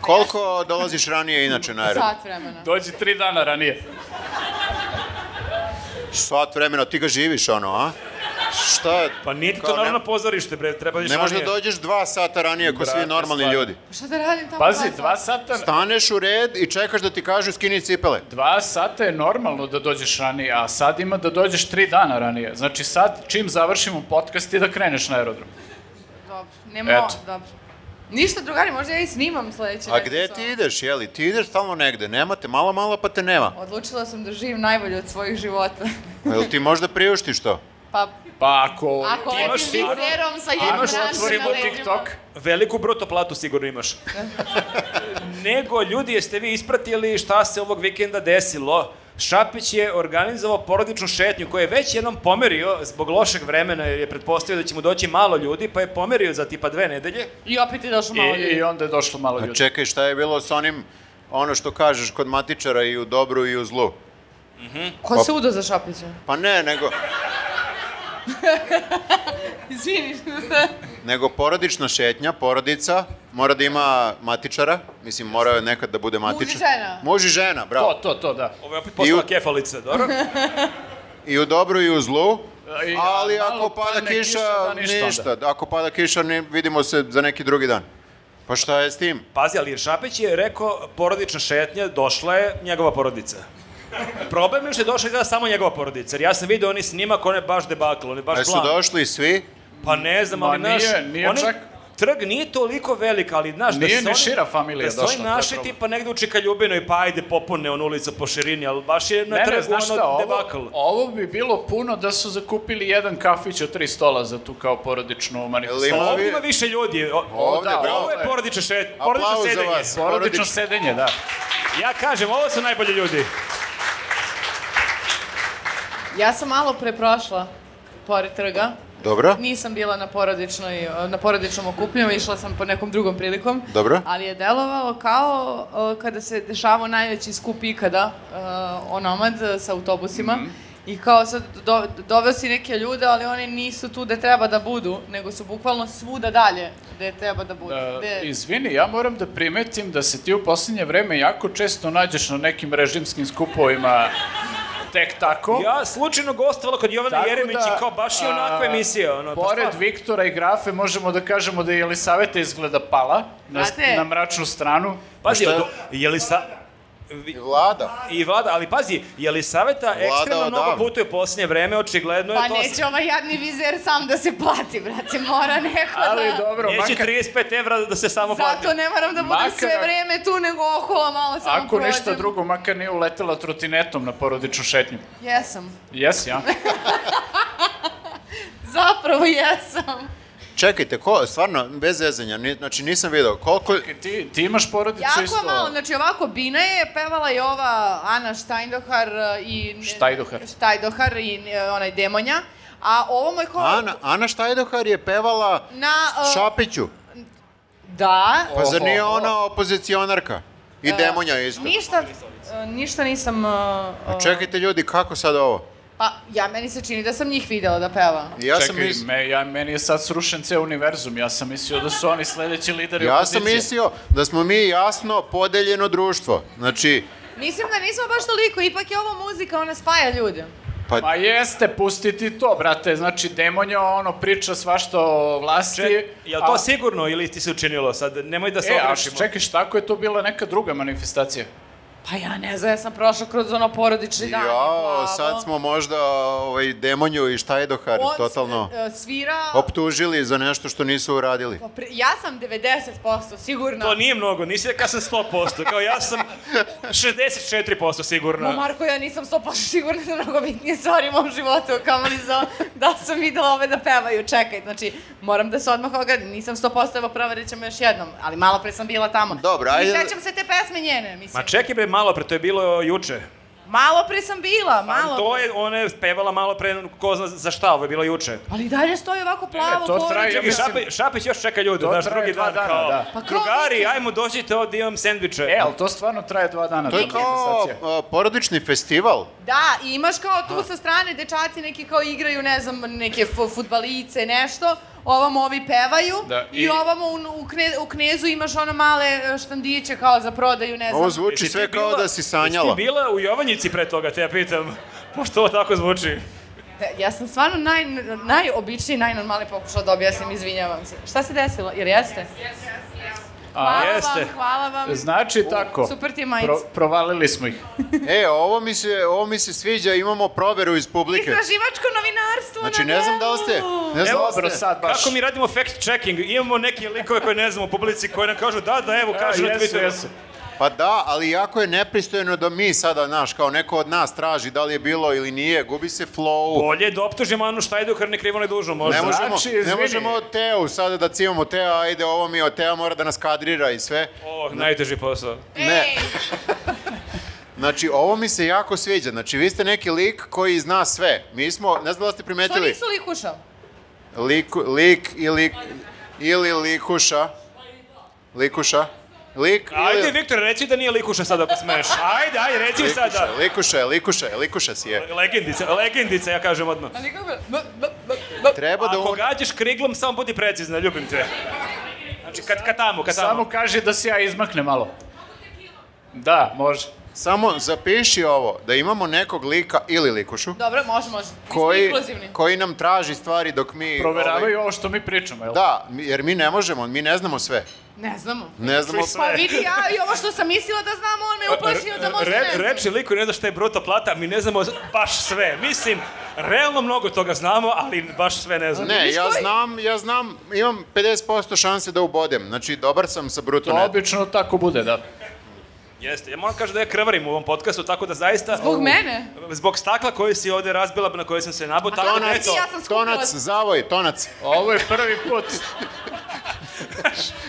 Speaker 2: Koliko dolaziš ranije inače na aerodrom?
Speaker 4: Sat vremena.
Speaker 3: Dođi tri dana ranije.
Speaker 2: Sat vremena, ti ga živiš, ono, a? Šta?
Speaker 1: Pa nije ti to
Speaker 2: Kao, ne-
Speaker 1: naravno pozorište, bre, treba da
Speaker 2: Ne možeš da dođeš dva sata ranije ko svi
Speaker 1: Brate,
Speaker 2: normalni
Speaker 1: stvarno.
Speaker 2: ljudi.
Speaker 4: Pa šta da radim tamo?
Speaker 3: Pazi,
Speaker 4: dva
Speaker 3: dva
Speaker 4: sata?
Speaker 3: sata,
Speaker 2: Staneš u red i čekaš da ti kažu skini cipele.
Speaker 3: dva sata je normalno da dođeš ranije, a sad ima da dođeš tri dana ranije. Znači sad, čim završimo podcast i da kreneš na aerodrom.
Speaker 4: Dobro, nemo,
Speaker 3: Eto.
Speaker 4: dobro. Ništa, drugari, možda ja i snimam sledeće.
Speaker 2: A gde ti ideš, jeli? Ti ideš stalno negde, nema te, malo, malo pa te nema.
Speaker 4: Odlučila sam da živim najbolje od svojih života.
Speaker 2: Jel ti možda priuštiš to?
Speaker 4: Pa,
Speaker 3: Pa ako...
Speaker 4: ako
Speaker 1: Ti
Speaker 4: letim
Speaker 1: imaš sigurno-
Speaker 4: vizerom sa jednom
Speaker 3: Imaš
Speaker 4: branšom
Speaker 3: otvorimo
Speaker 4: na leđima.
Speaker 3: TikTok.
Speaker 1: Veliku bruto platu sigurno imaš. Nego, ljudi, jeste vi ispratili šta se ovog vikenda desilo? Šapić je organizovao porodičnu šetnju koju je već jednom pomerio zbog lošeg vremena jer je pretpostavio da će mu doći malo ljudi pa je pomerio za tipa dve nedelje.
Speaker 4: I opet je došlo malo
Speaker 3: I,
Speaker 4: ljudi.
Speaker 3: I onda je došlo malo
Speaker 2: A
Speaker 1: Pa
Speaker 2: Pa
Speaker 3: ljudi.
Speaker 2: čekaj, šta je bilo s onim, ono što kažeš, kod matičara i u dobru i u zlu?
Speaker 4: Ko se udo za Šapića?
Speaker 2: Pa ne, nego,
Speaker 4: Izvini.
Speaker 2: nego porodična šetnja, porodica, mora da ima matičara, mislim, mora nekad da bude matičar.
Speaker 4: žena.
Speaker 2: Muž i žena, bravo.
Speaker 3: To, to, to, da.
Speaker 1: Ovo je opet postala
Speaker 2: I u-
Speaker 1: kefalica, dobro?
Speaker 2: I u dobru i u zlu,
Speaker 3: I-
Speaker 2: ali
Speaker 3: a malo
Speaker 2: ako pada
Speaker 3: padne
Speaker 2: kiša,
Speaker 3: da
Speaker 2: ništa.
Speaker 3: ništa onda.
Speaker 2: Ako pada kiša, ni, vidimo se za neki drugi dan. Pa šta je s tim?
Speaker 1: Pazi, ali Šapić je rekao porodična šetnja, došla je njegova porodica. Problem je što je došla izgleda samo njegova porodica, jer ja sam vidio oni snimak, on je baš debakl, on je baš
Speaker 2: A su
Speaker 1: plan.
Speaker 2: došli svi?
Speaker 1: Pa ne znam,
Speaker 3: Ma
Speaker 1: ali naš...
Speaker 3: nije, nije
Speaker 1: onaj
Speaker 3: čak-
Speaker 1: Trg nije toliko velik, ali znaš... da
Speaker 3: Nije
Speaker 1: se
Speaker 3: ni
Speaker 1: oni-
Speaker 3: šira familija
Speaker 1: Da su
Speaker 3: došla,
Speaker 1: oni
Speaker 3: to je
Speaker 1: našli
Speaker 3: problem.
Speaker 1: tipa negde u Čikaljubinoj, pa ajde popune on ulica po širini, ali baš je na
Speaker 3: Ne, ne,
Speaker 1: trgu ono
Speaker 3: znaš šta,
Speaker 1: debakl.
Speaker 3: ovo, ovo bi bilo puno da su zakupili jedan kafić od tri stola za tu kao porodičnu manifestaciju.
Speaker 2: Jel
Speaker 1: Ovdje
Speaker 2: ima-
Speaker 1: ima više ljudi. O,
Speaker 2: Ovde,
Speaker 1: da,
Speaker 2: bravo.
Speaker 1: Ovo je porodično šet, porodično
Speaker 2: Aplauz za
Speaker 1: sedenje.
Speaker 2: vas.
Speaker 3: Porodično
Speaker 2: porodično.
Speaker 3: sedenje, da.
Speaker 1: Ja kažem, ovo su najbolji ljudi.
Speaker 4: Ja sam malo preprošla pored trga.
Speaker 2: Dobro?
Speaker 4: Nisam bila na, porodičnoj, na porodičnom okupljanju, išla sam po nekom drugom prilikom.
Speaker 2: Dobro.
Speaker 4: Ali je delovalo kao uh, kada se dešavao najveći skup ikada, uh, onomad uh, sa autobusima. I kao sad do, doveo si neke ljude, ali oni nisu tu gde treba da budu, nego su bukvalno svuda dalje gde treba da budu.
Speaker 3: E,
Speaker 4: gde-
Speaker 3: izvini, ja moram da primetim da se ti u poslednje vreme jako često nađeš na nekim režimskim skupovima tek tako.
Speaker 1: Ja slučajno gostovala kod Jovana
Speaker 3: Tako da,
Speaker 1: Jeremić i kao baš i onako
Speaker 3: a,
Speaker 1: emisija. Ono, pa
Speaker 3: pored
Speaker 1: stvarno.
Speaker 3: Viktora i Grafe možemo da kažemo da je Jelisaveta izgleda pala na,
Speaker 4: Znate-
Speaker 3: na mračnu stranu.
Speaker 1: Pazi,
Speaker 2: Šta?
Speaker 1: do, je li sa... Vi-
Speaker 2: Vlada.
Speaker 1: I vlada, ali pazi, je li saveta ekstremno mnogo
Speaker 2: odavno.
Speaker 1: putuje posljednje vreme, očigledno je
Speaker 4: Pa
Speaker 1: to...
Speaker 4: neće ovaj jadni vizer sam da se plati, brate, mora neko
Speaker 3: Ali
Speaker 4: da...
Speaker 3: dobro,
Speaker 1: Neće
Speaker 3: makar,
Speaker 1: 35 evra da se samo plati.
Speaker 4: Zato ne moram da budem
Speaker 3: Makar
Speaker 4: sve
Speaker 3: ako-
Speaker 4: vreme tu, nego okolo malo samo
Speaker 3: ako
Speaker 4: prođem.
Speaker 3: ništa drugo, makar nije uletela trotinetom na porodičnu šetnju.
Speaker 4: Jesam.
Speaker 3: Jesi, ja?
Speaker 4: Zapravo jesam.
Speaker 2: Čekajte, ko, stvarno, bez zezanja, ni, znači nisam video, koliko...
Speaker 3: Ti, ti imaš porodicu isto...
Speaker 4: Jako je malo, znači ovako, Bina je pevala i ova Ana Štajndohar e, i... ne-
Speaker 3: Štajdohar.
Speaker 4: Štajdohar i e, onaj Demonja. A ovo moj ko...
Speaker 2: Ana, Ana Štajdohar je pevala
Speaker 4: Na... e,
Speaker 2: Šapiću,
Speaker 4: Da.
Speaker 2: pa zar nije
Speaker 3: Oho.
Speaker 2: ona opozicionarka? I Demonja isto.
Speaker 4: Ništa, e, ništa nisam... e, e,
Speaker 2: Čekajte ljudi, kako sad ovo?
Speaker 4: Pa, ja, meni se čini da sam njih videla da peva.
Speaker 2: Ja sam,
Speaker 3: Čekaj,
Speaker 2: mis...
Speaker 3: me, ja, meni je sad srušen ceo univerzum. Ja sam mislio da su oni sledeći lideri
Speaker 2: ja
Speaker 3: opozicije.
Speaker 2: sam mislio da smo mi jasno podeljeno društvo. Znači,
Speaker 4: Mislim da nismo baš toliko, ipak je ovo muzika, ona spaja ljude.
Speaker 3: Ma
Speaker 2: pa
Speaker 3: jeste, pustiti to, brate. Znači, demonja, ono, priča svašta o vlasti.
Speaker 1: Če, je li to
Speaker 3: a-
Speaker 1: sigurno ili ti se učinilo sad? Nemoj da se
Speaker 3: E, a
Speaker 1: ogrešimo.
Speaker 3: čekaj, šta ako je to bila neka druga manifestacija?
Speaker 4: Pa ja ne znam, ja sam prošla kroz ono porodični dan.
Speaker 2: jao,
Speaker 1: da, pa
Speaker 4: plavo.
Speaker 2: sad smo možda ovaj, Demonju i Štajdohar
Speaker 4: On s-
Speaker 2: totalno
Speaker 4: e, Svira...
Speaker 2: optužili za nešto što nisu uradili.
Speaker 4: Pa pri- Ja sam 90% sigurna.
Speaker 1: To nije mnogo, nisi ja sam 100%, kao ja sam 64%
Speaker 4: Ma
Speaker 1: sigurno.
Speaker 4: Marko, ja nisam 100% sigurna za mnogo bitnije stvari u mom životu, kao li za da sam videla ove da pevaju, čekaj, znači moram da se odmah ogradim, nisam 100% evo proverit ćemo još jednom, ali malo pre sam bila tamo.
Speaker 6: Dobro, ajde-
Speaker 4: I sećam se te pesme njene, mislim.
Speaker 1: Ma čekaj bre, malo pre, to je bilo juče.
Speaker 4: Malo pre sam bila, malo
Speaker 1: Malo. To je, ona je pevala malo pre, ko zna za šta, ovo je bilo juče.
Speaker 4: Ali i dalje stoji ovako plavo,
Speaker 3: Ne, to
Speaker 4: koriđe.
Speaker 3: traje,
Speaker 1: Čekaj,
Speaker 3: mislim-
Speaker 1: Šapić, Šapić još čeka ljude,
Speaker 3: To
Speaker 1: znaš,
Speaker 3: traje
Speaker 1: drugi
Speaker 3: dva
Speaker 1: dan,
Speaker 3: dana,
Speaker 1: kao,
Speaker 3: da.
Speaker 1: pa drugari, ajmo dođite ovdje, imam sendviče.
Speaker 3: E, ali to stvarno traje dva dana.
Speaker 2: To je
Speaker 3: ta
Speaker 2: kao
Speaker 3: manifestacija.
Speaker 2: a, porodični festival.
Speaker 4: Da, i imaš kao tu sa strane dečaci neki kao igraju, ne znam, neke fu- fudbalice, nešto. Ovamo ovi pevaju
Speaker 3: Da,
Speaker 4: i,
Speaker 3: i-
Speaker 4: ovamo u, u, kne- u knezu imaš ono male e, štandiće kao za prodaju, ne znam.
Speaker 2: Ovo zvuči
Speaker 1: Jesi
Speaker 2: sve
Speaker 1: ti
Speaker 2: kao
Speaker 1: bila-
Speaker 2: da si sanjala.
Speaker 1: Jesi ti bila u Jovanjici pre toga, te ja pitam? Pošto ovo tako zvuči?
Speaker 4: E, Ja sam stvarno naj, najobičniji, najnormalniji pokušao da objasnim, izvinjavam se. Šta se desilo? Jer jeste? Hvala
Speaker 1: jeste.
Speaker 4: vam, hvala vam.
Speaker 3: Znači tako.
Speaker 4: Super ti je majica.
Speaker 3: provalili smo ih.
Speaker 2: E, ovo mi se, ovo mi se sviđa, imamo proveru iz publike.
Speaker 4: Istraživačko novinarstvo
Speaker 2: Znači,
Speaker 4: na
Speaker 2: ne znam da li ste,
Speaker 4: delu.
Speaker 2: ne znam
Speaker 3: Evo,
Speaker 2: da
Speaker 3: bro,
Speaker 2: li ste.
Speaker 3: sad baš.
Speaker 1: Kako mi radimo fact checking? Imamo neke likove koje ne znamo u publici koji nam kažu da, da, evo, kažu na Twitteru.
Speaker 2: Pa da, ali jako je nepristojno da mi sada, naš, kao neko od nas traži da li je bilo ili nije, gubi se flow.
Speaker 1: Bolje da optužimo Anu Štajdukar ne krivo ne dužno, možda.
Speaker 2: Ne možemo,
Speaker 3: Znači,
Speaker 2: ne
Speaker 3: izvini.
Speaker 2: možemo od Teu sada da cimamo Teo, ajde ovo mi je od Teo mora da nas kadrira i sve.
Speaker 1: O, Oh, najteži posao.
Speaker 2: Ne. Znači, ovo mi se jako sviđa. Znači, vi ste neki lik koji zna sve. Mi smo, ne znam da li ste
Speaker 4: To
Speaker 2: primetili,
Speaker 4: nisu likuša.
Speaker 2: lik, lik i lik, ili likuša. Likuša. Lik ili...
Speaker 1: Ajde, Viktor, reci da nije likuša sad ako smeš. Ajde, ajde, reci
Speaker 2: likuša,
Speaker 1: sada.
Speaker 2: likuša, je, likuša, je, likuša si je.
Speaker 1: Legendica, legendica, ja kažem odmah.
Speaker 2: Treba da...
Speaker 1: Ako
Speaker 2: um-
Speaker 1: gađaš kriglom, samo budi precizna, ljubim te. Znači, kad, kad tamo, kad tamo.
Speaker 3: Samo kaži da se ja izmaknem malo. Da, može.
Speaker 2: Samo zapiši ovo, da imamo nekog lika ili likušu
Speaker 4: Dobro, može, može. Da, Mi smo
Speaker 2: koji,
Speaker 4: inkluzivni.
Speaker 2: koji nam traži stvari dok mi...
Speaker 3: Proveravaju ovo što mi pričamo, jel?
Speaker 2: ovaj- Da, mi- jer mi ne možemo, mi ne znamo sve.
Speaker 4: Ne znamo.
Speaker 2: Ne znamo sve.
Speaker 4: Pa vidi ja i ovo što sam mislila da znam, on me uplašio da možda ne
Speaker 1: Re,
Speaker 4: znam.
Speaker 1: reči liku ne zna šta je bruto plata, mi ne znamo baš sve. Mislim, realno mnogo toga znamo, ali baš sve ne znamo.
Speaker 2: Ne, ja
Speaker 4: koji?
Speaker 2: znam, ja znam, imam 50% šanse da ubodem. Znači, dobar sam sa bruto
Speaker 3: To
Speaker 2: netom.
Speaker 3: obično tako bude, da.
Speaker 1: Jeste, ja moram kažem da ja krvarim u ovom podcastu, tako da zaista...
Speaker 4: Zbog mene?
Speaker 1: Zbog stakla koji si ovde razbila, na koje sam se nabao, tako da
Speaker 4: Tonac.
Speaker 1: eto,
Speaker 4: Ja sam skupila-
Speaker 2: Tonac, zavoj, tonac.
Speaker 3: Ovo je prvi put.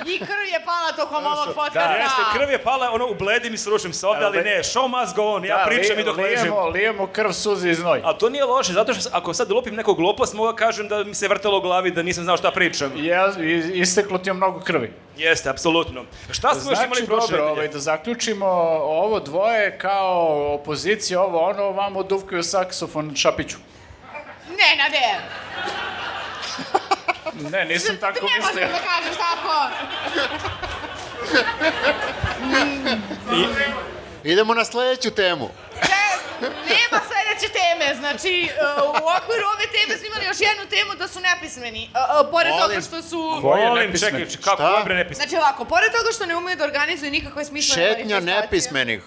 Speaker 4: I krv je pala tokom ovog podcasta.
Speaker 1: Da, jeste, krv je pala, ono, ubledim i srušim se ovde, ali ne, show must go on, ja
Speaker 3: Da,
Speaker 1: pričam
Speaker 3: li-
Speaker 1: i dok ležim.
Speaker 3: lijemo, lijemo krv, suze i znoj.
Speaker 1: A to nije loše, zato što ako sad lupim nekog glupost, mogu da kažem da mi se vrtalo u glavi, da nisam znao šta pričam.
Speaker 3: Ja, i- isteklo ti je mnogo krvi.
Speaker 1: Jeste, apsolutno. Šta smo još imali
Speaker 3: Znači,
Speaker 1: prošle
Speaker 3: dobro,
Speaker 1: nedelje?
Speaker 3: ovaj, da zaključimo, ovo dvoje kao opozicija, ovo ono, vamo duvkaju saksofon Šapiću.
Speaker 4: Nenade!
Speaker 3: Ne, nisam tako
Speaker 4: Ne možeš
Speaker 3: mislio.
Speaker 4: da kažeš tako!
Speaker 2: Idemo na sledeću temu.
Speaker 4: Ne, nema sledeće teme, znači uh, u okviru ove teme smo imali još jednu temu da su nepismeni. Uh, uh, pored toga
Speaker 2: Molim.
Speaker 4: što su...
Speaker 3: Ko je
Speaker 1: Molim,
Speaker 3: nepismen?
Speaker 1: čekaj, čekaj, kako
Speaker 2: Šta?
Speaker 1: je bre nepismen?
Speaker 4: Znači ovako, pored toga što ne umeju da organizuju nikakve smislene
Speaker 2: Šetnja
Speaker 4: manifestacije-
Speaker 2: nepismenih.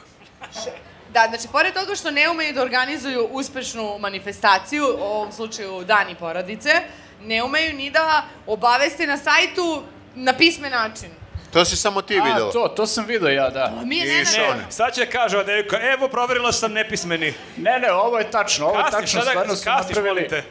Speaker 4: Da, znači, pored toga što ne umeju da organizuju uspešnu manifestaciju, u ovom slučaju Dani porodice, ne umeju ni da obaveste na sajtu na pismen način.
Speaker 2: To si samo ti
Speaker 3: A,
Speaker 2: videla.
Speaker 3: to, to sam video ja, da.
Speaker 4: Pa mi je
Speaker 2: Iš
Speaker 4: Nenad-
Speaker 2: one.
Speaker 1: Ne, E, sad će kaže ova devojka, evo proverila sam nepismeni.
Speaker 3: Ne, ne, ovo je tačno, ovo je
Speaker 1: Kasniš,
Speaker 3: tačno,
Speaker 1: sada
Speaker 3: stvarno
Speaker 1: kasniš,
Speaker 3: su
Speaker 1: molim
Speaker 3: napravili,
Speaker 1: te.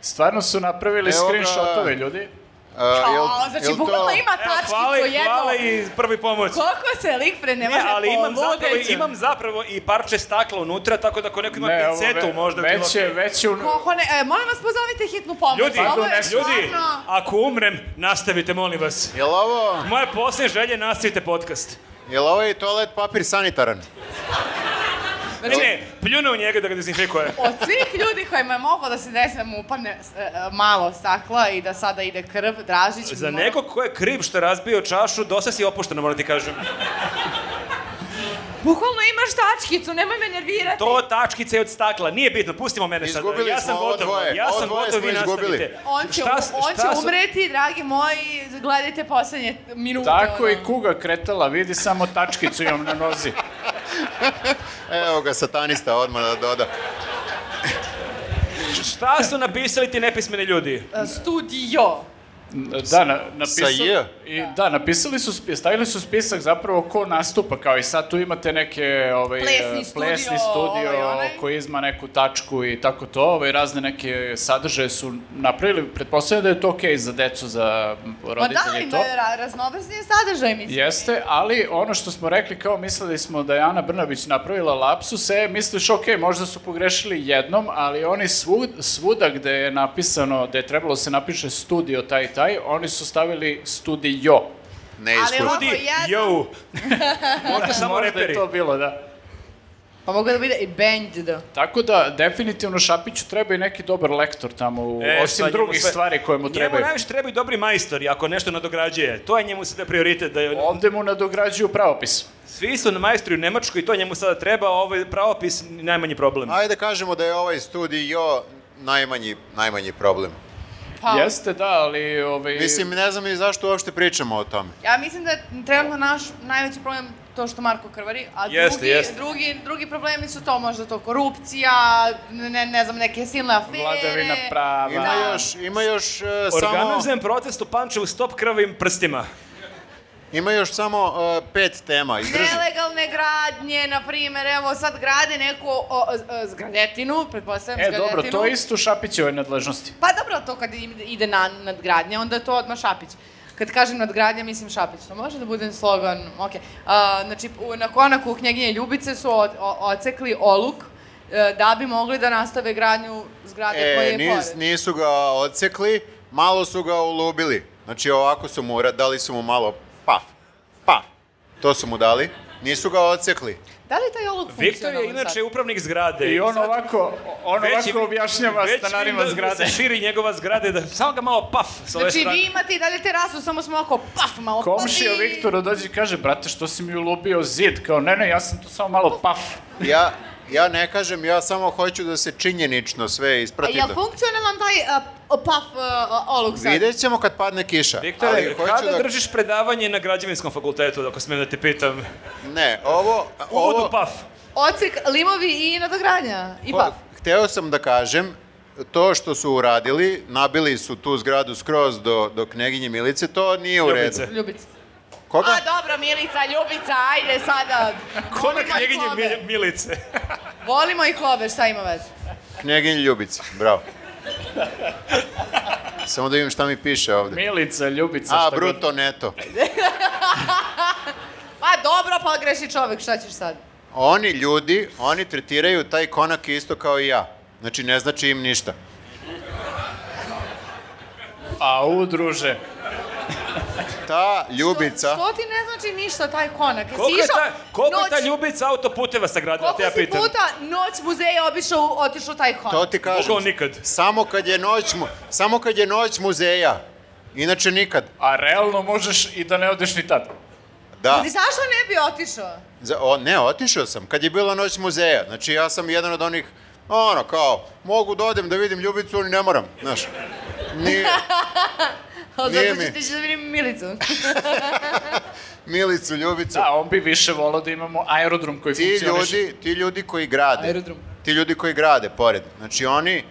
Speaker 3: stvarno su napravili
Speaker 2: Evo ga.
Speaker 3: screenshotove, ljudi.
Speaker 2: A, Pa, jel-
Speaker 4: A, znači,
Speaker 2: jel to-
Speaker 4: bukvalno ima
Speaker 1: Evo,
Speaker 4: tačkicu,
Speaker 1: hvala, i-
Speaker 4: jedno.
Speaker 1: hvala i prvi pomoć.
Speaker 4: Koliko se lik pre ne
Speaker 1: Ne,
Speaker 4: može
Speaker 1: ali imam zapravo,
Speaker 4: poludeći.
Speaker 1: imam zapravo i parče stakla unutra, tako da ako neko ima
Speaker 3: Ne, ovo
Speaker 1: pincetu
Speaker 3: ve-
Speaker 1: možda... bi bilo
Speaker 3: već je,
Speaker 1: okej.
Speaker 3: već je, u-
Speaker 4: Koliko ne, e, molim vas pozovite hitnu pomoć.
Speaker 1: Ljudi,
Speaker 4: Ovo je
Speaker 1: ljudi,
Speaker 4: stvarno-
Speaker 1: ako umrem, nastavite, molim vas.
Speaker 2: Jel ovo,
Speaker 1: Moje posljednje želje, nastavite podcast.
Speaker 2: jel ovo je toalet papir sanitaran?
Speaker 1: Ne,
Speaker 4: Znači-
Speaker 1: ne, pljune u njega da ga dezinfikuje.
Speaker 4: Od svih ljudi kojima je moglo da se desi da mu upadne s- e, malo stakla i da sada ide krv, Dražić... bi
Speaker 1: Za
Speaker 4: morao-
Speaker 1: nekog ko je kriv što je razbio čašu, dosta si opušteno, moram ti kažem.
Speaker 4: Bukvalno imaš tačkicu, nemoj me nervirati.
Speaker 1: To tačkice je od stakla, nije bitno, pustimo mene sada.
Speaker 2: Izgubili
Speaker 1: ja
Speaker 2: smo
Speaker 1: sam
Speaker 2: ovo
Speaker 1: gotov,
Speaker 2: dvoje,
Speaker 1: ja
Speaker 2: ovo
Speaker 1: sam
Speaker 2: dvoje
Speaker 1: gotov,
Speaker 2: smo
Speaker 1: vi
Speaker 2: izgubili.
Speaker 1: nastavite.
Speaker 4: On će,
Speaker 1: Šta s-
Speaker 4: on
Speaker 1: šta
Speaker 4: će
Speaker 1: su-
Speaker 4: umreti, dragi moji, gledajte poslednje minute.
Speaker 3: tako
Speaker 4: ono.
Speaker 3: i kuga kretala, vidi samo tačkicu imam na nozi.
Speaker 2: Evo ga satanista odmah da doda.
Speaker 1: Šta su napisali ti nepismeni ljudi?
Speaker 4: E, Studio.
Speaker 3: Da, na, napisao...
Speaker 2: Sa J?
Speaker 3: I da, napisali su, spi- stavili su spisak zapravo ko nastupa, kao i sad tu imate neke ovaj,
Speaker 4: Plesni
Speaker 3: eh, plesni
Speaker 4: studio,
Speaker 3: studio
Speaker 4: ovaj, onaj.
Speaker 3: koji izma neku tačku i tako to, ovaj, razne neke sadržaje su napravili, pretpostavljam da je to okej za decu, za m,
Speaker 4: Ma
Speaker 3: roditelje
Speaker 4: da,
Speaker 3: i
Speaker 4: ima
Speaker 3: to.
Speaker 4: ra raznovrstnije sadržaje, mislim.
Speaker 3: Jeste, ali ono što smo rekli, kao mislili smo da je Ana Brnabić napravila lapsus, e, misliš, ok, možda su pogrešili jednom, ali oni svud, svuda gde je napisano, gde je trebalo da se napiše studio taj i taj, oni su stavili studio.
Speaker 2: Neiskusno.
Speaker 4: ovo-
Speaker 1: Ljudi,
Speaker 4: jedno.
Speaker 1: yo! Možda samo
Speaker 3: Možda
Speaker 1: reperi.
Speaker 3: je to bilo, da.
Speaker 4: Pa mogu da bude i band, da.
Speaker 3: Tako da, definitivno Šapiću treba i neki dobar lektor tamo, u,
Speaker 1: E, šta
Speaker 3: osim
Speaker 1: njemu
Speaker 3: drugih
Speaker 1: sve-
Speaker 3: stvari koje mu
Speaker 1: Njemu
Speaker 3: trebaju.
Speaker 1: najviše trebaju dobri majstori, ako nešto nadograđuje. To je njemu sada prioritet. Da je...
Speaker 3: Ovde mu nadograđuju pravopis.
Speaker 1: Svi su na majstori u Nemačkoj i to njemu sada treba, a ovaj pravopis najmanji problem.
Speaker 2: Ajde kažemo da je ovaj studio najmanji, najmanji problem.
Speaker 4: Pa,
Speaker 3: Jeste, da, ali... Ovaj,
Speaker 2: Mislim, ne znam i zašto uopšte pričamo o tome.
Speaker 4: Ja mislim da je trenutno naš najveći problem to što Marko krvari, a
Speaker 1: Jeste,
Speaker 4: drugi,
Speaker 1: jeste.
Speaker 4: drugi, drugi problemi su to možda to korupcija, ne, ne znam, neke silne afere.
Speaker 3: vladavina prava.
Speaker 2: Ima još, ima još e, samo...
Speaker 1: Organizujem protest u Pančevu, stop krvim prstima.
Speaker 2: Ima još samo e, pet tema, izdrži.
Speaker 4: Nelegalne gradnje, na primer, evo sad grade neku o, o, zgradetinu, pretpostavljam
Speaker 3: E,
Speaker 4: zgradetinu.
Speaker 3: dobro, to je isto u Šapićevoj nadležnosti.
Speaker 4: Pa dobro, to kad im ide na nadgradnja, onda je to odmah Šapić. Kad kažem nadgradnja, mislim Šapić. To može da bude slogan, okej. Okay. Znači, u- na konaku knjeginje Ljubice su od, o, ocekli oluk e, da bi mogli da nastave gradnju zgrade e, koja
Speaker 2: E,
Speaker 4: je
Speaker 2: nis,
Speaker 4: pored.
Speaker 2: nisu ga odsekli, malo su ga ulubili. Znači ovako su mu, ra- dali su mu malo paf, paf. To su mu dali, nisu ga odsekli.
Speaker 4: Da li taj oluk
Speaker 1: Viktor je
Speaker 4: funkcionalan
Speaker 1: inače
Speaker 4: sad?
Speaker 1: upravnik zgrade.
Speaker 3: I on
Speaker 1: sad
Speaker 3: ovako, on
Speaker 1: već-
Speaker 3: ovako objašnjava
Speaker 1: već
Speaker 3: stanarima
Speaker 1: vidim da
Speaker 3: zgrade.
Speaker 1: se širi njegova zgrade, da samo ga malo paf sa ove
Speaker 4: Znači,
Speaker 1: strane.
Speaker 4: vi imate i dalje terasu, samo smo oko paf, malo
Speaker 3: Komšija
Speaker 4: pazi.
Speaker 3: Viktora dođe i kaže, brate, što si mi ulubio zid? Kao, ne, ne, ja sam tu samo malo paf.
Speaker 2: Ja, ja ne kažem, ja samo hoću da se činjenično sve
Speaker 1: Pa
Speaker 4: E,
Speaker 2: isprati.
Speaker 4: Jel
Speaker 2: do-
Speaker 4: funkcionalan taj uh, paf uh, oluk sad?
Speaker 2: Vidjet ćemo kad padne kiša.
Speaker 1: Viktore,
Speaker 2: ali hoću
Speaker 1: kada
Speaker 2: da...
Speaker 1: držiš predavanje na građevinskom fakultetu, ako smem da te pitam?
Speaker 2: Ne, ovo...
Speaker 1: Uvod
Speaker 2: ovo
Speaker 1: u pa- paf.
Speaker 4: Ocek, limovi i nadogradnja. I paf.
Speaker 2: Ho- Hteo sam da kažem, to što su uradili, nabili su tu zgradu skroz do, do Kneginje Milice, to nije u redu.
Speaker 1: Ljubice.
Speaker 4: Ljubica.
Speaker 2: Koga?
Speaker 4: A dobro, Milica, Ljubica, ajde sada.
Speaker 1: Da. Ko na
Speaker 4: Volimo ih
Speaker 1: knjeginje
Speaker 4: obe.
Speaker 1: Mil- Milice?
Speaker 4: Volimo ih obe, šta ima veze?
Speaker 2: Kneginj Ljubica, bravo. Samo da vidim šta mi piše ovde.
Speaker 3: Milica, Ljubica,
Speaker 2: A,
Speaker 3: da šta god.
Speaker 2: bruto neto.
Speaker 4: Pa dobro, pogreši čovek, šta ćeš sad?
Speaker 2: Oni ljudi, oni tretiraju taj konak isto kao i ja. Znači, ne znači im ništa.
Speaker 3: A, u, druže.
Speaker 2: Ta Ljubica...
Speaker 4: Što, što ti ne znači ništa taj konak? Jesi
Speaker 1: Koliko je
Speaker 4: išao
Speaker 1: ta, koliko je ta
Speaker 4: noć-
Speaker 1: ljubica autoputeva sagradila, te ja
Speaker 4: Koliko si
Speaker 1: pitam?
Speaker 4: puta noć muzeja obišao, otišao taj konak?
Speaker 2: To ti kažem.
Speaker 1: Bukvalno nikad.
Speaker 2: Samo kad je noć, mu- samo kad je noć muzeja. Inače nikad.
Speaker 3: A realno možeš i da ne odeš ni tad.
Speaker 2: Da.
Speaker 4: Ali zašto ne bi otišao?
Speaker 2: Za, o, ne, otišao sam. Kad je bila noć muzeja. Znači, ja sam jedan od onih, ono, kao, mogu da odem da vidim Ljubicu, ali ne moram. Znaš, nije,
Speaker 4: Zato
Speaker 2: Nije
Speaker 4: što
Speaker 2: mi.
Speaker 4: ćeš ti će da vidim Milicu.
Speaker 2: Milicu, Ljubicu.
Speaker 3: Da, on bi više volao da imamo aerodrom koji
Speaker 2: ti
Speaker 3: funkcioniše.
Speaker 2: ljudi, ti ljudi koji grade.
Speaker 4: Aerodrom.
Speaker 2: Ti ljudi koji grade pored. Znači oni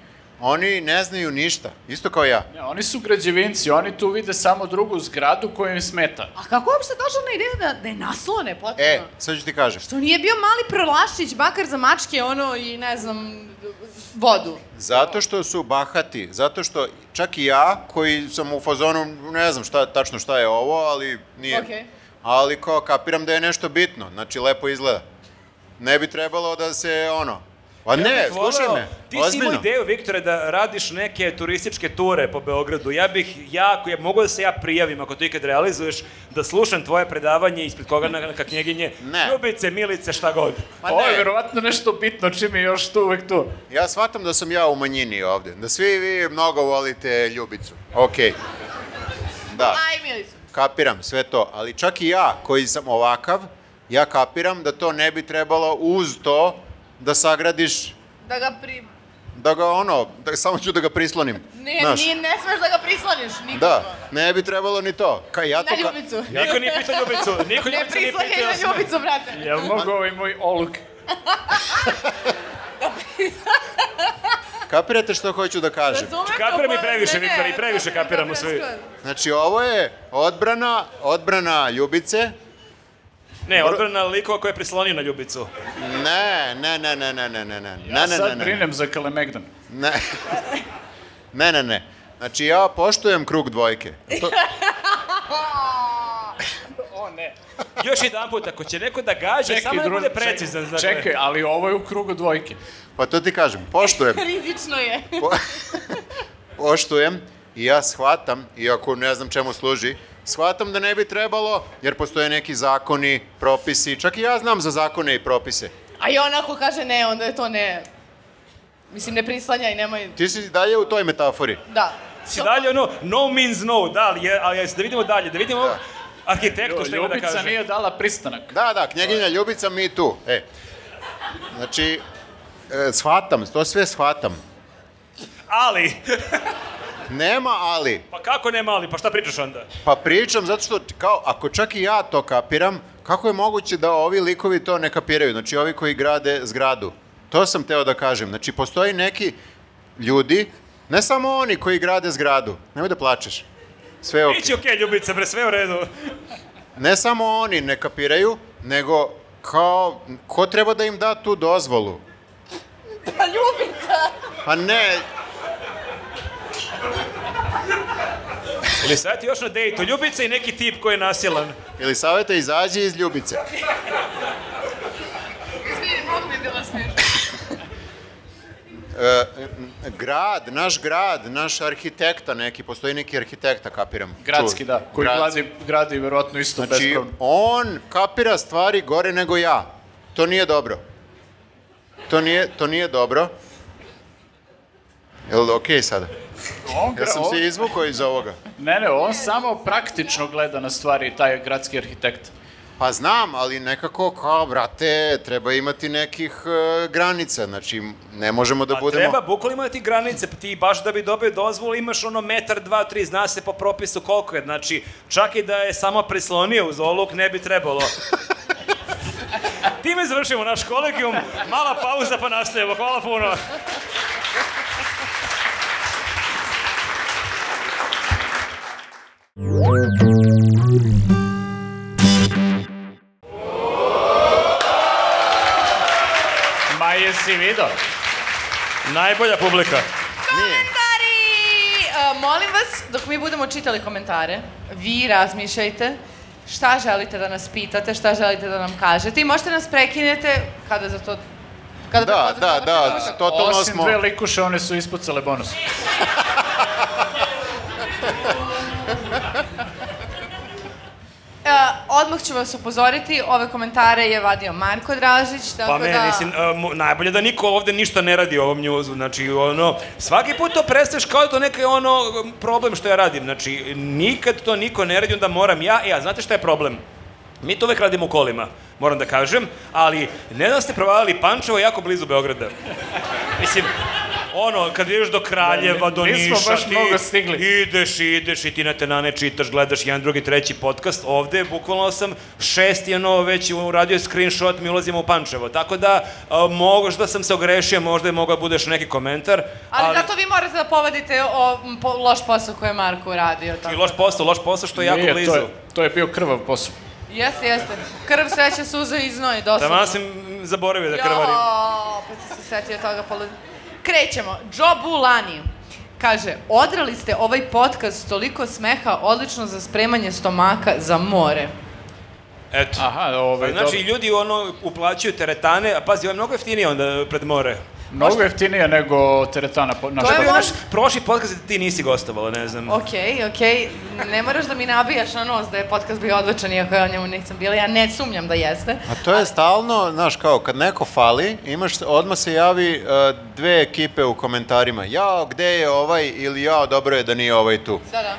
Speaker 2: oni ne znaju ništa, isto kao ja.
Speaker 3: Ne, oni su građevinci, oni tu vide samo drugu zgradu koja im smeta.
Speaker 4: A kako je uopšte došao na ideju da, da je naslone potpuno?
Speaker 2: E, sad ću ti kažem.
Speaker 4: To nije bio mali prlašić, bakar za mačke, ono, i ne znam, vodu.
Speaker 2: Zato što su bahati, zato što čak i ja koji sam u fazonu, ne znam šta, tačno šta je ovo, ali nije.
Speaker 4: Okej.
Speaker 2: Ali kao kapiram da je nešto bitno, znači lepo izgleda. Ne bi trebalo da se ono, Pa ne,
Speaker 1: bih
Speaker 2: slušaj
Speaker 1: voleo-
Speaker 2: me,
Speaker 1: Ti si imao
Speaker 2: ozbiljno.
Speaker 1: ideju, Viktore, da radiš neke turističke ture po Beogradu. Ja bih jako, ja, mogu da se ja prijavim, ako to ikad realizuješ, da slušam tvoje predavanje ispred koga na, na knjeginje.
Speaker 2: Ne.
Speaker 1: Ljubice, milice, šta god.
Speaker 4: Pa
Speaker 2: Ma
Speaker 3: Ovo je
Speaker 2: ne,
Speaker 3: verovatno nešto bitno, čim je još tu, uvek tu.
Speaker 2: ja shvatam da sam ja u manjini ovde, da svi vi mnogo volite Ljubicu. Okej. Da.
Speaker 4: Aj, Milicu.
Speaker 2: kapiram sve to, ali čak i ja koji sam ovakav, ja kapiram da to ne bi trebalo uz to da sagradiš,
Speaker 4: Da ga pri...
Speaker 2: da ga ono, da, samo ću da ga prislonim.
Speaker 4: Ne,
Speaker 2: znaš.
Speaker 4: ni, ne smeš da ga prisloniš nikako.
Speaker 2: Da, ne bi trebalo ni to. Ka, ja
Speaker 4: Na
Speaker 2: to ka,
Speaker 4: ljubicu.
Speaker 1: Niko nije pitao Ljubicu. Niko
Speaker 4: Ne
Speaker 1: Ljubicu nije
Speaker 4: prislonjaj
Speaker 1: pitao.
Speaker 4: na ljubicu, brate.
Speaker 3: Jel mogu ovaj moj oluk?
Speaker 2: Kapirate što hoću da kažem?
Speaker 4: Razumete,
Speaker 1: Kapira mi
Speaker 4: oboje-
Speaker 1: previše,
Speaker 4: ne, ne,
Speaker 1: Viktor, i previše
Speaker 4: kapira,
Speaker 1: kapiramo
Speaker 4: kapira,
Speaker 1: svi.
Speaker 4: skroz.
Speaker 2: Znači, ovo je odbrana, odbrana Ljubice.
Speaker 1: Ne, odbrana likova koja je prislonio na Ljubicu.
Speaker 2: Ne, ne, ne, ne, ne, ne, ne, ne,
Speaker 3: Ja
Speaker 2: ne, ne,
Speaker 3: sad
Speaker 2: ne, ne, ne,
Speaker 3: brinem za Kalemegdan.
Speaker 2: ne, ne, ne, ne. Znači, ja poštujem krug dvojke. To,
Speaker 3: O, ne.
Speaker 1: Još jedan put, ako će neko da gađe, samo da
Speaker 3: druže,
Speaker 1: bude precizan.
Speaker 3: Čekaj,
Speaker 1: dakle.
Speaker 3: čekaj, ali ovo je u krugu dvojke.
Speaker 2: pa to ti kažem, poštujem.
Speaker 4: Rizično je.
Speaker 2: Po, poštujem i ja shvatam, iako ne znam čemu služi, shvatam da ne bi trebalo, jer postoje neki zakoni, propisi, čak i ja znam za zakone i propise.
Speaker 4: A i onako kaže ne, onda je to ne. Mislim, ne prislanjaj, nemoj...
Speaker 2: Ti si dalje u toj metafori.
Speaker 4: Da.
Speaker 1: Si Znači, dalje ono, no means no, da, ali, je, ali jes, da vidimo dalje, da vidimo ovog arhitektu što ima da
Speaker 3: Ljubica
Speaker 1: kaže.
Speaker 3: nije dala pristanak.
Speaker 2: Da, da, knjeginja Ljubica, mi tu. E. Znači, e, shvatam, to sve shvatam.
Speaker 1: Ali,
Speaker 2: Nema ali.
Speaker 1: pa kako ne mali, pa šta pričaš onda?
Speaker 2: Pa pričam zato što, kao, ako čak i ja to kapiram, kako je moguće da ovi likovi to ne kapiraju? Znači, ovi koji grade zgradu. To sam teo da kažem. Znači, postoji neki ljudi, ne samo oni koji grade zgradu. Nemoj da plačeš. Sve je okej.
Speaker 1: Ići okej, Ljubica, bre, sve u redu.
Speaker 2: Ne samo oni ne kapiraju, nego kao, ko treba da im da tu dozvolu?
Speaker 4: Pa ljubica!
Speaker 2: Pa ne,
Speaker 1: Ili sad ti još na dejtu, Ljubica i neki tip koji je nasilan.
Speaker 2: ili savete izađi iz Ljubice.
Speaker 4: Izvini, mogu mi je bila smiješna.
Speaker 2: E, grad, naš grad, naš arhitekta neki, postoji neki arhitekta, kapiram.
Speaker 3: Gradski,
Speaker 2: Čuj.
Speaker 3: da. Koji
Speaker 2: Gradski.
Speaker 3: gradi, gradi verovatno isto
Speaker 2: Znači,
Speaker 3: bespravno.
Speaker 2: on kapira stvari gore nego ja. To nije dobro. To nije, to nije dobro. Jel okej sada?
Speaker 3: On,
Speaker 2: Jel
Speaker 3: gra,
Speaker 2: sam
Speaker 3: on,
Speaker 2: se izvukao iz ovoga?
Speaker 3: Ne, ne, on samo praktično gleda na stvari, taj gradski arhitekt.
Speaker 2: Pa znam, ali nekako kao, brate, treba imati nekih e, granica. Znači, ne možemo da
Speaker 1: Pa
Speaker 2: budemo...
Speaker 1: treba bukvalno imati granice, pa ti baš da bi dobio dozvolu imaš ono metar, dva, tri, zna se po propisu koliko je, znači čak i da je samo prislonio uz oluk ne bi trebalo. Time završimo naš kolegijum, mala pauza pa nastavimo, hvala puno.
Speaker 3: Ma jesi vidio?
Speaker 1: Najbolja publika.
Speaker 2: Nije.
Speaker 4: Komentari! E, molim vas, dok mi budemo čitali komentare, vi razmišljajte šta želite da nas pitate, šta želite da nam kažete i možete nas prekinete kada za to... Kada
Speaker 2: Da,
Speaker 4: dođe
Speaker 2: da,
Speaker 4: trenutak.
Speaker 2: da, totalno
Speaker 3: Osim
Speaker 2: smo...
Speaker 3: dve likuše, one su ispucale bonus.
Speaker 4: E,
Speaker 2: da.
Speaker 4: odmah ću vas upozoriti, ove komentare je vadio Marko Dražić, tako
Speaker 1: Pa ne,
Speaker 4: da...
Speaker 1: mislim, e, mo- najbolje da niko ovde ništa ne radi o ovom njuzu, znači ono, svaki put to prestaješ kao da je to neki ono problem što ja radim, znači nikad to niko ne radi, onda moram ja, e, a znate šta je problem? Mi to uvek radimo u kolima, moram da kažem, ali ne znam da ste provalili Pančevo je jako blizu Beograda. Mislim, ono, kad ideš do Kraljeva, do Niša,
Speaker 3: Da, Nismo baš
Speaker 1: ti
Speaker 3: mnogo stigli.
Speaker 1: ideš, ideš i ti na tenane čitaš, gledaš jedan, drugi, treći podcast. Ovde, bukvalno sam šest i ono već uradio screenshot, mi ulazimo u Pančevo. Tako da, a, možda sam se ogrešio, možda je mogao da budeš neki komentar.
Speaker 4: Ali, zato vi morate da povadite o, m, po, loš posao koji je Marko uradio.
Speaker 1: I
Speaker 4: Tako.
Speaker 1: loš posao, loš posao što je jako
Speaker 3: Nije,
Speaker 1: blizu.
Speaker 3: To je, to je bio krvav posao.
Speaker 4: Jeste, jeste. Krv, sreća, suza i znoj, doslovno.
Speaker 1: Tamo sam zaboravio da krvarim.
Speaker 4: Jo, opet sam se setio toga. Polu... Krećemo. Joe Bulani kaže, odrali ste ovaj podcast s toliko smeha, odlično za spremanje stomaka za more.
Speaker 1: Eto.
Speaker 3: Aha, ovaj,
Speaker 1: Znači,
Speaker 3: dobro.
Speaker 1: ljudi ono uplaćuju teretane, a pazi, ovo je mnogo jeftinije onda pred more.
Speaker 3: Mnogo jeftinije nego teretana po, naša. pa-
Speaker 4: To je
Speaker 1: Bio je naš
Speaker 4: možda-
Speaker 1: prošli podcast gde ti nisi gostovala, ne znam.
Speaker 4: Okej, okej, ne moraš da mi nabijaš na nos da je podcast bio odličan, iako ja o njemu nisam bila, ja ne sumnjam da jeste.
Speaker 2: A to je stalno, znaš, kao kad neko fali, imaš, odmah se javi uh, dve ekipe u komentarima. Jao, gde je ovaj ili jao, dobro je da nije ovaj tu.
Speaker 4: Da, da.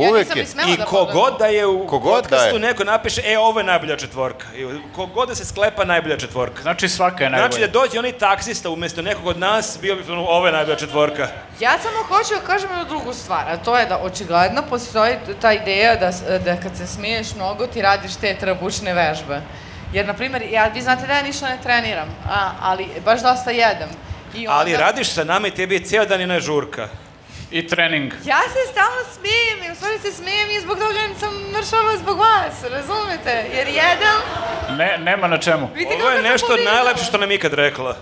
Speaker 4: ja
Speaker 2: Uvek
Speaker 4: nisam
Speaker 2: je.
Speaker 4: ni smela
Speaker 1: I
Speaker 4: da
Speaker 1: kogod da je u
Speaker 2: Kogod da je.
Speaker 1: podcastu neko napiše, e, ovo je najbolja četvorka. I Kogod da se sklepa najbolja četvorka.
Speaker 3: Znači svaka je najbolja.
Speaker 1: Znači da dođe onaj taksista umesto nekog od nas, bio bi ono, ovo je najbolja četvorka.
Speaker 4: Ja samo hoću da kažem jednu drugu stvar, a to je da očigledno postoji ta ideja da, s- da kad se smiješ mnogo ti radiš te trabučne vežbe. Jer, na primjer, ja, vi znate da ja ništa ne treniram, a, ali baš dosta jedem. I
Speaker 1: Ali
Speaker 4: onda-
Speaker 1: radiš sa nama i tebi je cijel dan jedna žurka.
Speaker 3: I trening.
Speaker 4: Ja se stalno smijem i u stvari se smijem i zbog toga sam mršava zbog vas, razumete? Jer jedem...
Speaker 3: Ne, nema na čemu.
Speaker 4: Vidite
Speaker 1: Ovo je
Speaker 4: kako sam
Speaker 1: nešto
Speaker 4: pobegla.
Speaker 1: najlepše što nam je ikad rekla.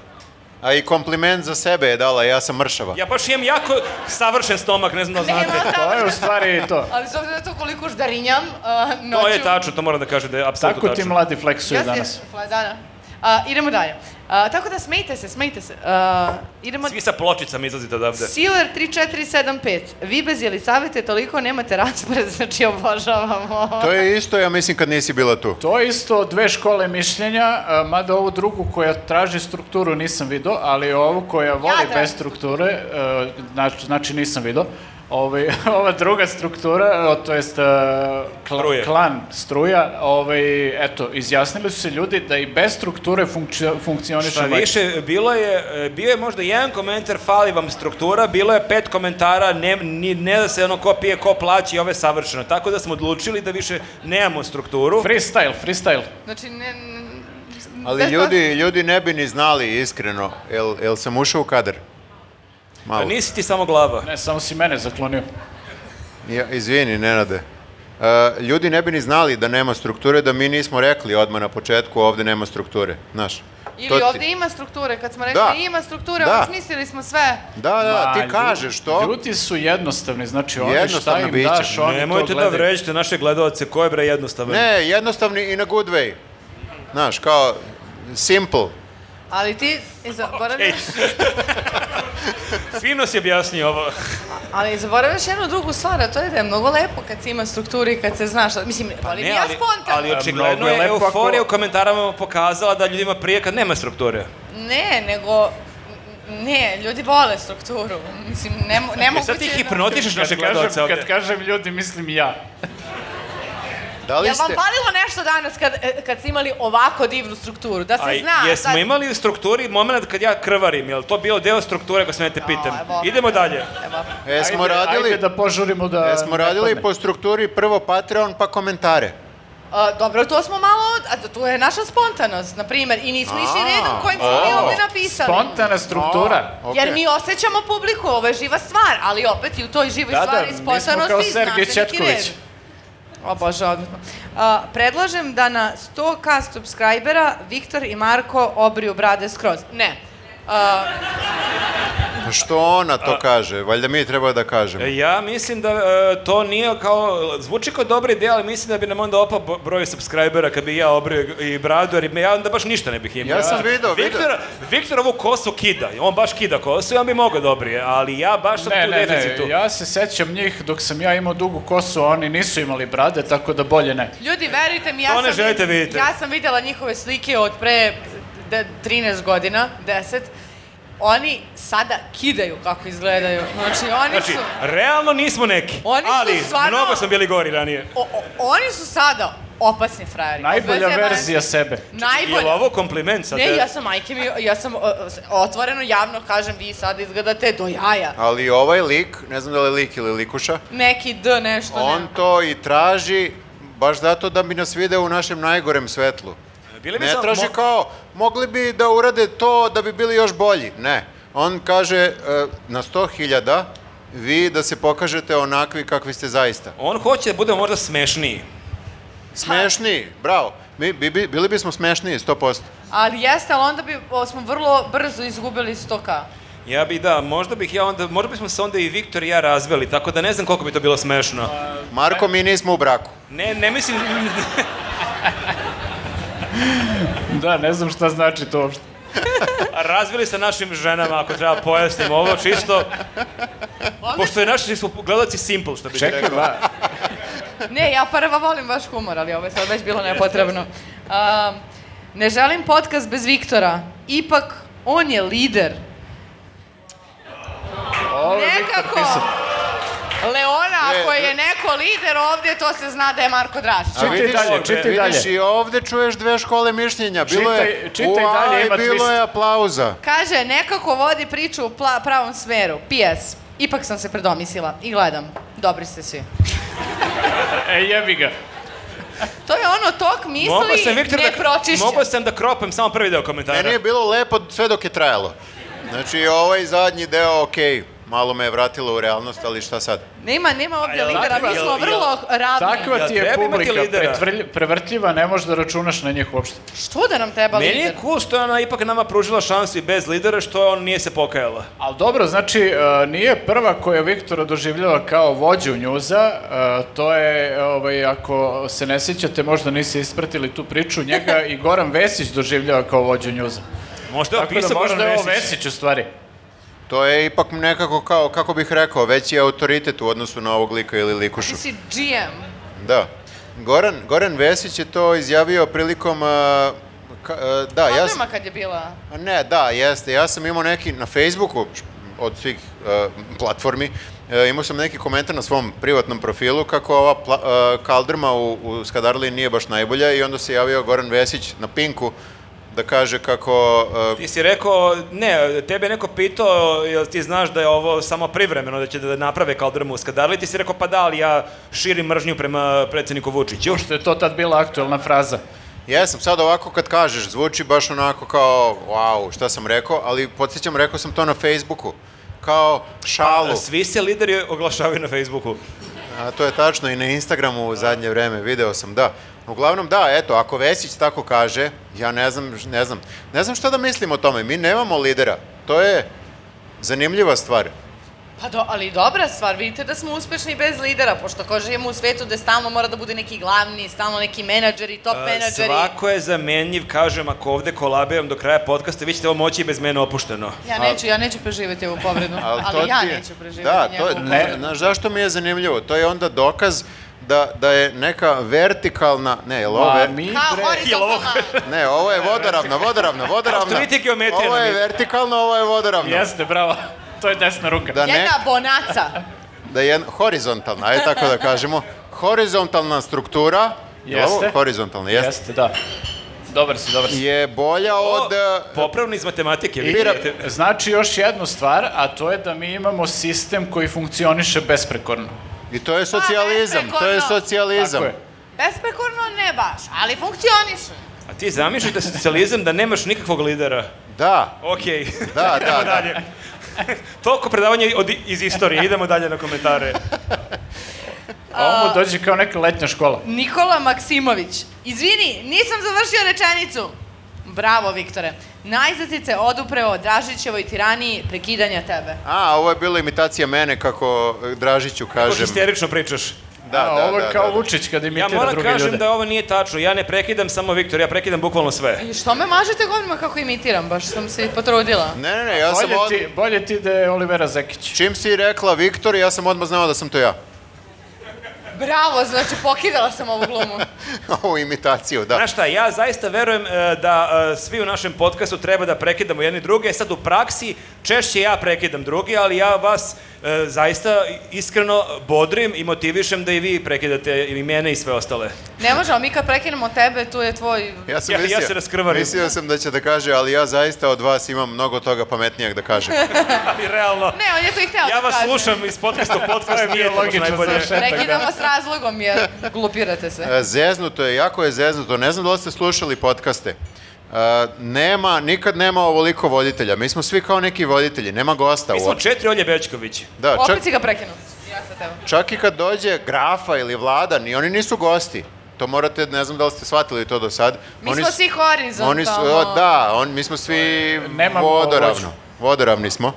Speaker 2: A i kompliment za sebe je dala, ja sam mršava.
Speaker 1: Ja baš imam jako savršen stomak, ne znam da li
Speaker 4: Nema
Speaker 1: znate.
Speaker 3: To je u
Speaker 4: tamo-
Speaker 3: stvari to.
Speaker 4: Ali s obzirom na to koliko ždarinjam uh, noću...
Speaker 1: To je tačno, to moram da kažem da je apsolutno
Speaker 3: Tako
Speaker 1: tačno.
Speaker 3: ti mladi fleksuju
Speaker 4: Ja
Speaker 3: danas.
Speaker 4: se... Da, da. A, idemo dalje. A, tako da smejte se, smejte se. A, idemo...
Speaker 1: Svi sa pločicama izlazite odavde.
Speaker 4: Siler 3475. Vi bez Jelisavete toliko nemate raspored, znači obožavamo.
Speaker 2: To je isto, ja mislim, kad nisi bila tu.
Speaker 3: To je isto dve škole mišljenja, a, mada ovu drugu koja traži strukturu nisam vidio, ali ovu koja voli
Speaker 4: tražim
Speaker 2: da.
Speaker 3: bez strukture, e, znači, znači nisam vidio. Ovaj, ova druga struktura, o, to jest e, kla-
Speaker 1: Struje.
Speaker 3: klan struja, ovaj, eto, izjasnili su se ljudi da i bez strukture funkcio, funkcioniše
Speaker 1: Šta
Speaker 3: lepo.
Speaker 1: više, bilo je, e, bio je možda jedan komentar, fali vam struktura, bilo je pet komentara, ne, ni, ne da se ono ko pije, ko plaći, ove savršeno. Tako da smo odlučili da više nemamo strukturu.
Speaker 3: Freestyle, freestyle.
Speaker 4: Znači, ne... ne-
Speaker 2: Ali
Speaker 4: bez
Speaker 2: ljudi, ljudi ne bi ni znali, iskreno. Jel, jel sam ušao u kadar?
Speaker 1: A
Speaker 3: Pa
Speaker 2: Malo.
Speaker 1: nisi ti samo glava.
Speaker 3: Ne, samo si mene zaklonio.
Speaker 2: Ja, izvini, Nenade. Uh, ljudi ne bi ni znali da nema strukture, da mi nismo rekli odmah na početku ovde nema strukture, znaš. To
Speaker 4: Ili
Speaker 2: ti-
Speaker 4: ovde ima strukture, kad smo rekli
Speaker 2: Da.
Speaker 4: ima strukture,
Speaker 2: Da.
Speaker 4: osmislili smo sve.
Speaker 2: Da, da,
Speaker 3: Ma,
Speaker 2: ti
Speaker 3: lju-
Speaker 2: kažeš to.
Speaker 3: Ljudi su jednostavni, znači oni šta
Speaker 2: Jednostavna
Speaker 3: im
Speaker 2: bića.
Speaker 3: daš, oni
Speaker 1: Nemojte
Speaker 3: to
Speaker 1: da
Speaker 3: gledaju.
Speaker 1: vređate naše gledalce, ko je bre jednostavan?
Speaker 2: Ne, jednostavni i na good way. Znaš, kao simple.
Speaker 4: Ali ti i zaboravljaš,
Speaker 1: Ej. Fino si objasnio ovo.
Speaker 4: ali zaboravljaš jednu drugu stvar, a to je da je mnogo lepo kad se ima strukturi i kad se znaš, šta- mislim,
Speaker 2: Pa
Speaker 4: ali ja spontan.
Speaker 1: ali očigledno
Speaker 3: Mnogo je
Speaker 1: je
Speaker 3: lepo ako-
Speaker 1: euforija u komentarama pokazala da ljudima prije kad nema strukture.
Speaker 4: Ne, nego, ne, ljudi vole strukturu, mislim, ne, mo-
Speaker 1: E
Speaker 4: nemoguće...
Speaker 1: sad ti
Speaker 4: je da-
Speaker 1: hipnotišeš naše
Speaker 3: Kad
Speaker 1: gledalce
Speaker 3: kažem,
Speaker 1: ovde.
Speaker 3: kad kažem ljudi, mislim ja.
Speaker 2: Da li
Speaker 4: Jel vam
Speaker 2: ste...
Speaker 4: palilo nešto danas kad, e, kad ste imali ovako divnu strukturu? Da se
Speaker 1: A
Speaker 4: zna...
Speaker 1: jesmo
Speaker 4: sad-
Speaker 1: imali u strukturi moment kad ja krvarim, jel to bio deo strukture ako smete pitam?
Speaker 4: A, Da, evo.
Speaker 1: Idemo dalje.
Speaker 4: Evo.
Speaker 2: Jesmo
Speaker 3: Ajde-
Speaker 2: radili,
Speaker 3: Ajde da požurimo da...
Speaker 2: jesmo
Speaker 3: ne
Speaker 2: radili
Speaker 3: padne.
Speaker 2: po strukturi prvo Patreon pa komentare.
Speaker 4: A, dobro, to smo malo, a to je naša spontanost, na primer, i nismo išli
Speaker 2: A,
Speaker 4: redom kojim smo mi
Speaker 2: o,
Speaker 4: ovde napisali.
Speaker 3: Spontana struktura.
Speaker 2: O,
Speaker 4: Jer
Speaker 2: okej.
Speaker 4: mi osjećamo publiku, ovo je živa stvar, ali opet i u toj živoj
Speaker 3: Da, da,
Speaker 4: stvari
Speaker 3: mi smo
Speaker 4: spontanosti
Speaker 3: kao
Speaker 4: zna
Speaker 3: Sergej
Speaker 4: se neki
Speaker 3: Četković.
Speaker 4: red. O bože, odmetno. A, predlažem da na 100k subscribera Viktor i Marko obriju brade skroz. Ne. A,
Speaker 2: Pa Što ona to kaže? Valjda mi treba da kažemo.
Speaker 1: Ja mislim da e, to nije kao, zvuči kao dobra ideja, ali mislim da bi nam onda opao bo- broj subscribera kad bi ja obrio i bradu, jer ja onda baš ništa ne bih imao. Znači,
Speaker 2: Ja sam video, video.
Speaker 1: Viktor, Viktor ovu kosu kida, on baš kida kosu i on bi mogao da obrije, ali ja baš sam
Speaker 3: Ne,
Speaker 1: tu
Speaker 3: ne,
Speaker 1: deficitu.
Speaker 3: ne, ja se sećam njih dok sam ja imao dugu kosu, a oni nisu imali brade, tako da bolje ne.
Speaker 4: ljudi, verujte mi, ja
Speaker 1: To ne
Speaker 4: sam,
Speaker 1: želite vidjeti.
Speaker 4: ja sam videla njihove slike od pre de- 13 godina, 10. Oni sada kidaju kako izgledaju. Znači, oni
Speaker 1: Znači,
Speaker 4: su...
Speaker 1: realno nismo neki,
Speaker 4: Oni su
Speaker 1: ali
Speaker 4: stvarno-
Speaker 1: mnogo smo bili gori ranije.
Speaker 4: O, o- oni su sada opasni frajeri.
Speaker 3: Najbolja
Speaker 4: Bez jebanja.
Speaker 3: verzija sebe.
Speaker 1: Je li
Speaker 4: Najbolja.
Speaker 1: ovo kompliment sad?
Speaker 4: Ne, ja sam majke mi, ja sam o, o, s- otvoreno javno kažem, vi sad izgledate do jaja.
Speaker 2: Ali ovaj lik, ne znam da li je lik ili likuša,
Speaker 4: Neki D
Speaker 3: Pa
Speaker 4: nešto,
Speaker 2: on
Speaker 4: ne.
Speaker 2: to i traži baš zato da bi nas video u našem najgorem svetlu.
Speaker 1: Bili bi
Speaker 2: Ne
Speaker 1: samo-
Speaker 2: traži
Speaker 1: mo-
Speaker 2: kao, mogli bi da urade to da bi bili još bolji. Ne. On kaže, e, na 100.000 vi da se pokažete onakvi kakvi ste zaista.
Speaker 1: On hoće da bude možda smešniji.
Speaker 2: Smešniji, bravo. Mi bi, bi- bili bismo smešniji, 100%.
Speaker 4: Ali jeste, ali onda bi, o, smo vrlo brzo izgubili 100k.
Speaker 1: Ja bi da, možda bih ja onda, možda bismo se onda i Viktor i ja razveli, tako da ne znam koliko bi to bilo smešno.
Speaker 2: Marko,
Speaker 1: Pa-
Speaker 2: mi nismo u braku.
Speaker 1: Ne, ne mislim,
Speaker 3: Da, ne znam šta znači to uopšte.
Speaker 1: razveli sa našim ženama, ako treba pojasnim ovo, čisto, pošto je naši su gledalci simple, što bi
Speaker 3: Čekaj, ba,
Speaker 4: Ne, ja prva volim vaš humor, ali ovo je sad već bilo nepotrebno. Um, ne želim podcast bez Viktora. Ipak, on je lider.
Speaker 3: ovo je Viktor
Speaker 4: Nekako.
Speaker 3: pisao.
Speaker 4: Leona,
Speaker 2: E,
Speaker 4: ako
Speaker 2: e.
Speaker 4: je neko lider ovdje, to se zna da je Marko Dražić.
Speaker 2: A vidiš,
Speaker 3: dalje, čitaj
Speaker 2: vidiš,
Speaker 3: dalje.
Speaker 2: i ovde čuješ dve škole mišljenja. Bilo je,
Speaker 3: Čitaj- čitaj
Speaker 2: uaj,
Speaker 3: dalje, ima
Speaker 2: bilo
Speaker 3: twist.
Speaker 2: je aplauza.
Speaker 4: Kaže, nekako vodi priču u pla- pravom smeru. P.S. Ipak sam se predomislila i gledam. Dobri ste svi.
Speaker 3: E, jebi ga.
Speaker 4: To je ono tok misli
Speaker 1: Mogao sam, Viktor,
Speaker 4: ne
Speaker 1: da,
Speaker 4: pročišća.
Speaker 1: mogao sam da kropam samo prvi deo komentara.
Speaker 2: Meni je bilo lepo sve dok je trajalo. Znači, ovaj zadnji deo, okej, malo me je vratilo u realnost, ali šta sad?
Speaker 4: Nema, nema ovdje
Speaker 1: jel
Speaker 4: lidera, mi
Speaker 1: takva-
Speaker 4: smo
Speaker 1: jel-
Speaker 4: vrlo ravni.
Speaker 3: Takva
Speaker 1: Jel
Speaker 3: ti je
Speaker 1: treba imati
Speaker 3: publika,
Speaker 1: lidera?
Speaker 3: pretvrlj- prevrtljiva, ne možeš da računaš na njih uopšte.
Speaker 4: Što da nam treba
Speaker 1: Meni
Speaker 4: lider?
Speaker 1: je cool što je ona ipak nama pružila šansu i bez lidera, što on nije se pokajala.
Speaker 3: Ali dobro, znači, e, nije prva koja Viktora doživljava kao vođu njuza, e, to je, e, ovaj, ako se ne sjećate, možda niste ispratili tu priču, njega i Goran Vesić doživljava kao vođu njuza.
Speaker 1: Možda je
Speaker 3: Tako da
Speaker 1: opisao Goran
Speaker 3: možda je ovo
Speaker 1: Vesić.
Speaker 3: Vesić u stvari.
Speaker 2: To je ipak nekako kao, kako bih rekao, veći autoritet u odnosu na ovog lika ili likušu.
Speaker 4: Ti si GM.
Speaker 2: Da. Goran, Goran Vesić je to izjavio prilikom... a, ka- a, da, ja,
Speaker 4: Odrema
Speaker 2: sam-
Speaker 4: kad je bila.
Speaker 2: A Ne, da, jeste. Ja sam imao neki na Facebooku š- od svih e, platformi, e, imao sam neki komentar na svom privatnom profilu kako ova pla- e, kaldrma u, u Skadarli nije baš najbolja i onda se javio Goran Vesić na Pinku da kaže kako... e,
Speaker 1: Ti si rekao, ne, tebe je neko pitao, jel ti znaš da je ovo samo privremeno, da će da naprave kao drmu u Skadarli, ti si rekao, pa da, ali ja širim mržnju prema predsjedniku Vučiću.
Speaker 3: Što je to tad bila aktuelna fraza.
Speaker 2: jesam, sad ovako kad kažeš, zvuči baš onako kao, wow, šta sam rekao, ali podsjećam, rekao sam to na Facebooku, kao šalu.
Speaker 1: Svi se lideri oglašavaju na Facebooku.
Speaker 2: A, to je tačno i na Instagramu u zadnje vreme, video sam, da. Uglavnom, da, eto, ako Vesić tako kaže, ja ne znam, ž- ne znam, ne znam šta da mislim o tome, mi nemamo lidera, to je zanimljiva stvar.
Speaker 4: Pa do, ali dobra stvar, vidite da smo uspešni bez lidera, pošto ko živimo u svetu da stalno mora da bude neki glavni, stalno neki menadžeri, top
Speaker 1: A,
Speaker 4: menadžeri.
Speaker 1: Svako je zamenjiv, kažem, ako ovde kolabiram do kraja podcasta, vi ćete ovo moći i bez mene opušteno.
Speaker 4: Ja neću, ja neću preživjeti ovu povredu, ali,
Speaker 2: to
Speaker 4: ja
Speaker 2: ti je-
Speaker 4: neću preživjeti
Speaker 2: Da, to
Speaker 4: njegovu
Speaker 2: je,
Speaker 4: povredu.
Speaker 3: Ne.
Speaker 2: znaš zašto mi je zanimljivo? To je onda dokaz da, da je neka vertikalna, ne, jel ovo,
Speaker 3: Pa
Speaker 2: ver-
Speaker 3: mi
Speaker 4: Kao
Speaker 3: bre-
Speaker 4: horizontalna.
Speaker 2: ne, ovo je vodoravna, vodoravna, vodoravna.
Speaker 1: vidite, geometrija
Speaker 2: Ovo
Speaker 1: nam
Speaker 2: je
Speaker 1: je.
Speaker 2: vertikalno, ovo je vodoravno.
Speaker 3: Jeste, bravo. To je desna ruka.
Speaker 2: Da ne,
Speaker 4: Jedna bonaca.
Speaker 2: da je jedna- horizontalna, ajde tako da kažemo, horizontalna struktura, jel ovo?
Speaker 3: Jeste.
Speaker 2: horizontalna, jeste.
Speaker 3: Jeste, da. Dobar si, dobar si.
Speaker 2: je bolja od...
Speaker 1: O,
Speaker 2: eh,
Speaker 1: Popravni iz matematike.
Speaker 3: I,
Speaker 1: vidite.
Speaker 3: znači još jednu stvar, a to je da mi imamo sistem koji funkcioniše besprekorno.
Speaker 2: I to je socijalizam, to je
Speaker 4: besprekorno.
Speaker 2: socijalizam.
Speaker 3: Tako je.
Speaker 4: Besprekorno ne baš, ali funkcioniše.
Speaker 1: A ti zamišljaš da si socijalizam, da nemaš nikakvog lidera.
Speaker 2: Da,
Speaker 1: Okej.
Speaker 2: da, da,
Speaker 1: Idemo
Speaker 2: da.
Speaker 1: dalje. Toliko predavanja od, iz istorije, idemo dalje na komentare.
Speaker 3: A ovo mu dođe kao neka letnja škola.
Speaker 4: Nikola Maksimović. Izvini, nisam završio rečenicu. Bravo, Viktore. Najzad se odupreo Dražićevoj tiraniji prekidanja tebe.
Speaker 2: A, ovo je bila imitacija mene kako eh, Dražiću
Speaker 1: Kako
Speaker 2: kažem.
Speaker 1: histerično pričaš.
Speaker 2: Da,
Speaker 3: a
Speaker 2: da,
Speaker 3: ovo je
Speaker 2: da,
Speaker 3: kao
Speaker 2: da, da.
Speaker 3: Vučić kad
Speaker 1: Ja
Speaker 3: imitira
Speaker 1: moram
Speaker 3: druge
Speaker 1: kažem
Speaker 3: ljude.
Speaker 1: da ovo nije tačno. Ja ne prekidam samo Viktor, ja prekidam bukvalno sve.
Speaker 4: I što me mažete govnima kako imitiram, baš sam se potrudila.
Speaker 2: da. Ne, ne, ne, ja sam
Speaker 3: Bolje
Speaker 2: od...
Speaker 3: ti, bolje ti da je Olivera Zekić.
Speaker 2: Čim si rekla Viktor, ja sam odmah znao da sam to ja.
Speaker 4: Bravo, znači pokidala sam ovu glumu.
Speaker 2: Ovu imitaciju, da.
Speaker 1: Znaš šta, ja zaista verujem e, da e, svi u našem podcastu treba da prekidamo jedni druge. Sad u praksi češće ja prekidam drugi, ali ja vas e, zaista iskreno bodrim i motivišem da i vi prekidate i mene i sve ostale.
Speaker 4: Ne možemo, mi kad prekinemo tebe, tu je tvoj...
Speaker 2: Ja sam
Speaker 1: Ja- ja
Speaker 2: mislio,
Speaker 1: se raskrvarim.
Speaker 2: mislio sam da će da kaže, ali ja zaista od vas imam mnogo toga pametnijeg da kažem.
Speaker 1: Ali realno,
Speaker 4: Ne, on je to i hteo
Speaker 1: ja
Speaker 4: da
Speaker 1: vas
Speaker 4: kaže.
Speaker 1: slušam da. iz podcasta u
Speaker 3: To je
Speaker 1: podcast,
Speaker 3: bio
Speaker 1: nije to baš
Speaker 3: logično
Speaker 1: najbolje.
Speaker 3: završetak.
Speaker 4: Prekidam vas razlogom jer glupirate se.
Speaker 2: E, Zeznuto je, jako je zeznuto. Ne znam da li ste slušali podcaste. E, nema, nikad nema ovoliko voditelja. Mi smo svi kao neki voditelji, nema gosta
Speaker 1: Mi smo
Speaker 2: uopšte.
Speaker 1: četiri Olje Bećković.
Speaker 2: Da, čak,
Speaker 4: Opet si ga prekinuo. Ja sa tebom.
Speaker 2: čak i kad dođe grafa ili vladan i oni nisu gosti. To morate, ne znam da li ste shvatili to do sad.
Speaker 4: Mi
Speaker 2: oni
Speaker 4: smo
Speaker 2: su-
Speaker 4: svi E, horizontalno.
Speaker 2: Oni su, o, da, on, mi smo svi
Speaker 3: Nemamo vođu.
Speaker 2: vodoravno. Vodoravni smo.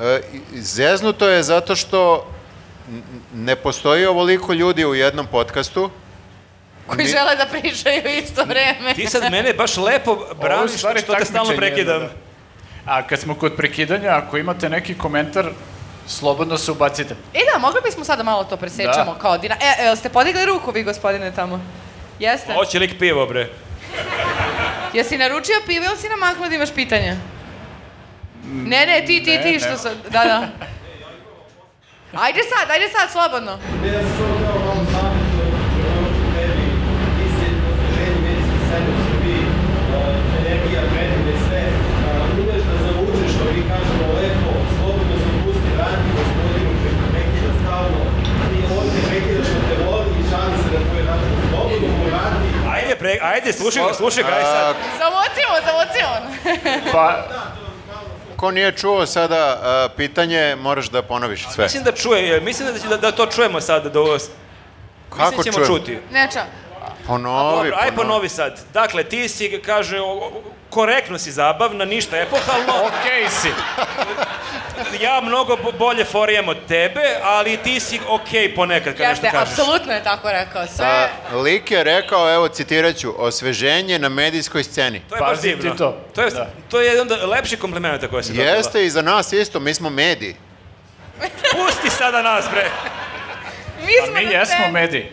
Speaker 2: E, i- i zeznuto je zato što n- ne postoji ovoliko ljudi u jednom podcastu.
Speaker 4: Koji
Speaker 2: Mi-
Speaker 4: žele da pričaju isto vreme.
Speaker 1: Ti sad mene baš lepo
Speaker 3: Ovo je u
Speaker 1: braniš što
Speaker 3: stvari
Speaker 1: te stalno
Speaker 3: takmičenje
Speaker 1: prekidam.
Speaker 3: jedno, da. A kad smo kod prekidanja, ako imate neki komentar, slobodno se ubacite.
Speaker 4: E da, mogli bismo sada malo to presečemo
Speaker 3: Da.
Speaker 4: kao dina... E, e, ste podigli ruku vi, gospodine, tamo?
Speaker 3: da.
Speaker 4: Jeste?
Speaker 1: Hoće lik pivo, bre.
Speaker 4: Jesi naručio pive ili si namaknuo da imaš pitanje? Ne, ne, ti, ti,
Speaker 3: ne,
Speaker 4: ti,
Speaker 3: Mm, ne.
Speaker 4: što sam... Da, da. Ajde sad, ajde sad, slobodno.
Speaker 7: Ja sam samo kao malo zametu, tebi, ti si osveženje medijske scene u Srbiji, eh, energija, medije, sve, eh, umeš da zavučeš, što mi kažemo, lepo, slobodno se pusti ranki gospodinu koji te prekida stalno, ti on te prekida što te voli i šali se na tvoj račun, slobodno mu radi,
Speaker 1: Ajde, pre, ajde, slušaj ga, slušaj ga, aj sad.
Speaker 2: A,
Speaker 4: Zamocimo, zamocimo.
Speaker 3: Pa,
Speaker 2: ko nije čuo sada a, pitanje, moraš da ponoviš sve.
Speaker 1: Mislim da čuje, jer mislim da, će- da, da to čujemo sada. Da, ovo- mislim
Speaker 2: Kako
Speaker 1: da ćemo
Speaker 2: čujemo?
Speaker 1: čuti.
Speaker 4: Neča,
Speaker 2: Ponovi,
Speaker 1: Dobro, aj ponovi sad. Dakle, ti si, kaže, o- o- korektno si zabavna, ništa epohalno.
Speaker 3: Okej si.
Speaker 1: ja mnogo bo- bolje forijem od tebe, ali ti si okej ponekad kad nešto
Speaker 4: jeste,
Speaker 1: kažeš.
Speaker 4: apsolutno je tako rekao.
Speaker 2: A,
Speaker 4: Sve,
Speaker 2: lik je rekao, evo citirat ću, osveženje na medijskoj sceni.
Speaker 1: To je baš
Speaker 3: Pazi ti
Speaker 1: divno.
Speaker 3: to.
Speaker 1: To je,
Speaker 3: Da.
Speaker 1: to je jedan od lepših komplimenta koje si dobila.
Speaker 2: Jeste i za nas isto, mi smo mediji.
Speaker 1: Pusti sada nas, bre.
Speaker 4: mi
Speaker 3: A
Speaker 4: smo
Speaker 3: Pa, mi
Speaker 4: na
Speaker 3: jesmo
Speaker 4: sceni.
Speaker 3: mediji.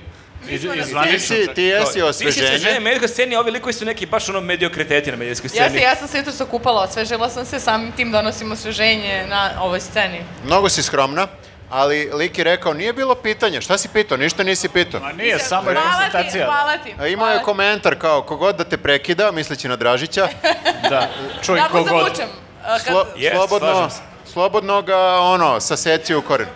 Speaker 3: I,
Speaker 4: smo na
Speaker 3: i
Speaker 4: sceni.
Speaker 2: Ti,
Speaker 3: zvanično.
Speaker 2: si, ti jesi
Speaker 1: Ti si osveženje na
Speaker 2: osveženje.
Speaker 1: medijskoj sceni, a ovi likovi su neki baš ono mediokriteti na medijskoj sceni.
Speaker 4: Jeste, ja sam se jutro okupala, osvežila sam se, samim tim donosim osveženje na ovoj sceni.
Speaker 2: Mnogo si skromna, ali lik je rekao, nije bilo pitanja, šta si pitao, ništa nisi pitao.
Speaker 3: Ma nije, samo je
Speaker 4: Hvala ti,
Speaker 3: konstatacija.
Speaker 4: hvala ti.
Speaker 2: A Imao je
Speaker 4: hvala ti.
Speaker 2: komentar kao, kogod da te prekida, misleći na Dražića,
Speaker 3: Da, čuj
Speaker 4: Tako
Speaker 3: kogod.
Speaker 4: zavučem. a, kad-
Speaker 2: slo,
Speaker 1: Jest,
Speaker 2: slobodno,
Speaker 1: slažem se.
Speaker 2: slobodno ga, ono, saseci u koren.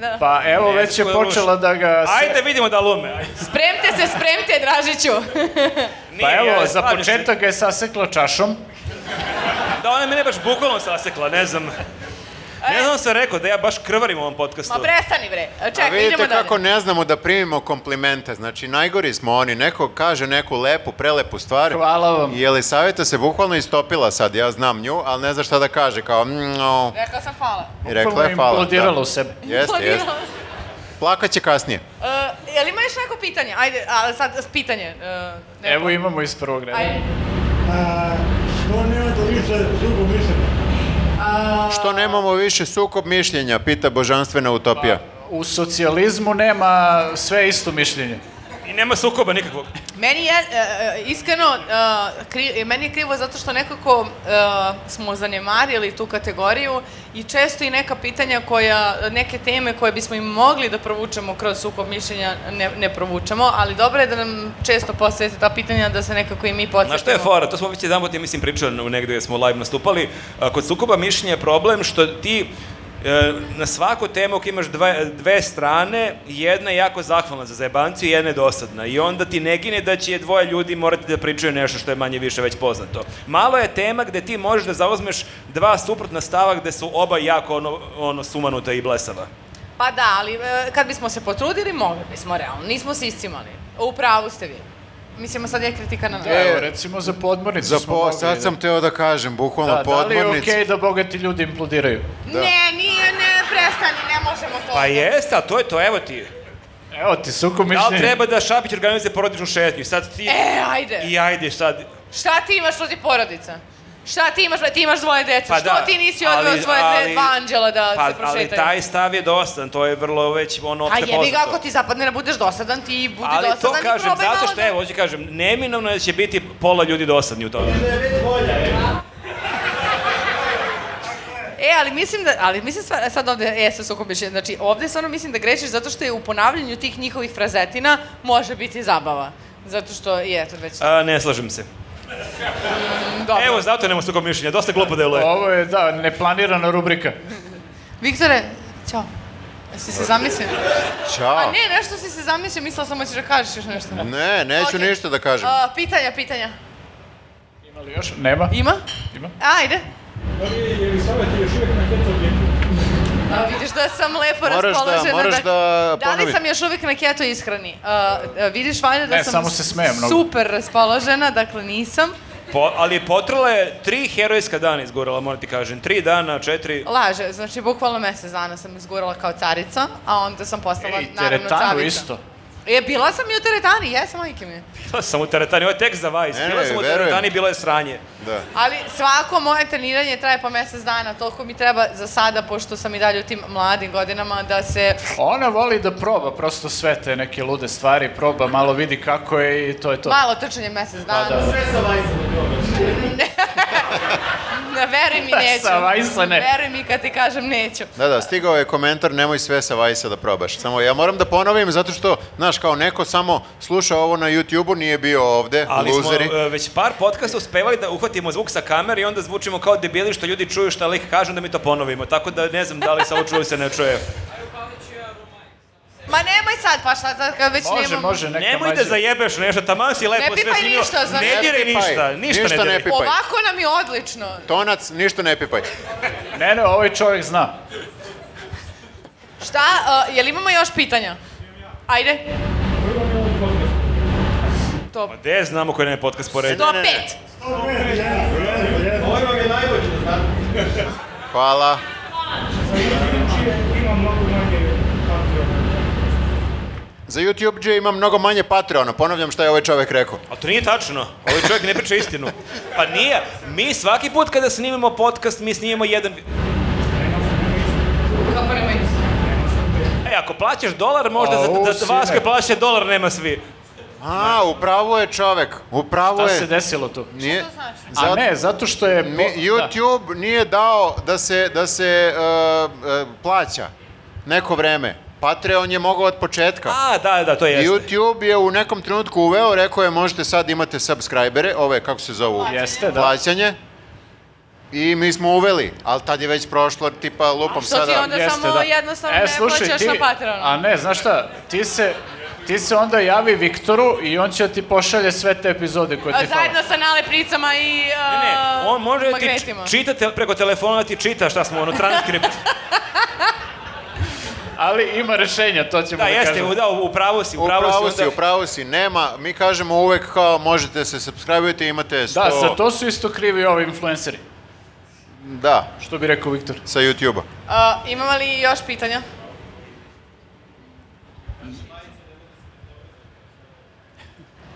Speaker 4: da.
Speaker 3: Pa evo
Speaker 1: Ne,
Speaker 3: već je
Speaker 1: tako je
Speaker 3: počela da ga... se-
Speaker 1: Ajde, vidimo da lume. Ajde.
Speaker 4: Spremte se, spremte, Dražiću.
Speaker 1: Nije,
Speaker 3: Pa evo,
Speaker 1: ja,
Speaker 3: za
Speaker 1: slažem se.
Speaker 3: početak ga je sasekla čašom.
Speaker 1: Da, ona je mene baš bukvalno sasekla, ne znam. Ne znam sam rekao da ja baš krvarim u ovom podcastu.
Speaker 4: E. Ma prestani bre.
Speaker 2: A
Speaker 4: Čekaj, idemo
Speaker 2: vidite
Speaker 4: dalje.
Speaker 2: kako ne znamo da primimo komplimente, znači najgori smo oni, neko kaže neku lepu, prelepu stvar.
Speaker 3: Hvala vam.
Speaker 2: I Elisaveta se bukvalno istopila sad, ja znam nju, ali ne zna šta da kaže, kao mm, no.
Speaker 4: Rekao sam hvala.
Speaker 2: I rekla je hvala.
Speaker 3: Implodirala
Speaker 2: da.
Speaker 3: u sebe.
Speaker 2: Jeste, jeste.
Speaker 4: Planirala sam.
Speaker 2: Plakaće kasnije.
Speaker 4: E, jel ima još neko pitanje? Ajde, ali sad pitanje. Uh,
Speaker 3: Evo imamo iz prvog reda.
Speaker 4: Ajde.
Speaker 8: Što nema da više sugu mišljenja?
Speaker 2: Što nemamo više sukob mišljenja, pita božanstvena utopija.
Speaker 3: U socijalizmu nema sve isto mišljenje.
Speaker 1: I nema sukoba nikakvog.
Speaker 4: Meni je, e, e, iskreno, e, kri, meni je krivo zato što nekako e, smo zanemarili tu kategoriju i često i neka pitanja koja, neke teme koje bismo im mogli da provučemo kroz sukob mišljenja ne, ne provučemo, ali dobro je da nam često postavite ta pitanja da se nekako i mi podsjetimo.
Speaker 1: Znaš šta je fora? To smo već jedan put, ja mislim, pričali u negde gde smo live nastupali. A, Kod sukoba mišljenja je problem što ti e, na svaku temu ako imaš dve, dve strane, jedna je jako zahvalna za zajebancu i jedna je dosadna. I onda ti ne gine da će dvoje ljudi morati da pričaju nešto što je manje više već poznato. Malo je tema gde ti možeš da zauzmeš dva suprotna stava gde su oba jako ono, ono sumanuta i blesava.
Speaker 4: Pa da, ali e, kad bismo se potrudili, mogli bismo, realno. Nismo se iscimali. U pravu ste vi. Mislimo, sad je
Speaker 1: Da.
Speaker 4: kritika na nas.
Speaker 2: E,
Speaker 3: Evo, recimo za podmornicu
Speaker 2: Za
Speaker 3: smo
Speaker 2: po,
Speaker 3: mogli
Speaker 2: sad
Speaker 3: da-
Speaker 2: sam teo da kažem, bukvalno
Speaker 3: Da, da li je
Speaker 2: podmornici.
Speaker 3: okej da bogati ljudi implodiraju?
Speaker 4: Ne, nije, ne, prestani, ne možemo to.
Speaker 1: Pa jeste, a to je to, evo ti.
Speaker 3: Evo ti suku
Speaker 1: Da li
Speaker 3: mišljenje.
Speaker 1: treba da Šapić organizuje porodičnu šetnju? Sad ti...
Speaker 4: E, ajde. Da
Speaker 1: I ajde sad...
Speaker 4: Šta ti imaš protiv porodica? Šta ti imaš, bre, ti imaš dvoje dece,
Speaker 1: Pa
Speaker 4: što
Speaker 1: da,
Speaker 4: ti nisi
Speaker 1: ali-
Speaker 4: odveo svoje
Speaker 1: ali-
Speaker 4: dve, dva anđela da
Speaker 1: Pa, ali
Speaker 4: se prošetaju?
Speaker 1: taj stav je dosadan, to je vrlo već ono
Speaker 4: A
Speaker 1: opšte poznato.
Speaker 4: jebi ga, ako ti zapadne da budeš dosadan, ti budi
Speaker 1: Ali to
Speaker 4: dosadan i
Speaker 1: kažem,
Speaker 4: probaj
Speaker 1: zato
Speaker 4: malo
Speaker 1: što,
Speaker 4: da-
Speaker 1: evo, hoću kažem, neminovno je da će biti pola ljudi dosadni u tome.
Speaker 9: Da je već bolja, evo.
Speaker 4: E, ali mislim da, ali mislim sva- sad ovde, e, sa sukom mišljenja, znači ovde stvarno mislim da grešiš zato što je u ponavljanju tih njihovih frazetina može biti zabava. Zato što, i eto, već
Speaker 1: A, ne slažem se.
Speaker 4: dobro.
Speaker 1: Evo, zato nema sukob mišljenja, dosta glupo deluje.
Speaker 3: Ovo je, da, neplanirana rubrika.
Speaker 4: Viktore, ćao. Jesi se zamislio?
Speaker 2: Ćao.
Speaker 4: A ne, nešto si se zamislio, mislila sam hoćeš da kažeš još nešto.
Speaker 2: Ne, neću
Speaker 4: Ok.
Speaker 2: ništa da kažem.
Speaker 4: A, pitanja, pitanja.
Speaker 3: Ima li još? Nema.
Speaker 4: Ima?
Speaker 3: Ima.
Speaker 4: Ajde.
Speaker 9: Da li je Elisaveta još uvijek na keto obliku?
Speaker 4: A, vidiš da sam lepo
Speaker 2: Moraš da-
Speaker 4: raspoložena.
Speaker 2: moraš da
Speaker 4: Da li
Speaker 2: ponovi.
Speaker 4: sam još uvijek na keto ishrani? A, a, vidiš valjda da
Speaker 3: Ne,
Speaker 4: sam
Speaker 3: samo se smeje mnogo.
Speaker 4: super raspoložena, dakle nisam.
Speaker 1: Po, ali potrala je tri herojska dana izgurala, moram ti kažem. Tri dana, četiri...
Speaker 4: Laže, znači bukvalno mesec dana sam izgurala kao carica, a onda sam postala
Speaker 3: I
Speaker 4: naravno
Speaker 3: teretanu
Speaker 4: cavica.
Speaker 3: isto.
Speaker 4: Je, bila sam i u teretani, jesam, majke mi.
Speaker 1: Bila sam u teretani, ovo je tekst za Vajs.
Speaker 2: Ne, ne,
Speaker 1: Bila sam u
Speaker 2: verujem.
Speaker 1: teretani, bilo je sranje.
Speaker 2: Da.
Speaker 4: Ali svako moje treniranje traje po mesec dana, toliko mi treba za sada, pošto sam i dalje u tim mladim godinama, da se
Speaker 3: Ona voli da proba prosto sve te neke lude stvari, proba, malo vidi kako je i to je to.
Speaker 4: malo trčanje mesec dana.
Speaker 1: Pa
Speaker 3: da.
Speaker 9: Sve sa vajsom probaš.
Speaker 4: Ne, veruj mi, neću.
Speaker 3: Pa Sa Vajsa ne.
Speaker 4: Veruj mi kad ti kažem neću.
Speaker 2: Da, da, stigao je komentar, nemoj sve sa Vajsa da probaš. Samo ja moram da ponovim, zato što, znaš, kao neko samo sluša ovo na YouTube-u, nije bio ovde,
Speaker 1: Ali
Speaker 2: luzeri.
Speaker 1: smo e, već par podcasta uspevali da uhvatimo zvuk sa kamere i onda zvučimo kao debili što ljudi čuju šta lik kažu da mi to ponovimo. Tako da ne znam da li se ovo čuje ili se ne čuje.
Speaker 4: Ma nemoj sad, pa šta, sad kad već
Speaker 3: Može,
Speaker 4: nemamo...
Speaker 3: može, neka
Speaker 1: Nemoj da
Speaker 3: mađe.
Speaker 1: zajebeš nešto, taman si lepo
Speaker 4: Ne
Speaker 1: sve
Speaker 4: pipaj
Speaker 1: snimio.
Speaker 4: ništa, znači.
Speaker 1: Ne
Speaker 4: Ne
Speaker 1: diraj
Speaker 2: pipaj.
Speaker 1: ništa, ništa,
Speaker 2: Ništa
Speaker 1: ne
Speaker 2: ne
Speaker 1: diraj.
Speaker 2: pipaj.
Speaker 4: Ovako nam je odlično.
Speaker 2: Tonac, ništa ne pipaj.
Speaker 3: Ne, ne, ovaj čovjek zna.
Speaker 4: Šta, uh, jel imamo još pitanja? Ajde. Top.
Speaker 1: Ma gde znamo koji nam je podcast pored?
Speaker 4: Top 5.
Speaker 7: Ovo vam je najbolje da znate.
Speaker 2: Hvala. Za YouTube ima mnogo manje Patreona, ponavljam šta je ovaj čovek rekao.
Speaker 1: A to nije tačno. Ovaj čovjek ne priča istinu. Pa nije. Mi svaki put kada snimimo podcast, mi snimimo jedan...
Speaker 4: Kako nema isto?
Speaker 1: E, ako plaćaš dolar, možda za,
Speaker 3: Au,
Speaker 1: za vas
Speaker 3: sine.
Speaker 1: koji plaća dolar nema svi.
Speaker 2: A, upravo je čovek, upravo
Speaker 3: Šta Da se
Speaker 2: je.
Speaker 3: desilo tu?
Speaker 2: Nije,
Speaker 4: Što to znači?
Speaker 3: A
Speaker 2: Zato-
Speaker 3: ne, zato što je...
Speaker 2: Mi,
Speaker 3: da.
Speaker 2: YouTube nije dao da se, da se uh, uh, plaća neko vreme. Patreon je mogao od početka.
Speaker 1: A, da, da, to jeste.
Speaker 2: YouTube je u nekom trenutku uveo, rekao je možete sad imate subscribere, ove kako se zovu,
Speaker 3: Da. Jeste, da.
Speaker 2: plaćanje. I mi smo uveli, ali tad je već prošlo, tipa lupom
Speaker 4: što ti
Speaker 2: sada.
Speaker 4: onda- Da samo
Speaker 3: da.
Speaker 4: jednostavno ne plaćaš na Patreonu.
Speaker 3: E, A ne, znaš šta, ti se, ti se onda javi Viktoru i on će ti pošalje sve te epizode koje ti fale.
Speaker 4: Zajedno sa nalepnicama i uh,
Speaker 1: Ne, ne, on može da ti
Speaker 4: magnetima.
Speaker 1: čitate preko telefona da ti čita šta smo, ono, transkript.
Speaker 3: Ali ima rešenja, to ćemo
Speaker 1: Da,
Speaker 3: da,
Speaker 1: jeste,
Speaker 3: kažemo.
Speaker 1: u- da, upravo si, upravo,
Speaker 2: Upravo
Speaker 1: si.
Speaker 2: si,
Speaker 1: onda-
Speaker 2: upravo si, nema, mi kažemo uvek kao možete se subscribe-ujete, imate 100...
Speaker 3: Da, za to su isto krivi ovi influenceri,
Speaker 2: Da,
Speaker 3: što bi rekao Viktor.
Speaker 2: sa YouTube-a.
Speaker 4: Uh, imamo li još pitanja?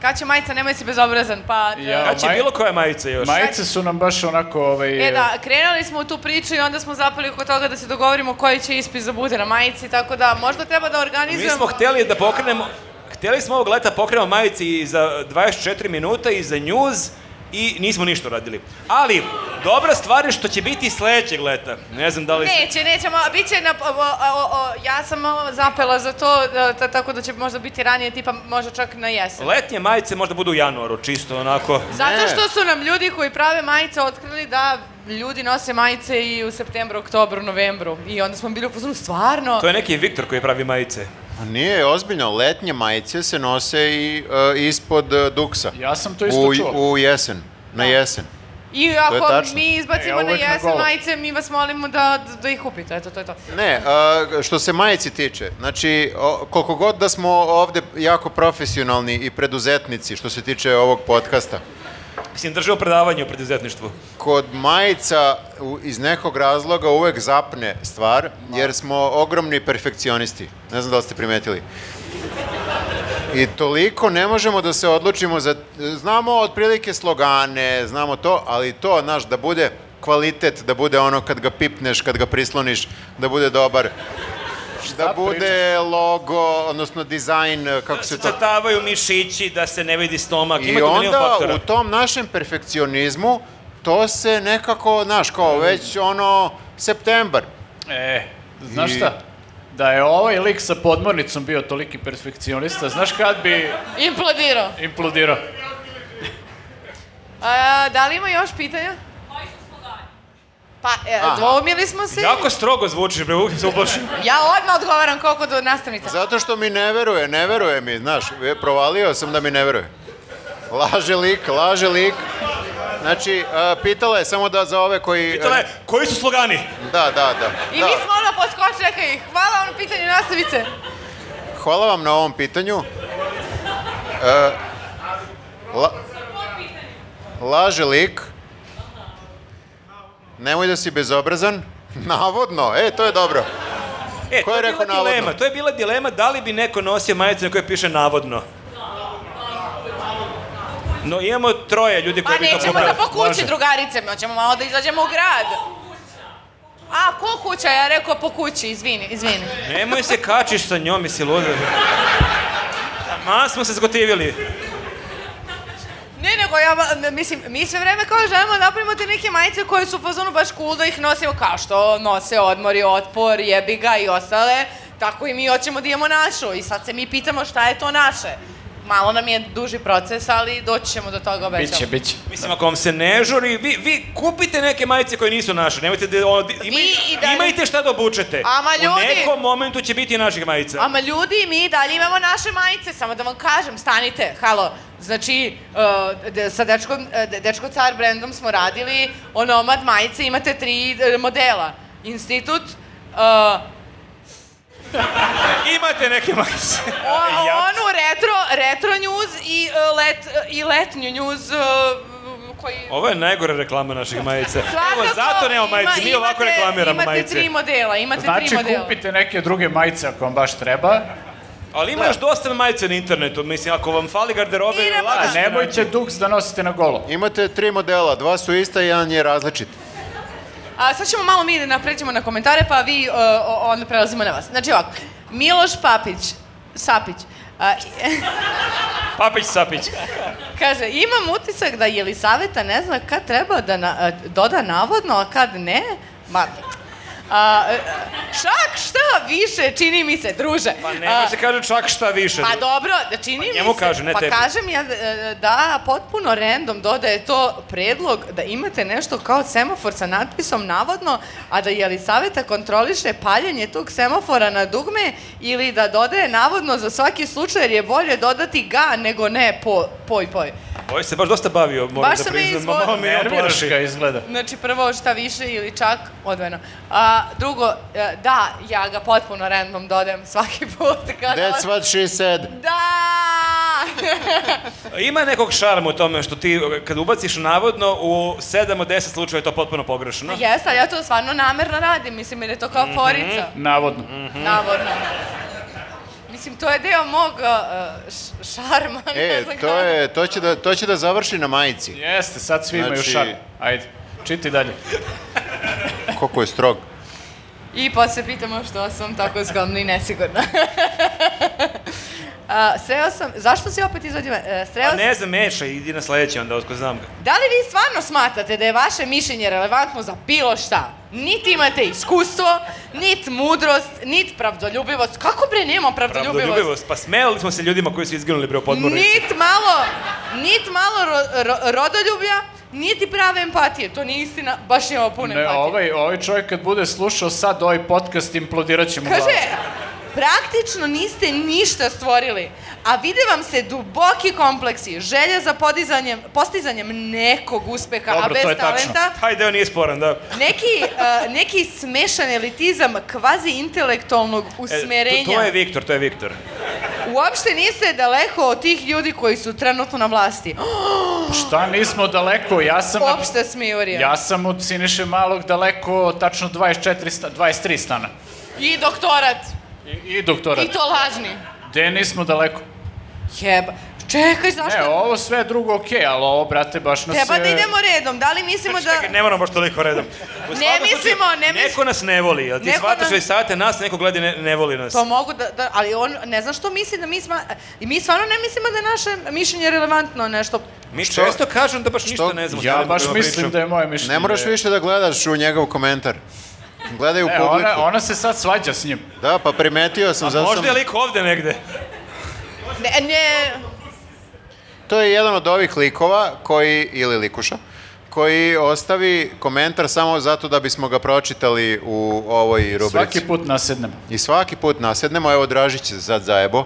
Speaker 4: Kad će majica, nemoj si bezobrazan, pa...
Speaker 3: Ja.
Speaker 1: Kad će
Speaker 3: Maj-
Speaker 1: bilo koja majica još?
Speaker 3: Majice su nam baš onako, ovaj...
Speaker 4: E da, krenuli smo u tu priču i onda smo zapali oko toga da se dogovorimo koji će ispis da bude na majici, tako da možda treba da organizujemo...
Speaker 1: Mi smo hteli da pokrenemo, hteli smo ovog leta da pokrenemo majice i za 24 minuta i za news i nismo ništa radili. Ali, dobra stvar je što će biti sledećeg leta. Ne znam da li...
Speaker 4: Neće, nećemo, bit će na... O, o, o, ja sam malo zapela za to, da, ta- tako da će možda biti ranije, tipa možda čak na jesen.
Speaker 1: Letnje majice možda budu u januaru, čisto onako.
Speaker 4: Zato
Speaker 2: Ne.
Speaker 4: što su nam ljudi koji prave majice otkrili da ljudi nose majice i u septembru, oktobru, novembru. I onda smo bili u fazonu, stvarno?
Speaker 1: To je neki Viktor koji pravi majice.
Speaker 2: A Nije, ozbiljno, letnje majice se nose i e, ispod e, duksa.
Speaker 3: Ja sam to isto
Speaker 2: u,
Speaker 3: čuo. Da.
Speaker 2: U jesen, na jesen.
Speaker 4: I
Speaker 2: je
Speaker 4: ako
Speaker 2: tačno.
Speaker 4: mi izbacimo
Speaker 3: E, ja
Speaker 4: na
Speaker 3: uvek na
Speaker 4: jesen
Speaker 3: golo.
Speaker 4: majice, mi vas molimo da, da ih kupite. Eto, to je to.
Speaker 2: Ne, a, što se majici tiče, znači, o, koliko god da smo ovde jako profesionalni i preduzetnici što se tiče ovog podcasta,
Speaker 1: Mislim, držao predavanje o preduzetništvu.
Speaker 2: kod majica u- iz nekog razloga uvek zapne stvar, jer smo ogromni perfekcionisti. Ne znam da li ste primetili. I toliko ne možemo da se odlučimo za... Znamo otprilike slogane, znamo to, ali to, znaš, da bude kvalitet, da bude ono kad ga pipneš, kad ga prisloniš, da bude dobar. Da bude logo, odnosno dizajn, kako se to
Speaker 1: Zacrtavaju mišići da se ne vidi stomak. Ima
Speaker 2: I
Speaker 1: tu milion
Speaker 2: onda
Speaker 1: faktora.
Speaker 2: u tom našem perfekcionizmu to se nekako, znaš, kao već ono septembar.
Speaker 3: E, znaš
Speaker 2: I-
Speaker 3: šta? Da je ovaj lik sa podmornicom bio toliki perfekcionista, znaš kad bi
Speaker 4: Implodirao.
Speaker 3: implodirao?
Speaker 4: A, da li ima još pitanja? Pa, e,
Speaker 2: Aha.
Speaker 4: dvoumili smo se.
Speaker 1: Jako strogo zvučiš, bre, uvijek se uplašim.
Speaker 4: Ja odmah odgovaram koliko do nastavnica.
Speaker 2: Zato što mi ne veruje, ne veruje mi, znaš, je- provalio sam da mi ne veruje. Laže lik, laže lik. Znači, a, pitala je samo da za ove koji...
Speaker 1: Pitala je, koji su slogani?
Speaker 2: Da, da, da.
Speaker 4: I
Speaker 2: da.
Speaker 4: mi smo odmah poskočili, rekli, hvala vam na pitanju nastavice.
Speaker 2: Hvala vam na ovom pitanju. E, la- laže lik. Nemoj da si bezobrazan. Navodno, e, to je dobro.
Speaker 1: E,
Speaker 2: Ko je
Speaker 1: to
Speaker 2: rekao
Speaker 1: bila
Speaker 2: navodno?
Speaker 1: dilema, To je bila dilema da li bi neko nosio majicu na kojoj piše navodno. No imamo troje ljudi
Speaker 4: Pa
Speaker 1: koji bi to
Speaker 4: nećemo da
Speaker 1: popravili.
Speaker 4: po kući
Speaker 3: Može.
Speaker 4: drugarice, mi hoćemo malo da izađemo u grad. A, ko kuća? Ja rekao po kući, izvini, izvini.
Speaker 1: Nemoj se kačiš sa njom, jesi luda. Ma smo se zgotivili.
Speaker 4: Ne, nego ja, ba- mislim, mi sve vreme kao želimo da napravimo te neke majice koje su u fazonu baš cool da ih nosimo kao što nose odmor i otpor, jebi ga i ostale. Tako i mi hoćemo da imamo našu i sad se mi pitamo šta je to naše. malo nam je duži proces, ali doći ćemo do toga, obećavam.
Speaker 3: Biće, biće.
Speaker 1: Mislim, ako vam se ne žuri, vi, vi kupite neke majice koje nisu naše, nemojte da, ono, di- imaj,
Speaker 4: i dalje-
Speaker 1: imajte šta da obučete.
Speaker 4: Ama ljudi-
Speaker 1: U nekom momentu će biti i naših majica.
Speaker 4: Ama ljudi, mi i dalje imamo naše majice, samo da vam kažem, stanite, halo. Znači, uh, de- sa dečkom, eh, de- Dečko Car brendom smo radili onomad majice, imate tri eh, modela. Institut, uh,
Speaker 1: Imate neke majice.
Speaker 4: O,
Speaker 1: E, Ja-
Speaker 4: onu retro, retro news i, uh, let, i letnju news uh, koji...
Speaker 1: Ovo je najgore reklama naših majica.
Speaker 4: Svakako
Speaker 1: Evo, zato nemamo majice, mi
Speaker 4: ima-
Speaker 1: ovako
Speaker 4: imate-
Speaker 1: reklamiramo
Speaker 4: imate
Speaker 1: majice.
Speaker 4: Imate tri modela, imate
Speaker 3: Znači,
Speaker 4: tri modela.
Speaker 3: kupite neke druge majice ako vam baš treba.
Speaker 1: Ali
Speaker 4: Da.
Speaker 1: ima još dosta majice na internetu, mislim, ako vam fali garderobe,
Speaker 4: Miramo
Speaker 1: lako
Speaker 3: A
Speaker 1: ćete naći.
Speaker 3: nemojte duks da nosite na golo.
Speaker 2: Imate tri modela, dva su ista, jedan je različit.
Speaker 4: A sad ćemo malo mi da napređemo na komentare, pa vi uh, o- onda prelazimo na vas. Znači ovako, Miloš Papić, Sapić, a,
Speaker 1: Papić, sapić.
Speaker 4: kaže, imam utisak da Jelisaveta ne zna kad treba da na, a, doda navodno, a kad ne, ma... A, e, čak šta više, čini mi se, druže.
Speaker 1: Pa ne
Speaker 4: A,
Speaker 1: može kaže čak šta više.
Speaker 4: Pa dobro, da čini mi
Speaker 1: njemu
Speaker 4: se,
Speaker 1: kažu, ne
Speaker 4: pa
Speaker 1: tebi.
Speaker 4: kažem ja e, da potpuno random dodaje to predlog da imate nešto kao semafor sa natpisom navodno, a da Jelisaveta kontroliše paljenje tog semafora na dugme ili da dodaje navodno za svaki slučaj jer je bolje dodati ga nego ne po, poj poj.
Speaker 1: Ovo se baš dosta bavio, moram
Speaker 4: Baš
Speaker 1: da
Speaker 4: sam je
Speaker 1: priznam.
Speaker 4: izvodio.
Speaker 1: Malo me i on
Speaker 3: Nerviraš
Speaker 1: plaši.
Speaker 3: ga izgleda.
Speaker 4: Znači prvo šta više ili čak odvojeno. A, drugo, e, da, ja ga potpuno random dodajem svaki put. Kada
Speaker 2: That's what she said.
Speaker 4: Da!
Speaker 1: Ima nekog šarma u tome što ti, kad ubaciš navodno, u 7 od 10 slučaja je to potpuno pogrešno.
Speaker 4: Pa Jes, ali ja to stvarno namerno radim, mislim, jer je to kao
Speaker 2: Mhm,
Speaker 4: forica,
Speaker 3: Navodno.
Speaker 2: Mm.
Speaker 4: navodno. Mislim, to je deo mog uh, š- šarma, ne
Speaker 2: E,
Speaker 4: znam
Speaker 2: to,
Speaker 4: kako.
Speaker 2: je, to, će da, to će da završi na majici.
Speaker 3: Jeste, sad svi imaju
Speaker 2: Znači-
Speaker 3: šar. Ajde, čiti dalje.
Speaker 2: Koliko je strog.
Speaker 4: I pa se pitamo što sam tako skromna i nesigurna. A, sreo sam, zašto si opet izvadio, e, sreo
Speaker 1: A
Speaker 2: Pa
Speaker 4: sam,
Speaker 1: ne znam, meša, idi na sledeći onda, otko znam ga.
Speaker 4: da li vi stvarno smatrate da je vaše mišljenje relevantno za bilo šta? Niti imate iskustvo, nit mudrost, nit pravdoljubivost. Kako bre nema pravdoljubivost?
Speaker 1: Pravdoljubivost. Pa smejali smo se ljudima koji su izginuli bre u podmornici.
Speaker 4: Nit malo, nit malo ro, ro, rodoljublja, niti prave empatije. To nije istina, baš imamo puno
Speaker 3: Ne,
Speaker 4: empatije.
Speaker 3: ovaj, ovaj čovjek kad bude slušao sad ovaj podcast, implodirat će mu glavu.
Speaker 4: Kaže, praktično niste ništa stvorili, a vide vam se duboki kompleksi, želja za podizanjem, postizanjem nekog uspeha,
Speaker 3: Dobro,
Speaker 4: a bez
Speaker 3: to je tačno.
Speaker 4: talenta,
Speaker 1: Taj deo nije sporan, da.
Speaker 4: neki, e, neki smešan elitizam kvazi intelektualnog
Speaker 1: E,
Speaker 4: usmerenja.
Speaker 1: to, to je Viktor, to je Viktor.
Speaker 4: Da. Uopšte niste daleko od tih ljudi koji su trenutno na vlasti.
Speaker 3: Šta nismo daleko, ja sam... na-
Speaker 4: Opšta smijurija.
Speaker 3: Ja sam od Siniše Malog daleko, tačno 24 sta, 23 stana.
Speaker 4: I doktorat.
Speaker 3: I, i doktorat.
Speaker 4: I to lažni.
Speaker 3: Gde nismo daleko?
Speaker 4: Jeba. Čekaj, zašto?
Speaker 3: Ne, ovo sve je drugo okej, ali ovo, brate, baš nas
Speaker 4: Treba
Speaker 3: je...
Speaker 4: da idemo redom. Da li mislimo da...
Speaker 1: Čekaj, ne moramo baš toliko redom. U svakom
Speaker 4: mislimo, ne mislimo.
Speaker 1: Neko nas ne voli, jel ti
Speaker 4: Neko
Speaker 1: shvataš
Speaker 4: nas-
Speaker 1: već sate nas, neko gleda i ne, ne voli nas.
Speaker 4: To mogu da, da, ali on ne zna što misli da mi sma... I mi stvarno ne mislimo da je naše mišljenje relevantno nešto.
Speaker 1: Mi često kažem da baš ništa ne znamo. šta
Speaker 3: Ja
Speaker 1: da
Speaker 3: baš
Speaker 1: budemo
Speaker 3: mislim
Speaker 1: pričamo.
Speaker 3: da je moje mišljenje.
Speaker 2: Ne moraš više da gledaš u njegov komentar. Gledaj u
Speaker 3: E,
Speaker 2: publiku.
Speaker 3: ona, ona se sad svađa s njim.
Speaker 2: Da, pa primetio sam, zato sam...
Speaker 1: Možda je lik ovde negde.
Speaker 4: Ne, ne...
Speaker 2: To je jedan od ovih likova koji, ili likuša, koji ostavi komentar samo zato da bismo ga pročitali u ovoj rubrici.
Speaker 3: Svaki put nasednemo.
Speaker 2: I svaki put nasednemo, evo Dražić se sad zajebo,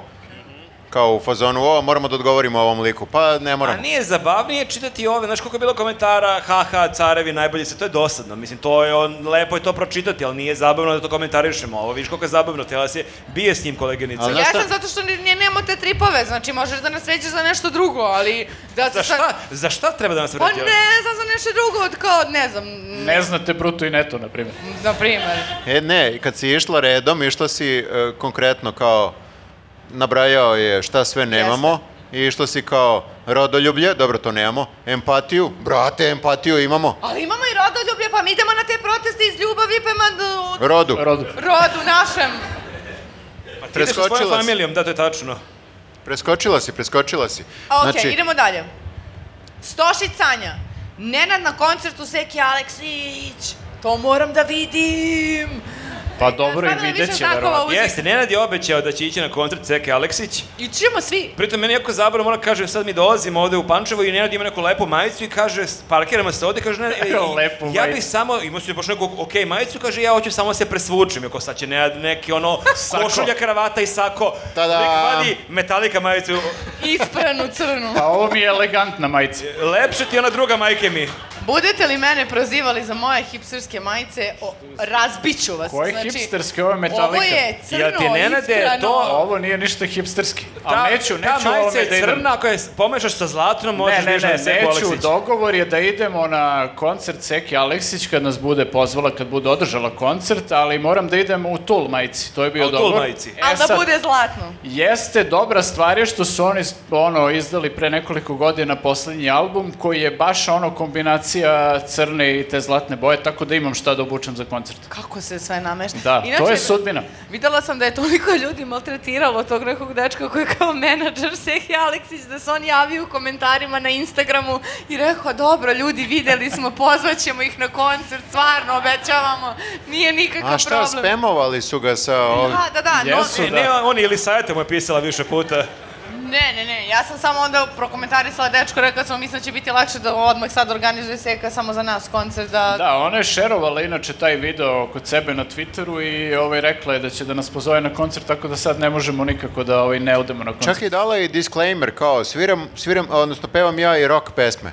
Speaker 2: kao u fazonu, o, moramo da odgovorimo ovom liku, pa ne
Speaker 1: A
Speaker 2: moramo.
Speaker 1: nije zabavnije čitati ove, znaš koliko je bilo komentara, haha, carevi, najbolji se, to je dosadno, mislim, to je, on, lepo je to pročitati, ali nije zabavno da to komentarišemo, ovo, viš koliko je zabavno, tela se bije s njim koleginica.
Speaker 2: Ali-
Speaker 4: Ja
Speaker 2: Znaš šta?
Speaker 4: sam zato što ne, ne, nemamo te tripove, znači možeš da nas vređaš za nešto drugo, ali da se
Speaker 1: Za
Speaker 4: sad...
Speaker 1: šta, za šta treba da nas
Speaker 4: Pa
Speaker 1: vredi? ovo?
Speaker 4: ne znam za nešto drugo, od kao, ne znam,
Speaker 3: Ne znate bruto i neto, na primjer.
Speaker 4: na primer.
Speaker 2: E, ne, kad si išla redom, išla si e, konkretno kao, nabrajao je šta sve nemamo, i išla si kao rodoljublje, dobro, to nemamo, empatiju, brate, empatiju imamo,
Speaker 4: Ali imamo i rodoljublje, pa mi idemo na te proteste iz ljubavi prema d-
Speaker 2: rodu.
Speaker 3: Rodu.
Speaker 4: rodu našem.
Speaker 1: Pa ti ideš sa svojom
Speaker 2: Preskočila si.
Speaker 1: familijom, da, to je tačno.
Speaker 2: Preskočila si, preskočila si. Znači,
Speaker 4: Ok,
Speaker 3: Znači-
Speaker 4: idemo dalje. Stošić Sanja. Nenad na koncertu Seki Aleksić. To moram da vidim.
Speaker 3: Pa dobro,
Speaker 4: Stvarno
Speaker 3: i
Speaker 4: da
Speaker 3: vidjet
Speaker 4: više
Speaker 3: će,
Speaker 4: znakova
Speaker 3: verovatno.
Speaker 4: Muzika.
Speaker 1: Jeste, Nenad je obećao da će ići na koncert Ceke Aleksić.
Speaker 4: I čujemo svi.
Speaker 1: Pritom meni je jako zabavno, moram kažem, sad mi dolazimo ovde u Pančevo i Nenad ima neku lepu majicu i kaže, parkiramo se ovde, kaže, ne, e,
Speaker 3: Lepu
Speaker 1: ja bih
Speaker 3: majicu.
Speaker 1: samo, imao si baš neku ok majicu, kaže, ja hoću samo da se presvučem, jako sad će Nenad neki ono,
Speaker 3: Sako.
Speaker 1: košulja, kravata i sako,
Speaker 2: Tada.
Speaker 1: nek vadi metalika majicu,
Speaker 4: Ispranu crnu.
Speaker 3: Pa ovo mi je elegantna majica.
Speaker 1: lepše ti ona druga majke mi.
Speaker 4: Budete li mene prozivali za moje hipsterske majice, o, razbiću vas.
Speaker 3: Koje
Speaker 4: znači,
Speaker 3: hipsterske, ovo je
Speaker 4: Ovo
Speaker 3: metalika.
Speaker 4: je crno,
Speaker 1: Jel ti Nenade,
Speaker 4: isprano.
Speaker 1: to-
Speaker 3: Ovo nije ništa hipsterski. Ali neću, neću
Speaker 1: ta majica
Speaker 3: ovome
Speaker 1: je
Speaker 3: da idem.
Speaker 1: crna, ako je pomešaš sa zlatnom,
Speaker 3: Ne,
Speaker 1: možeš
Speaker 3: ne,
Speaker 1: više
Speaker 3: ne,
Speaker 1: na Ceku
Speaker 3: neću.
Speaker 1: Aleksić.
Speaker 3: Dogovor je da idemo na koncert Seki Aleksić kad nas bude pozvala, kad bude održala koncert, ali moram da idem u Tul majici. To je bio
Speaker 1: A u Tool
Speaker 3: dogovor.
Speaker 1: majici.
Speaker 3: E,
Speaker 4: Ali da
Speaker 3: sad,
Speaker 4: bude zlatno.
Speaker 3: Jeste, dobra stvar je što su oni ono, izdali pre nekoliko godina poslednji album koji je baš ono kombinacija crne i te zlatne boje, tako da imam šta da obučem za koncert.
Speaker 4: Kako se sve namešta.
Speaker 3: Da, to je sudbina.
Speaker 4: Videla sam da je toliko ljudi maltretiralo tog nekog dečka koji je kao menadžer Sehi Aleksić, da se on javio u komentarima na Instagramu i rekao, dobro ljudi, videli smo, pozvaćemo ih na koncert, stvarno, obećavamo, nije nikakav
Speaker 2: A šta,
Speaker 4: problem.
Speaker 2: spemovali su ga sa ovim?
Speaker 4: Da, da, da, no-
Speaker 3: Jesu,
Speaker 1: Ne, ne, on je Elisajeta mu je pisala više puta.
Speaker 4: ne, ne, ne, ja sam samo onda prokomentarisala dečko, rekao sam, mislim da će biti lakše da odmah sad organizuje Seka samo za nas koncert, da,
Speaker 3: Da, ona je šerovala inače taj video kod sebe na Twitteru i ovaj, rekla je da će da nas pozove na koncert, tako da sad ne možemo nikako da ovaj, ne odemo na koncert.
Speaker 2: Čak je dala i disclaimer, kao sviram, sviram, odnosno pevam ja i rock pesme.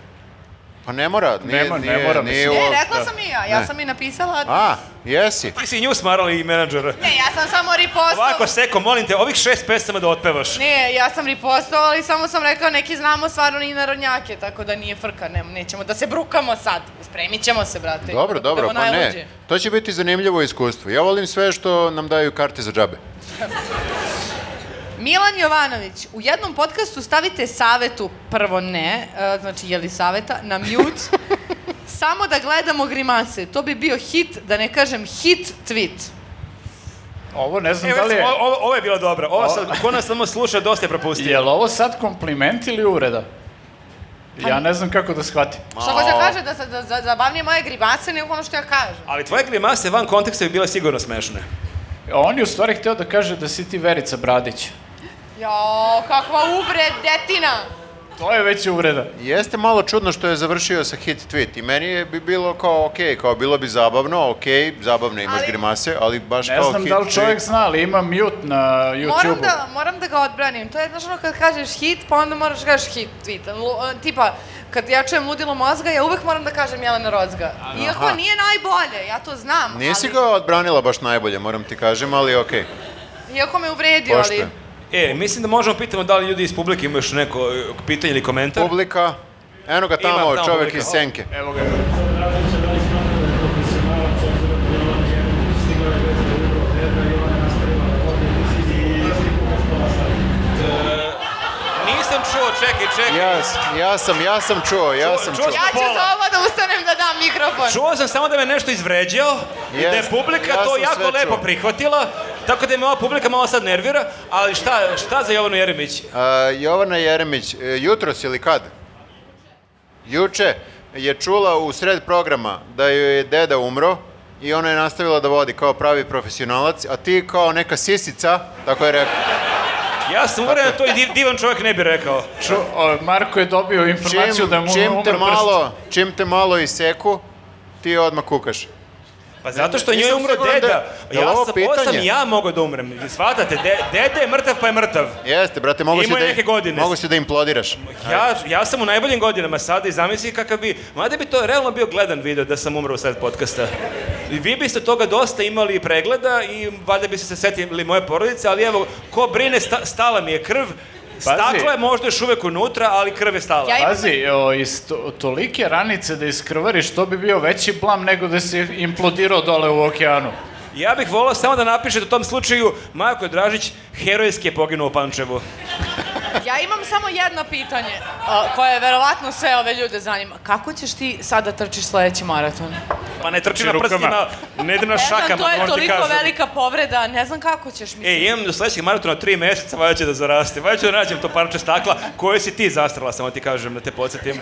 Speaker 2: Pa ne mora, nije,
Speaker 3: Nema- ne
Speaker 2: nije,
Speaker 3: mora,
Speaker 2: nije
Speaker 3: mislim.
Speaker 4: E,
Speaker 2: ovo-
Speaker 4: rekla sam i ja, ja
Speaker 2: Da, Ne.
Speaker 4: sam i napisala,
Speaker 2: A, jesi.
Speaker 1: Ti si i nju smarali i menadžera.
Speaker 4: ne, ja sam samo ripostala.
Speaker 1: Ovako, Seko, molim te, ovih šest pesama da otpevaš.
Speaker 4: Ne, ja sam ripostovala, ali samo sam rekao neki znamo stvarno i narodnjake, tako da nije frka, ne, nećemo da se brukamo sad. Spremit ćemo se, brate.
Speaker 2: Dobro,
Speaker 4: Da
Speaker 2: dobro,
Speaker 4: budemo
Speaker 2: pa
Speaker 4: najluđi.
Speaker 2: ne. To će biti zanimljivo iskustvo. Ja volim sve što nam daju karte za džabe.
Speaker 4: Milan Jovanović, u jednom podcastu stavite savetu, prvo ne, e, znači je li saveta, na mute, samo da gledamo grimase. To bi bio hit, da ne kažem hit tweet.
Speaker 3: Ovo ne znam
Speaker 2: e,
Speaker 1: Evo,
Speaker 3: da li je...
Speaker 1: recimo, ovo, ovo je bila dobra. Ova sad, ko nas samo sluša, dosta je propustio.
Speaker 3: Je li ovo sad kompliment ili uvreda?
Speaker 4: Pa-
Speaker 3: Ja ne znam kako da shvatim.
Speaker 4: Što hoće da kaže da, se- da, da zabavnije moje grimase nego ono što ja kažem.
Speaker 1: Ali tvoje grimase van konteksta bi bile sigurno smešne.
Speaker 3: On je u stvari hteo da kaže da si ti Verica Bradić.
Speaker 4: Jo, kakva uvred, detina!
Speaker 3: To je već uvreda.
Speaker 2: Jeste malo čudno što je završio sa hit tweet i meni je bi bilo kao ok, kao bilo bi zabavno, ok, zabavno imaš
Speaker 4: Ali-
Speaker 2: grimase, ali baš
Speaker 3: Ne
Speaker 2: kao
Speaker 3: znam
Speaker 2: hit
Speaker 3: da li čovjek
Speaker 2: tweet.
Speaker 3: zna, ali ima mute na
Speaker 4: Moram
Speaker 3: YouTube-u.
Speaker 4: da, moram da ga odbranim. To je, znaš, ono kad kažeš hit, pa onda moraš da kažeš hit, tweet. Lu- e, Tipa, kad ja čujem ludilo mozga, ja uvek moram da kažem Jelena Rozga. Iako
Speaker 2: Aha.
Speaker 4: nije najbolje, ja to znam.
Speaker 2: Nisi
Speaker 4: ali,
Speaker 2: ga odbranila baš najbolje, moram ti kažem, ali ok,
Speaker 4: Iako me uvredio, ali...
Speaker 2: poštujem.
Speaker 1: E, mislim da možemo pitamo da li ljudi iz publike imaju još neko e, pitanje ili komentar.
Speaker 2: Publika, eno ga
Speaker 1: Ima
Speaker 2: tamo,
Speaker 1: tamo
Speaker 2: čovjek
Speaker 1: publika. Oh,
Speaker 2: iz senke.
Speaker 3: Evo ga.
Speaker 7: Obrazića, da li smatrate da je profesionalac, obzirom da je on je stigao je bez drugog tebe i ona je nastavila da vodi emisiju i sliku kao što vas sad.
Speaker 1: Nisam čuo, čekaj, čekaj.
Speaker 2: Ja, s- ja sam, ja sam čuo, ja sam
Speaker 1: čuo
Speaker 2: čuo.
Speaker 4: Ja ću za ovo da ustanem da dam mikrofon.
Speaker 1: Čuo sam samo da me nešto izvređao i da je
Speaker 2: Jest,
Speaker 1: publika
Speaker 2: ja
Speaker 1: to
Speaker 2: sam
Speaker 1: jako
Speaker 2: sve
Speaker 1: lepo
Speaker 2: čuo.
Speaker 1: prihvatila, tako da me ova publika malo sad nervira, ali šta, šta za Jovanu Jeremić?
Speaker 2: A, Jovana Jeremić, e, jutros ili kad? Juče je čula u sred programa da joj je deda umro i ona je nastavila da vodi kao pravi profesionalac, a ti kao neka sisica, tako je rekao.
Speaker 1: Ja sam uveren da to i div- divan čovjek ne bi rekao.
Speaker 3: Ču, o, Marko je dobio informaciju
Speaker 2: Čim,
Speaker 3: da mu
Speaker 2: čim te
Speaker 3: umre prst.
Speaker 2: malo, čim te malo iseku, ti odmah kukaš.
Speaker 1: Pa zato što njoj je
Speaker 2: Nisam
Speaker 1: umro
Speaker 2: siguran da-
Speaker 1: deda.
Speaker 2: je li
Speaker 1: ja
Speaker 2: ovo
Speaker 1: sam, ovo sam
Speaker 2: pitanje?
Speaker 1: ja mogao da umrem. Shvatate, de, dede je mrtav pa je mrtav.
Speaker 2: Jeste, brate, mogu si,
Speaker 1: Imao je
Speaker 2: da,
Speaker 1: neke godine.
Speaker 2: mogu si da implodiraš.
Speaker 1: Ja, ja sam u najboljim godinama sada i zamisli kakav bi... Mada bi to realno bio gledan video da sam umro u sred podcasta. I vi biste toga dosta imali pregleda i valjda biste se setili moje porodice, ali evo, ko brine, sta, stala mi je krv. Staklo je možda još uvek unutra, ali krv je stala.
Speaker 4: Ja imam-
Speaker 3: Pazi, o, iz to, tolike ranice da iskrvariš, to bi bio veći blam nego da si implodirao dole u okeanu.
Speaker 1: Ja bih volao samo da napišete u tom slučaju Marko Dražić herojski je poginuo u Pančevu.
Speaker 4: Ja imam samo jedno pitanje, a, koje verovatno sve ove ljude zanima. Kako ćeš ti sada trčiš sledeći maraton?
Speaker 1: Pa ne trči na
Speaker 3: Znači, rukama.
Speaker 1: prstima, ne idem na
Speaker 4: Ne znam,
Speaker 1: šakama,
Speaker 4: to je
Speaker 1: moram ti
Speaker 4: toliko
Speaker 1: kažem.
Speaker 4: velika povreda, ne znam kako ćeš, mislim.
Speaker 1: E, imam do sledećeg maratona tri meseca, valjda će da zaraste. Valjda ću da nađem to parče stakla koje si ti zastrala, samo ti kažem, da te podsjetim.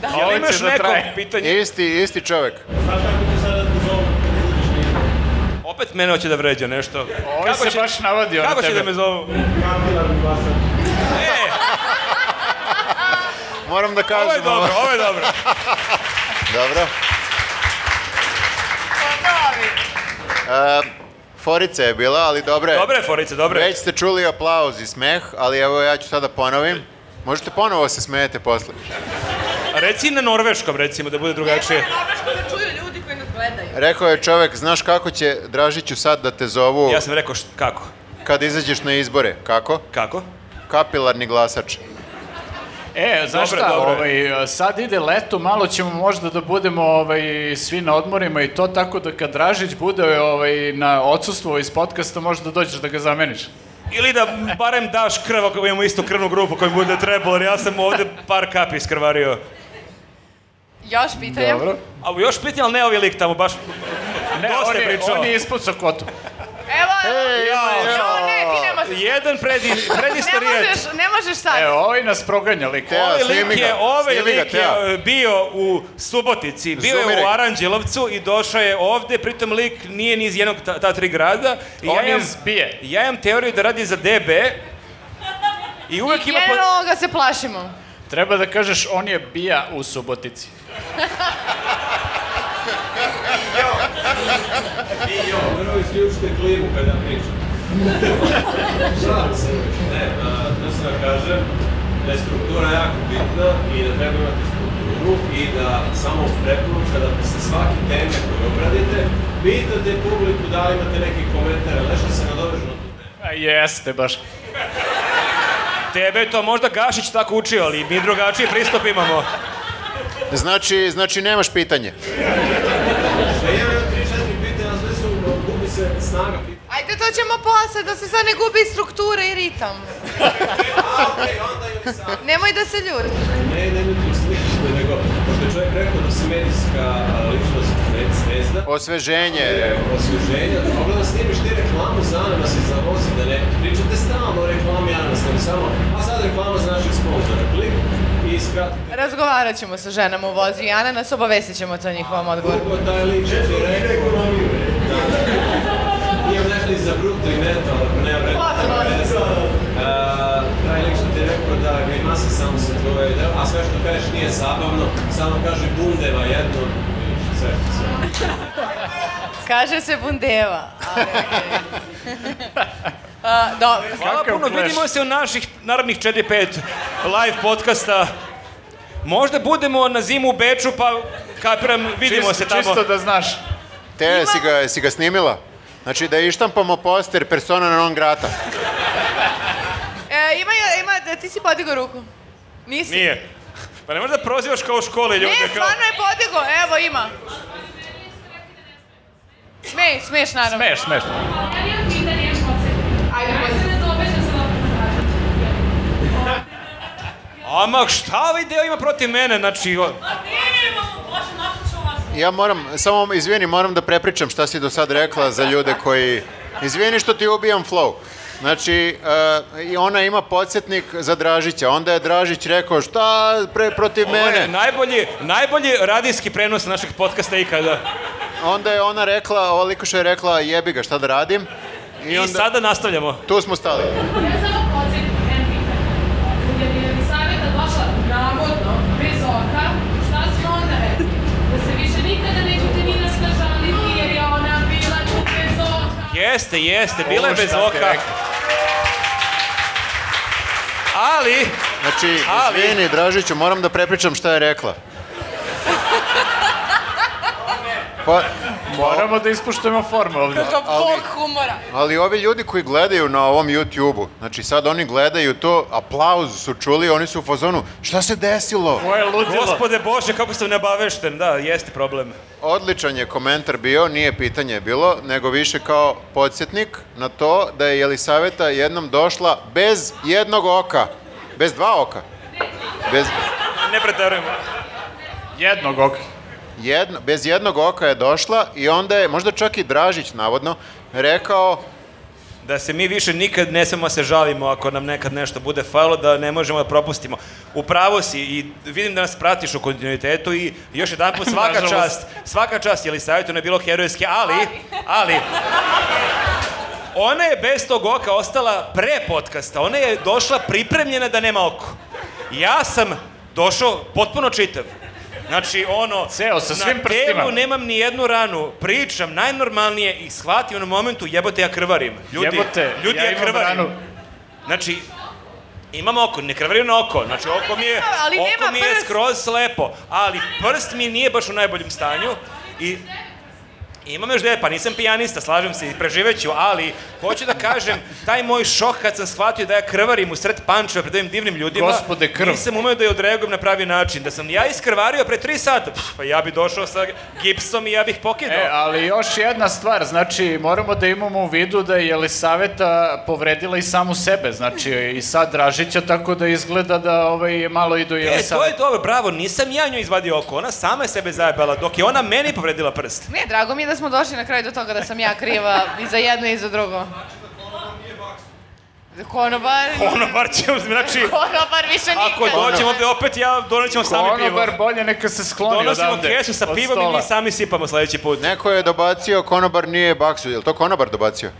Speaker 1: da.
Speaker 3: Ovo
Speaker 1: Jel
Speaker 3: će
Speaker 1: imaš
Speaker 3: da
Speaker 1: neko
Speaker 3: traje.
Speaker 1: pitanje?
Speaker 2: Isti, isti čovjek.
Speaker 7: Znaš kako te sada da zovu kad izađeš na izbor?
Speaker 1: opet mene hoće da vređa nešto.
Speaker 3: Ovo se baš navadio na
Speaker 1: Kako će
Speaker 3: tebe.
Speaker 1: da me zovu?
Speaker 10: kapilarni glasak.
Speaker 1: E,
Speaker 2: Moram da kažem
Speaker 1: ovo je dobro, ovo je dobro.
Speaker 2: Dobro. E, forica je bila, ali dobre.
Speaker 1: Dobre forice, dobre.
Speaker 2: Već ste čuli aplauz i smeh, ali evo ja ću sada ponovim. Možete ponovo se smejete posle.
Speaker 1: Reci na norveškom, recimo, da bude drugačije.
Speaker 5: da čuju ljudi koji nas gledaju.
Speaker 2: Rekao je čovek, znaš kako će Dražiću sad da te zovu
Speaker 1: Ja sam rekao, št, kako?
Speaker 2: kad izađeš na izbore? Kako?
Speaker 1: Kako?
Speaker 2: Kapilarni glasač.
Speaker 3: E, znaš
Speaker 1: Dobro,
Speaker 3: šta,
Speaker 1: dobro.
Speaker 3: ovaj, sad ide leto, malo ćemo možda da budemo ovaj, svi na odmorima i to tako da kad Dražić bude ovaj, na odsustvu iz podcasta, možda da dođeš da ga zameniš.
Speaker 1: Ili da barem daš krv ako imamo istu krvnu grupu koju bude trebalo, jer ja sam ovde par kapi iskrvario.
Speaker 4: Još pitanja?
Speaker 3: Dobro.
Speaker 1: A još pitanje, ali ne ovi lik tamo, baš
Speaker 3: Ne,
Speaker 1: dosta
Speaker 3: on
Speaker 1: je
Speaker 3: je,
Speaker 1: pričao.
Speaker 3: on je ispucao kvotu.
Speaker 4: Evo,
Speaker 1: Ja,
Speaker 4: jo, ne, ti ne možeš.
Speaker 1: jedan predi,
Speaker 4: Ne
Speaker 1: predistorijec.
Speaker 4: možeš, ne možeš sad.
Speaker 3: E, ovaj nas proganja lik.
Speaker 2: Te-
Speaker 1: Ovaj
Speaker 2: snimi
Speaker 1: lik
Speaker 2: ga,
Speaker 1: je, ovaj
Speaker 2: snimi ga,
Speaker 1: lik je
Speaker 2: Teja.
Speaker 1: e, bio u Subotici, bio je
Speaker 2: Zoomiraj.
Speaker 1: u Aranđelovcu i došao je ovde, pritom lik nije ni iz jednog ta, ta tri grada. I
Speaker 3: On
Speaker 1: ja,
Speaker 3: je
Speaker 1: imam,
Speaker 3: iz Bije.
Speaker 1: ja imam teoriju da radi za DB i uvek ima... po-
Speaker 4: Generalno ga se plašimo.
Speaker 3: Treba da kažeš, on je bija u Subotici.
Speaker 7: I on, prvo isključite klimu kada pričam. Šalim se. Ne, a, to sam da kažem, da je struktura jako bitna i da treba imati strukturu i da samo preporuka da se svake teme koje obradite, pitate publiku da li imate neki komentar, ali nešto se nadovežu na tu temu.
Speaker 3: A jeste baš.
Speaker 1: Tebe je to možda Gašić tako učio, ali mi drugačiji pristup imamo.
Speaker 2: Znači, znači nemaš pitanje.
Speaker 7: Pa ja imam 3-4 pitanja, sve su, gubi se snaga pitanja.
Speaker 4: Ajde, to ćemo posle, da se sad ne gubi struktura i ritam.
Speaker 7: A, okej, onda ili sam.
Speaker 4: Nemoj da se ljuri.
Speaker 7: Ne, ne, ne, tu slično, nego, pošto je čovjek rekao da se medijska a, ličnost ne- zvezda,
Speaker 2: Osveženje.
Speaker 7: osvježenja, da mogu da snimiš ti reklamu za ananas i za voz i da ne pričate stalno o reklami ananas, nego samo, a sad reklama za našeg sponzora, klik i skratite.
Speaker 4: Razgovarat ćemo sa ženama u vozu i Ana nas obavestit ćemo to njihovom odgovoru.
Speaker 7: Drugo, taj lič je ti rekao, da, imam nešto i za bruto i neto, ali ako nema vredno, nema veze. A, Taj lič je ti rekao da grimase samo se tvoje, da- a sve što kažeš nije zabavno, samo kaže bundeva jedno, i sve, sve.
Speaker 4: Kaže se bundeva. ali- A, dobro.
Speaker 1: Hvala
Speaker 3: Kakav
Speaker 1: puno,
Speaker 3: clash.
Speaker 1: vidimo se u naših narednih 4-5 live podcasta. Možda budemo na zimu u Beču, pa kapiram, vidimo
Speaker 3: Čisto,
Speaker 1: se tamo.
Speaker 3: čisto da znaš.
Speaker 2: Te, si ga, si ga snimila? Znači da ištampamo poster persona non grata.
Speaker 4: E, ima, ima, ti si podigao ruku. Nisi?
Speaker 1: Nije. Pa ne možeš da prozivaš kao u školi ljude. kao...
Speaker 4: Ne, stvarno je podigao, evo ima. Smej, smeš naravno.
Speaker 3: Smeš, smeš.
Speaker 11: Ja nijem pitanje, nijem koncept. Ajde, ja se ne dobeš da se lopim
Speaker 1: Ama šta ovaj deo ima protiv mene, znači... O...
Speaker 11: A ne, imamo, bože, nakon ću vas.
Speaker 2: Ja moram, samo izvini, moram da prepričam šta si do sad rekla za ljude koji... Izvini što ti ubijam flow. Znači, e, i ona ima podsjetnik za Dražića. Onda je Dražić rekao, šta pre, protiv
Speaker 1: Ovo je
Speaker 2: mene?
Speaker 1: najbolji, najbolji radijski prenos našeg podcasta ikada.
Speaker 2: Onda je ona rekla, ova likuša je rekla, jebi ga, šta da radim?
Speaker 1: I, sada nastavljamo.
Speaker 2: Tu smo stali.
Speaker 11: Ja samo koncept, jedan pitanje. Jer je Elisaveta došla nagodno, bez oka, šta si onda rekli? Da se više nikada nećete ni nas nažaliti, jer je ona bila tu bez oka.
Speaker 1: Jeste, jeste, bila je
Speaker 3: Ovo šta
Speaker 1: bez
Speaker 3: ti
Speaker 1: oka.
Speaker 3: rekao.
Speaker 1: Ali,
Speaker 2: Znači,
Speaker 1: Ali-
Speaker 2: izvini, Dražiću, moram da prepričam šta je rekla. Pa,
Speaker 3: Moramo da ispuštujemo formu ovde.
Speaker 4: Kako
Speaker 2: Ali-
Speaker 4: bog humora.
Speaker 2: Ali ovi ljudi koji gledaju na ovom YouTube-u, znači sad oni gledaju to, aplauz su čuli, oni su u fazonu, šta se desilo?
Speaker 3: Ovo je ludilo.
Speaker 1: gospode Bože, kako sam nebavešten, da, jeste problem.
Speaker 2: Odličan je komentar bio, nije pitanje bilo, nego više kao podsjetnik na to da je Jelisaveta jednom došla bez jednog oka, bez dva oka, bez,
Speaker 1: Ne preterujemo.
Speaker 3: Jednog oka.
Speaker 2: jedno, bez jednog oka je došla i onda je, možda čak i Dražić navodno, rekao,
Speaker 1: Da se mi više nikad ne smemo da se žalimo ako nam nekad nešto bude falo, da ne možemo da propustimo. U pravu si i vidim da nas pratiš u kontinuitetu i još jedan put svaka
Speaker 3: Nažalost.
Speaker 1: čast, svaka čast, je li savjetu ne bilo herojski, ali, ali, ona je bez tog oka ostala pre podcasta, ona je došla pripremljena da nema oko. Ja sam došao potpuno čitav. Znači, ono,
Speaker 3: Ceo, sa svim
Speaker 1: na
Speaker 3: prstima.
Speaker 1: telu nemam ni jednu ranu, pričam najnormalnije i shvatim na momentu, jebote, ja krvarim. Ljudi,
Speaker 3: Jebote,
Speaker 1: ljudi,
Speaker 3: ja
Speaker 1: ja,
Speaker 3: imam
Speaker 1: krvarim.
Speaker 3: ranu.
Speaker 1: Znači, imam oko, ne krvarim na oko, znači oko mi je,
Speaker 4: nema, ali
Speaker 1: oko
Speaker 4: nema
Speaker 1: mi je
Speaker 4: prst.
Speaker 1: skroz lepo, ali prst mi nije baš u najboljem stanju i Imam još devet, pa nisam pijanista, slažem se i preživeću, ali hoću da kažem, taj moj šok kad sam shvatio da ja krvarim u sred pančeva pred ovim divnim ljudima,
Speaker 3: Gospode, krv.
Speaker 1: nisam umeo da je odreagujem na pravi način. Da sam ja iskrvario pre tri sata, pff, pa ja bi došao sa gipsom i ja bih pokidao.
Speaker 3: E, ali još jedna stvar, znači moramo da imamo u vidu da je Jelisaveta povredila i samu sebe, znači i sad Dražića, tako da izgleda da ovaj, je malo i do
Speaker 1: E, to je
Speaker 3: Jelisaveta.
Speaker 1: dobro, bravo, nisam ja njoj izvadio oko, ona sama je sebe zajebala, dok je ona meni povredila prst.
Speaker 4: Ne, drago mi je da smo došli na kraju do toga da sam ja kriva i za jedno i za drugo. Konobar
Speaker 1: Ono, bar ćemo, znači,
Speaker 4: Konobar više nikad.
Speaker 1: ako dođemo ovde opet, ja donećemo sami pivo.
Speaker 3: Konobar bolje neka se skloni
Speaker 1: Donosimo
Speaker 3: odavde.
Speaker 1: kesu sa
Speaker 3: od
Speaker 1: pivom i
Speaker 3: stola.
Speaker 1: mi sami sipamo sledeći put.
Speaker 2: Neko je dobacio, konobar nije baksu. Je li to konobar dobacio?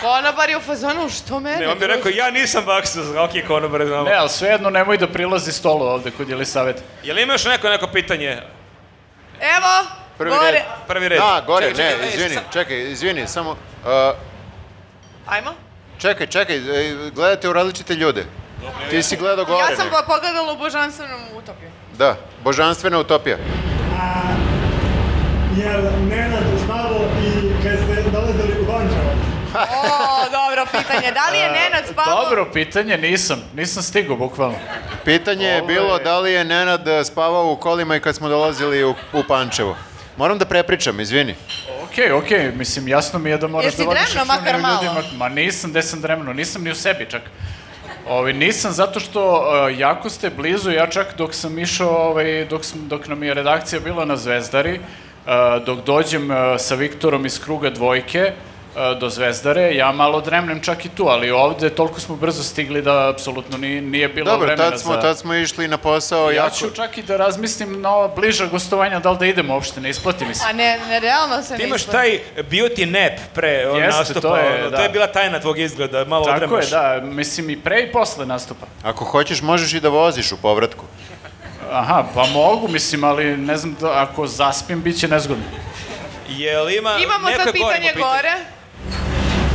Speaker 4: Konobar je u fazonu, što mene?
Speaker 1: Ne, on bi rekao, ja nisam baksuz, ok, konobar, znamo.
Speaker 3: Ne, ali svejedno nemoj da prilazi stolu ovde kod Jelisaveta.
Speaker 1: Je li ima još neko, neko pitanje?
Speaker 4: Evo,
Speaker 2: Prvi
Speaker 4: gore.
Speaker 2: red.
Speaker 1: Prvi red.
Speaker 2: Da, gore,
Speaker 1: Čekaj, čekaj,
Speaker 2: ne,
Speaker 1: e,
Speaker 2: izvini,
Speaker 1: sa-
Speaker 2: čekaj, izvini, samo... Uh,
Speaker 4: Ajmo.
Speaker 2: čekaj, čekaj, e, gledate u različite ljude. Ti si gledao gore.
Speaker 4: Ja sam
Speaker 2: ne?
Speaker 4: ga pogledala u božanstvenom utopiju.
Speaker 2: Da, božanstvena utopija.
Speaker 10: A, jer Nenad spavao i kad ste dolazili u Vančevo.
Speaker 4: O, dobro pitanje. Da
Speaker 1: E,
Speaker 4: li je Nenad spavao?
Speaker 3: Dobro pitanje, nisam. Nisam stigao, bukvalno.
Speaker 2: Pitanje je
Speaker 3: Ovo je-
Speaker 2: bilo da li je Nenad e, spavao u kolima i kad smo dolazili u, u Pančevo. Moram da prepričam, izvini.
Speaker 3: Okej, okej, mislim, jasno mi je da moraš
Speaker 4: Jesi
Speaker 3: da vodiš
Speaker 4: dremno
Speaker 3: računa
Speaker 4: makar
Speaker 3: o
Speaker 4: malo?
Speaker 3: Ma nisam, gde sam dremno, nisam ni u sebi čak. Ovi, nisam, zato što uh, jako ste blizu, ja čak dok sam išao, ovaj, dok, sam, dok nam je redakcija bila na Zvezdari, uh, dok dođem uh, sa Viktorom iz kruga dvojke uh, do Zvezdare, ja malo dremnem čak i tu, ali ovde toliko smo brzo stigli da apsolutno ni, nije bilo
Speaker 2: Dobro,
Speaker 3: vremena
Speaker 2: tad smo,
Speaker 3: za...
Speaker 2: tad smo išli na posao
Speaker 3: Ja
Speaker 2: jako...
Speaker 3: ću čak i da razmislim na ova bliža gostovanja, da li da idemo uopšte, ne isplati mi se.
Speaker 4: A ne, ne, realno se
Speaker 1: Ti imaš
Speaker 4: nisam.
Speaker 1: taj beauty nap pre ono,
Speaker 3: Jeste,
Speaker 1: nastupa,
Speaker 3: to je,
Speaker 1: ono,
Speaker 3: da.
Speaker 1: to je bila tajna tvog izgleda, malo
Speaker 3: Tako
Speaker 1: odremaš.
Speaker 3: je, da, mislim i pre i posle nastupa.
Speaker 2: Ako hoćeš, možeš i da voziš u povratku.
Speaker 3: Aha, pa mogu, mislim, ali ne znam, da, ako zaspim, bit će nezgodno.
Speaker 1: Je li
Speaker 3: Da,
Speaker 1: ima
Speaker 4: Imamo
Speaker 1: neko
Speaker 4: sad
Speaker 1: je gore,
Speaker 4: pitanje
Speaker 1: ima
Speaker 4: gore.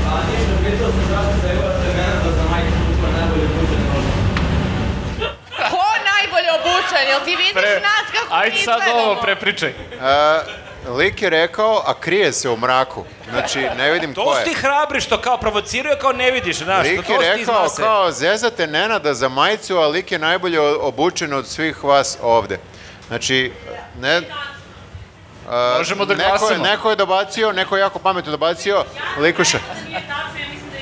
Speaker 7: A Pa, ništa, pitao sam zašto zajebate mene da za majku tučba najbolje buđe možda.
Speaker 4: Ko najbolje obučen? Jel ti vidiš nas kako mi
Speaker 3: E, Ajde sad
Speaker 4: izgledamo?
Speaker 3: ovo prepričaj.
Speaker 2: E, lik je rekao, a krije se u mraku. Znači, ne vidim ko
Speaker 1: To
Speaker 2: je.
Speaker 1: su ti hrabri što kao provociraju, kao ne vidiš, znaš, to,
Speaker 2: Lik
Speaker 1: to
Speaker 2: je
Speaker 1: su ti
Speaker 2: rekao
Speaker 1: zna se.
Speaker 2: kao zezate Nenada za majicu, a lik je najbolje o- obučen od svih vas ovde. Znači, ne... a,
Speaker 3: Možemo da
Speaker 2: neko je,
Speaker 3: glasamo.
Speaker 2: neko je dobacio, neko je jako pametno dobacio. Likuša,
Speaker 11: Nije tačno, ja mislim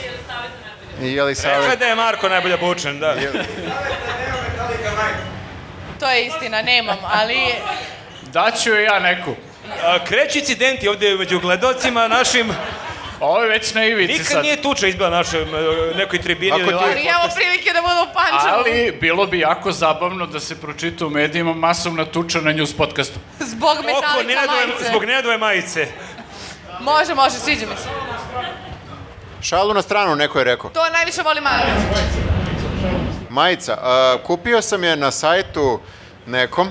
Speaker 11: da je Elisaveta najbolja.
Speaker 2: je
Speaker 1: Rekao
Speaker 2: li
Speaker 1: je
Speaker 2: savjet?
Speaker 1: da je Marko najbolje obučen, da.
Speaker 4: To je istina, nemam, ali...
Speaker 3: Daću joj ja neku.
Speaker 1: A, Kreću incidenti ovde među gledocima našim.
Speaker 3: Ovo je već na ivici
Speaker 1: Nikad
Speaker 3: sad.
Speaker 1: nije tuča izbila našoj e, nekoj tribini
Speaker 2: Ako
Speaker 1: ili
Speaker 2: ti-
Speaker 4: Ali
Speaker 1: live.
Speaker 4: evo prilike da budu pančevo.
Speaker 3: Ali bilo bi jako zabavno da se pročita u medijima masovna tuča na news podcastu.
Speaker 4: Zbog
Speaker 1: Oko
Speaker 4: metalika
Speaker 1: Nenadove,
Speaker 4: majice.
Speaker 1: zbog Nenadove majice.
Speaker 4: Može, može, sviđa mi se.
Speaker 2: Šalu na stranu, neko je rekao.
Speaker 4: To najviše volim Marić.
Speaker 2: Majica, a, kupio sam je na sajtu nekom.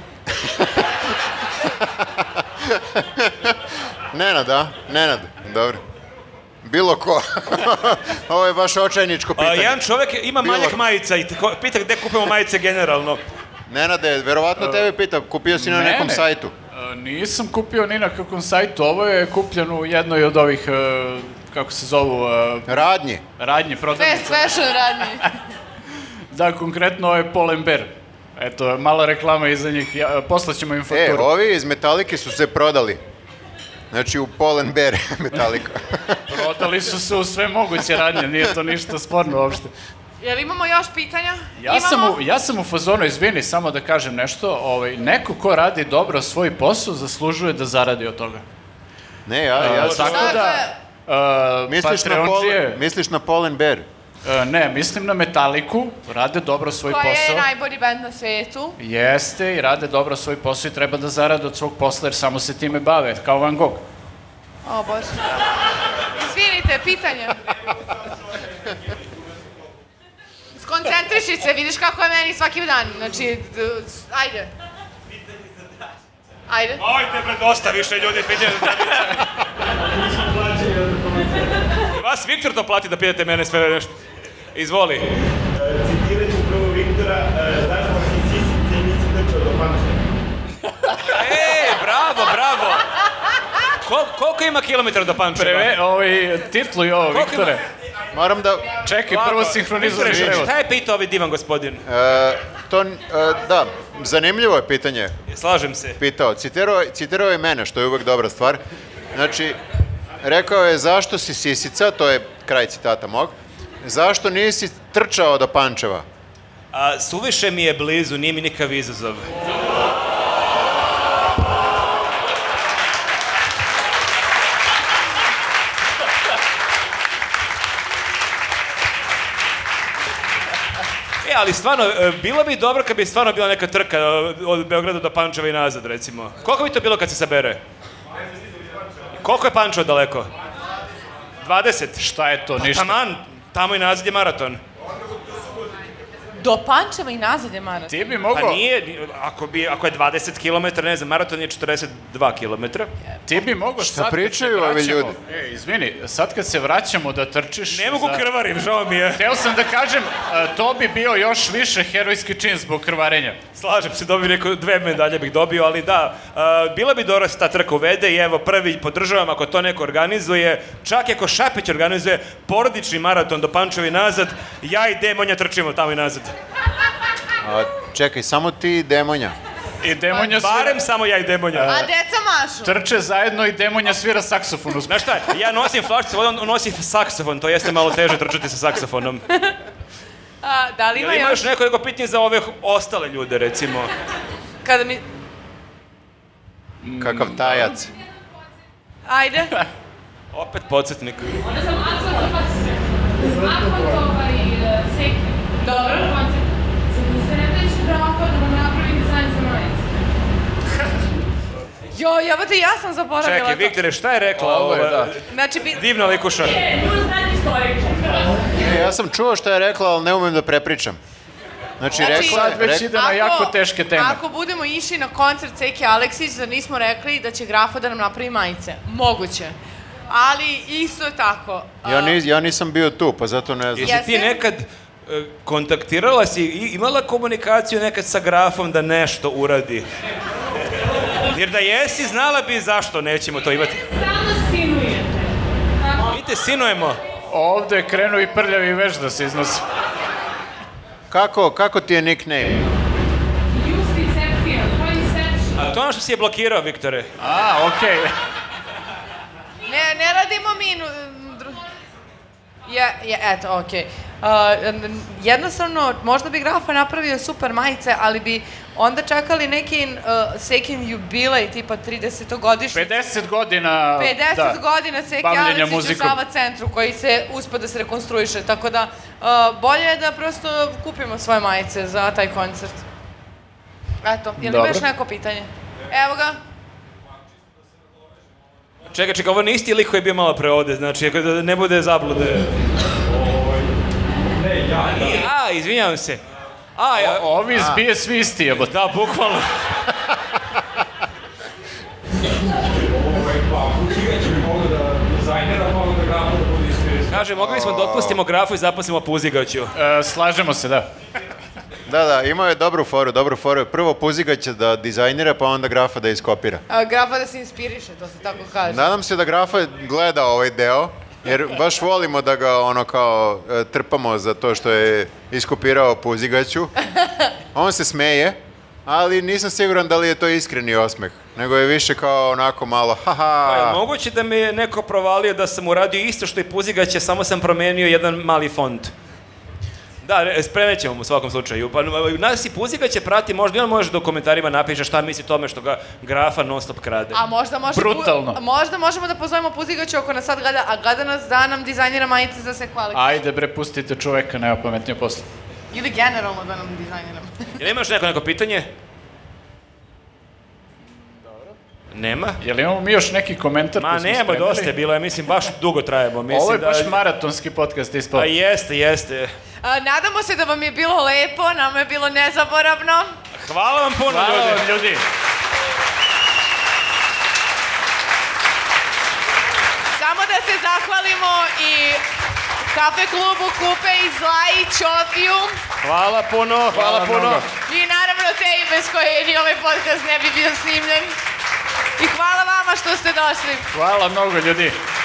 Speaker 2: Nenad, a? Nenad, dobro. Bilo ko. Ovo je baš očajničko
Speaker 1: A,
Speaker 2: pitanje.
Speaker 1: jedan čovek ima
Speaker 2: Bilo-
Speaker 1: manjak majica i tako- pita gde kupimo majice generalno.
Speaker 2: Nenade, verovatno tebe pita, kupio si na
Speaker 3: Mene?
Speaker 2: nekom sajtu.
Speaker 3: E, Nisam kupio ni na kakvom sajtu, ovo je kupljeno u jednoj od ovih, e, kako se zovu, e,
Speaker 2: Radnji.
Speaker 3: radnje,
Speaker 4: Fast
Speaker 3: prodavnice.
Speaker 4: fashion radni.
Speaker 3: Da, konkretno ovo je Paul Ember. Eto, mala reklama iza njih, ja, poslaćemo im
Speaker 2: E,
Speaker 3: fakturu.
Speaker 2: ovi iz Metalike su se prodali. Znači u Polen Bear Metallica.
Speaker 3: Prodali su se u sve moguće radnje, nije to ništa sporno uopšte.
Speaker 4: Jel imamo još pitanja?
Speaker 3: Ja
Speaker 4: imamo...
Speaker 3: sam, u, ja sam u fazonu, izvini, samo da kažem nešto, ovaj, neko ko radi dobro svoj posao zaslužuje da zaradi od toga.
Speaker 2: ne, ja, ja
Speaker 3: A,
Speaker 2: sam...
Speaker 4: Dakle,
Speaker 3: tako da, uh,
Speaker 2: Misliš na,
Speaker 3: Patreonđije.
Speaker 2: polen, misliš na Polen Bear?
Speaker 3: E, ne, mislim na Metaliku, rade dobro svoj
Speaker 4: Koja
Speaker 3: posao.
Speaker 4: je najbolji band na svetu.
Speaker 3: Jeste i rade dobro svoj posao i treba da zarade od svog posla jer samo se time bave, kao Van Gogh.
Speaker 4: O, Bože. Izvinite, pitanje. Skoncentriši se, vidiš kako je meni svaki dan. Znači, d- s- ajde. Ajde.
Speaker 1: Ajde bre, dosta više ljudi, pitanje za Vas Viktor to plati da pitate mene sve nešto. Izvoli.
Speaker 10: Citirat ću prvo Viktora, e, zašto si sisice i nisi trčao do Pančeva?
Speaker 1: E, bravo, bravo. Kol, koliko ima kilometara do Pančeva?
Speaker 3: Preve, ovaj, titlu i ovo,
Speaker 1: Koliko ima-
Speaker 3: Viktore.
Speaker 2: Moram da...
Speaker 3: Čekaj,
Speaker 1: Ovako,
Speaker 3: prvo sinhronizujem
Speaker 1: Viktore,
Speaker 3: prevod.
Speaker 1: Šta je pitao ovaj divan gospodin?
Speaker 2: e, to, e, da, zanimljivo je pitanje.
Speaker 1: Slažem se.
Speaker 2: pitao. Citirao, citirao je mene, što je uvek dobra stvar. Znači, rekao je zašto si sisica, to je kraj citata mog, zašto nisi trčao do Pančeva?
Speaker 1: A, suviše mi je blizu, nije mi nikav izazov. E, ali stvarno, e, bilo bi dobro kad bi stvarno bila neka trka e, od Beograda do Pančeva i nazad, recimo. Koliko bi to bilo kad se sabere? Koliko je Pančevo daleko? 20.
Speaker 3: Šta je to, ništa?
Speaker 1: Taman, tamo i nazad je maraton.
Speaker 4: Do Pančeva i nazad je Maras.
Speaker 3: Ti bi
Speaker 1: Pa
Speaker 3: mogao,
Speaker 1: nije, ni- ako, bi, ako je 20 km, ne znam, maraton je 42 km.
Speaker 3: ti bi mogao sad kad se
Speaker 2: pričaju ovi
Speaker 3: vraćamo-
Speaker 2: ljudi?
Speaker 3: E, izvini, sad kad se vraćamo da trčiš...
Speaker 1: Ne mogu
Speaker 3: za-
Speaker 1: krvarim, žao mi je.
Speaker 3: Hteo sam da kažem, a, to bi bio još više herojski čin zbog krvarenja.
Speaker 1: Slažem se, dobio neko, dve medalje bih dobio, ali da, uh, bila bi dobra da se ta trka uvede i evo prvi podržavam ako to neko organizuje, čak i ako Šapić organizuje porodični maraton do Pančeva i nazad, ja i Demonja trčimo tamo i nazad.
Speaker 2: A, čekaj, samo ti i demonja.
Speaker 3: I demonja svira,
Speaker 1: Barem samo ja i Demonja.
Speaker 4: A deca mašu.
Speaker 3: trče zajedno i demonja svira saksofon uz
Speaker 1: Znaš šta, ja nosim flašicu, vode, on on nosi saksofon, to jeste malo teže trčati sa saksofonom.
Speaker 4: A, da li
Speaker 1: Jel
Speaker 4: ima
Speaker 1: ima
Speaker 4: još?
Speaker 1: još nekoliko pitanja za ove ostale ljude, recimo?
Speaker 4: Kada mi...
Speaker 2: Kakav tajac.
Speaker 4: Ajde.
Speaker 1: Opet podsjetnik.
Speaker 11: Onda sam akvantovari, akvantovari seki. Dobro. Koncept. Zato se ne da ću brako da vam napravim dizajn za majicu.
Speaker 4: Jo, jebate, ja sam zaboravila
Speaker 1: Čekaj,
Speaker 4: to.
Speaker 1: Viktore, šta je rekla
Speaker 3: Ovo
Speaker 1: ova
Speaker 3: je, da.
Speaker 4: Znači, bi...
Speaker 1: divna likuša?
Speaker 11: E, možda znati istoričar.
Speaker 2: E, ja sam čuo šta je rekla, ali ne umem da prepričam. Znači,
Speaker 4: Znači,
Speaker 2: rekla je...
Speaker 3: Sad već
Speaker 2: rek-
Speaker 3: ide na jako teške teme.
Speaker 4: Ako budemo išli na koncert Seke Aleksić, da nismo rekli da će Grafa da nam napravi majice. Moguće. Ali isto tako. a,
Speaker 2: Ja, nis, ja nisam bio tu, pa zato ne znam.
Speaker 1: Jesi ti
Speaker 4: Jesam.
Speaker 1: nekad e, kontaktirala si, i- imala komunikaciju nekad sa grafom da nešto uradi? Jer da jesi, znala bi zašto nećemo to imati.
Speaker 11: Stalno sinujete. Tako?
Speaker 1: Mi te sinujemo.
Speaker 3: Ovde je krenuo i prljavi veš da se iznosi.
Speaker 2: Kako, kako ti je nickname?
Speaker 11: Use deception. Koji section?
Speaker 1: A to je ono što si je blokirao, Viktore.
Speaker 3: A, okej.
Speaker 4: Ne, ne radimo mi... nu- dru- Je, je, eto, okej. A, n- n- jednostavno, možda bi Grafa napravio super majice, ali bi onda čekali neki uh, Sekin jubilej, tipa 30-godišnji.
Speaker 3: 50 godina...
Speaker 4: 50
Speaker 3: da.
Speaker 4: godina Seki
Speaker 3: Bavljenja
Speaker 4: Aleksić u
Speaker 3: muzikom.
Speaker 4: Sava centru koji se uspa da se rekonstruiše, tako da uh, bolje je da prosto kupimo svoje majice za taj koncert. Eto, je li ima
Speaker 3: Dobro.
Speaker 4: još neko pitanje? Evo ga.
Speaker 1: Čekaj, čekaj, ovo nije isti lik koji je bio malo pre ovde, znači, ako da ne bude zablude. A, izvinjavam se. A, ja,
Speaker 3: Ovi iz BSV svi isti jebote.
Speaker 1: da, bukvalno.
Speaker 10: Ovaj, pa, učigat ću mi mogu da dizajnera, pa onda grafu da bude iskrisan.
Speaker 1: Kaže, mogli smo da otpustimo grafu i zaposlimo puzigaću.
Speaker 3: E, slažemo se, da.
Speaker 2: Da, da, imao je dobru foru, dobru foru. Prvo Puziga će da dizajnira, pa onda Grafa da iskopira.
Speaker 4: A, grafa da se inspiriše, to se tako kaže.
Speaker 2: Nadam se da Grafa gleda ovaj deo, jer baš volimo da ga ono kao e, trpamo za to što je iskopirao Puzigaću. On se smeje, ali nisam siguran da li je to iskreni osmeh, nego je više kao onako malo
Speaker 1: Pa je
Speaker 2: haha.
Speaker 1: moguće da me je neko provalio da sam uradio isto što i Puzigaće, samo sam promenio jedan mali font. Da, re- spremećemo mu u svakom slučaju. Pa, Nasi Puzika će prati, možda i on može da u komentarima napiše šta misli o tome što ga grafa non stop krade.
Speaker 4: A možda možemo...
Speaker 3: Brutalno.
Speaker 4: možda možemo da pozovemo Puzigaću ako nas sad gleda, a gleda nas da nam dizajnira majice za sekvalik.
Speaker 3: Ajde bre, pustite čoveka, nema pametnije posla.
Speaker 4: Ili generalno da nam dizajnira.
Speaker 1: Jel imaš neko neko pitanje? Nema?
Speaker 3: Jel imamo mi još neki komentar?
Speaker 1: Ma
Speaker 3: koji smo
Speaker 1: nema,
Speaker 3: spremili?
Speaker 1: dosta je bilo, ja mislim, baš dugo trajemo. Mislim
Speaker 3: Ovo je baš
Speaker 1: da...
Speaker 3: maratonski podcast ispao.
Speaker 1: Pa jeste, jeste.
Speaker 4: A, nadamo se da vam je bilo lepo, nama je bilo nezaboravno.
Speaker 1: Hvala vam puno,
Speaker 3: Hvala
Speaker 1: ljudi.
Speaker 3: vam ljudi.
Speaker 4: Samo da se zahvalimo i kafe klubu Kupe i Zla i Ćofiju
Speaker 1: Hvala puno, hvala,
Speaker 3: Hvala
Speaker 1: puno.
Speaker 3: mnogo.
Speaker 4: i naravno te i bez koje ni ovaj podcast ne bi bio snimljen. I hvala vama što ste došli.
Speaker 3: Hvala mnogo ljudi.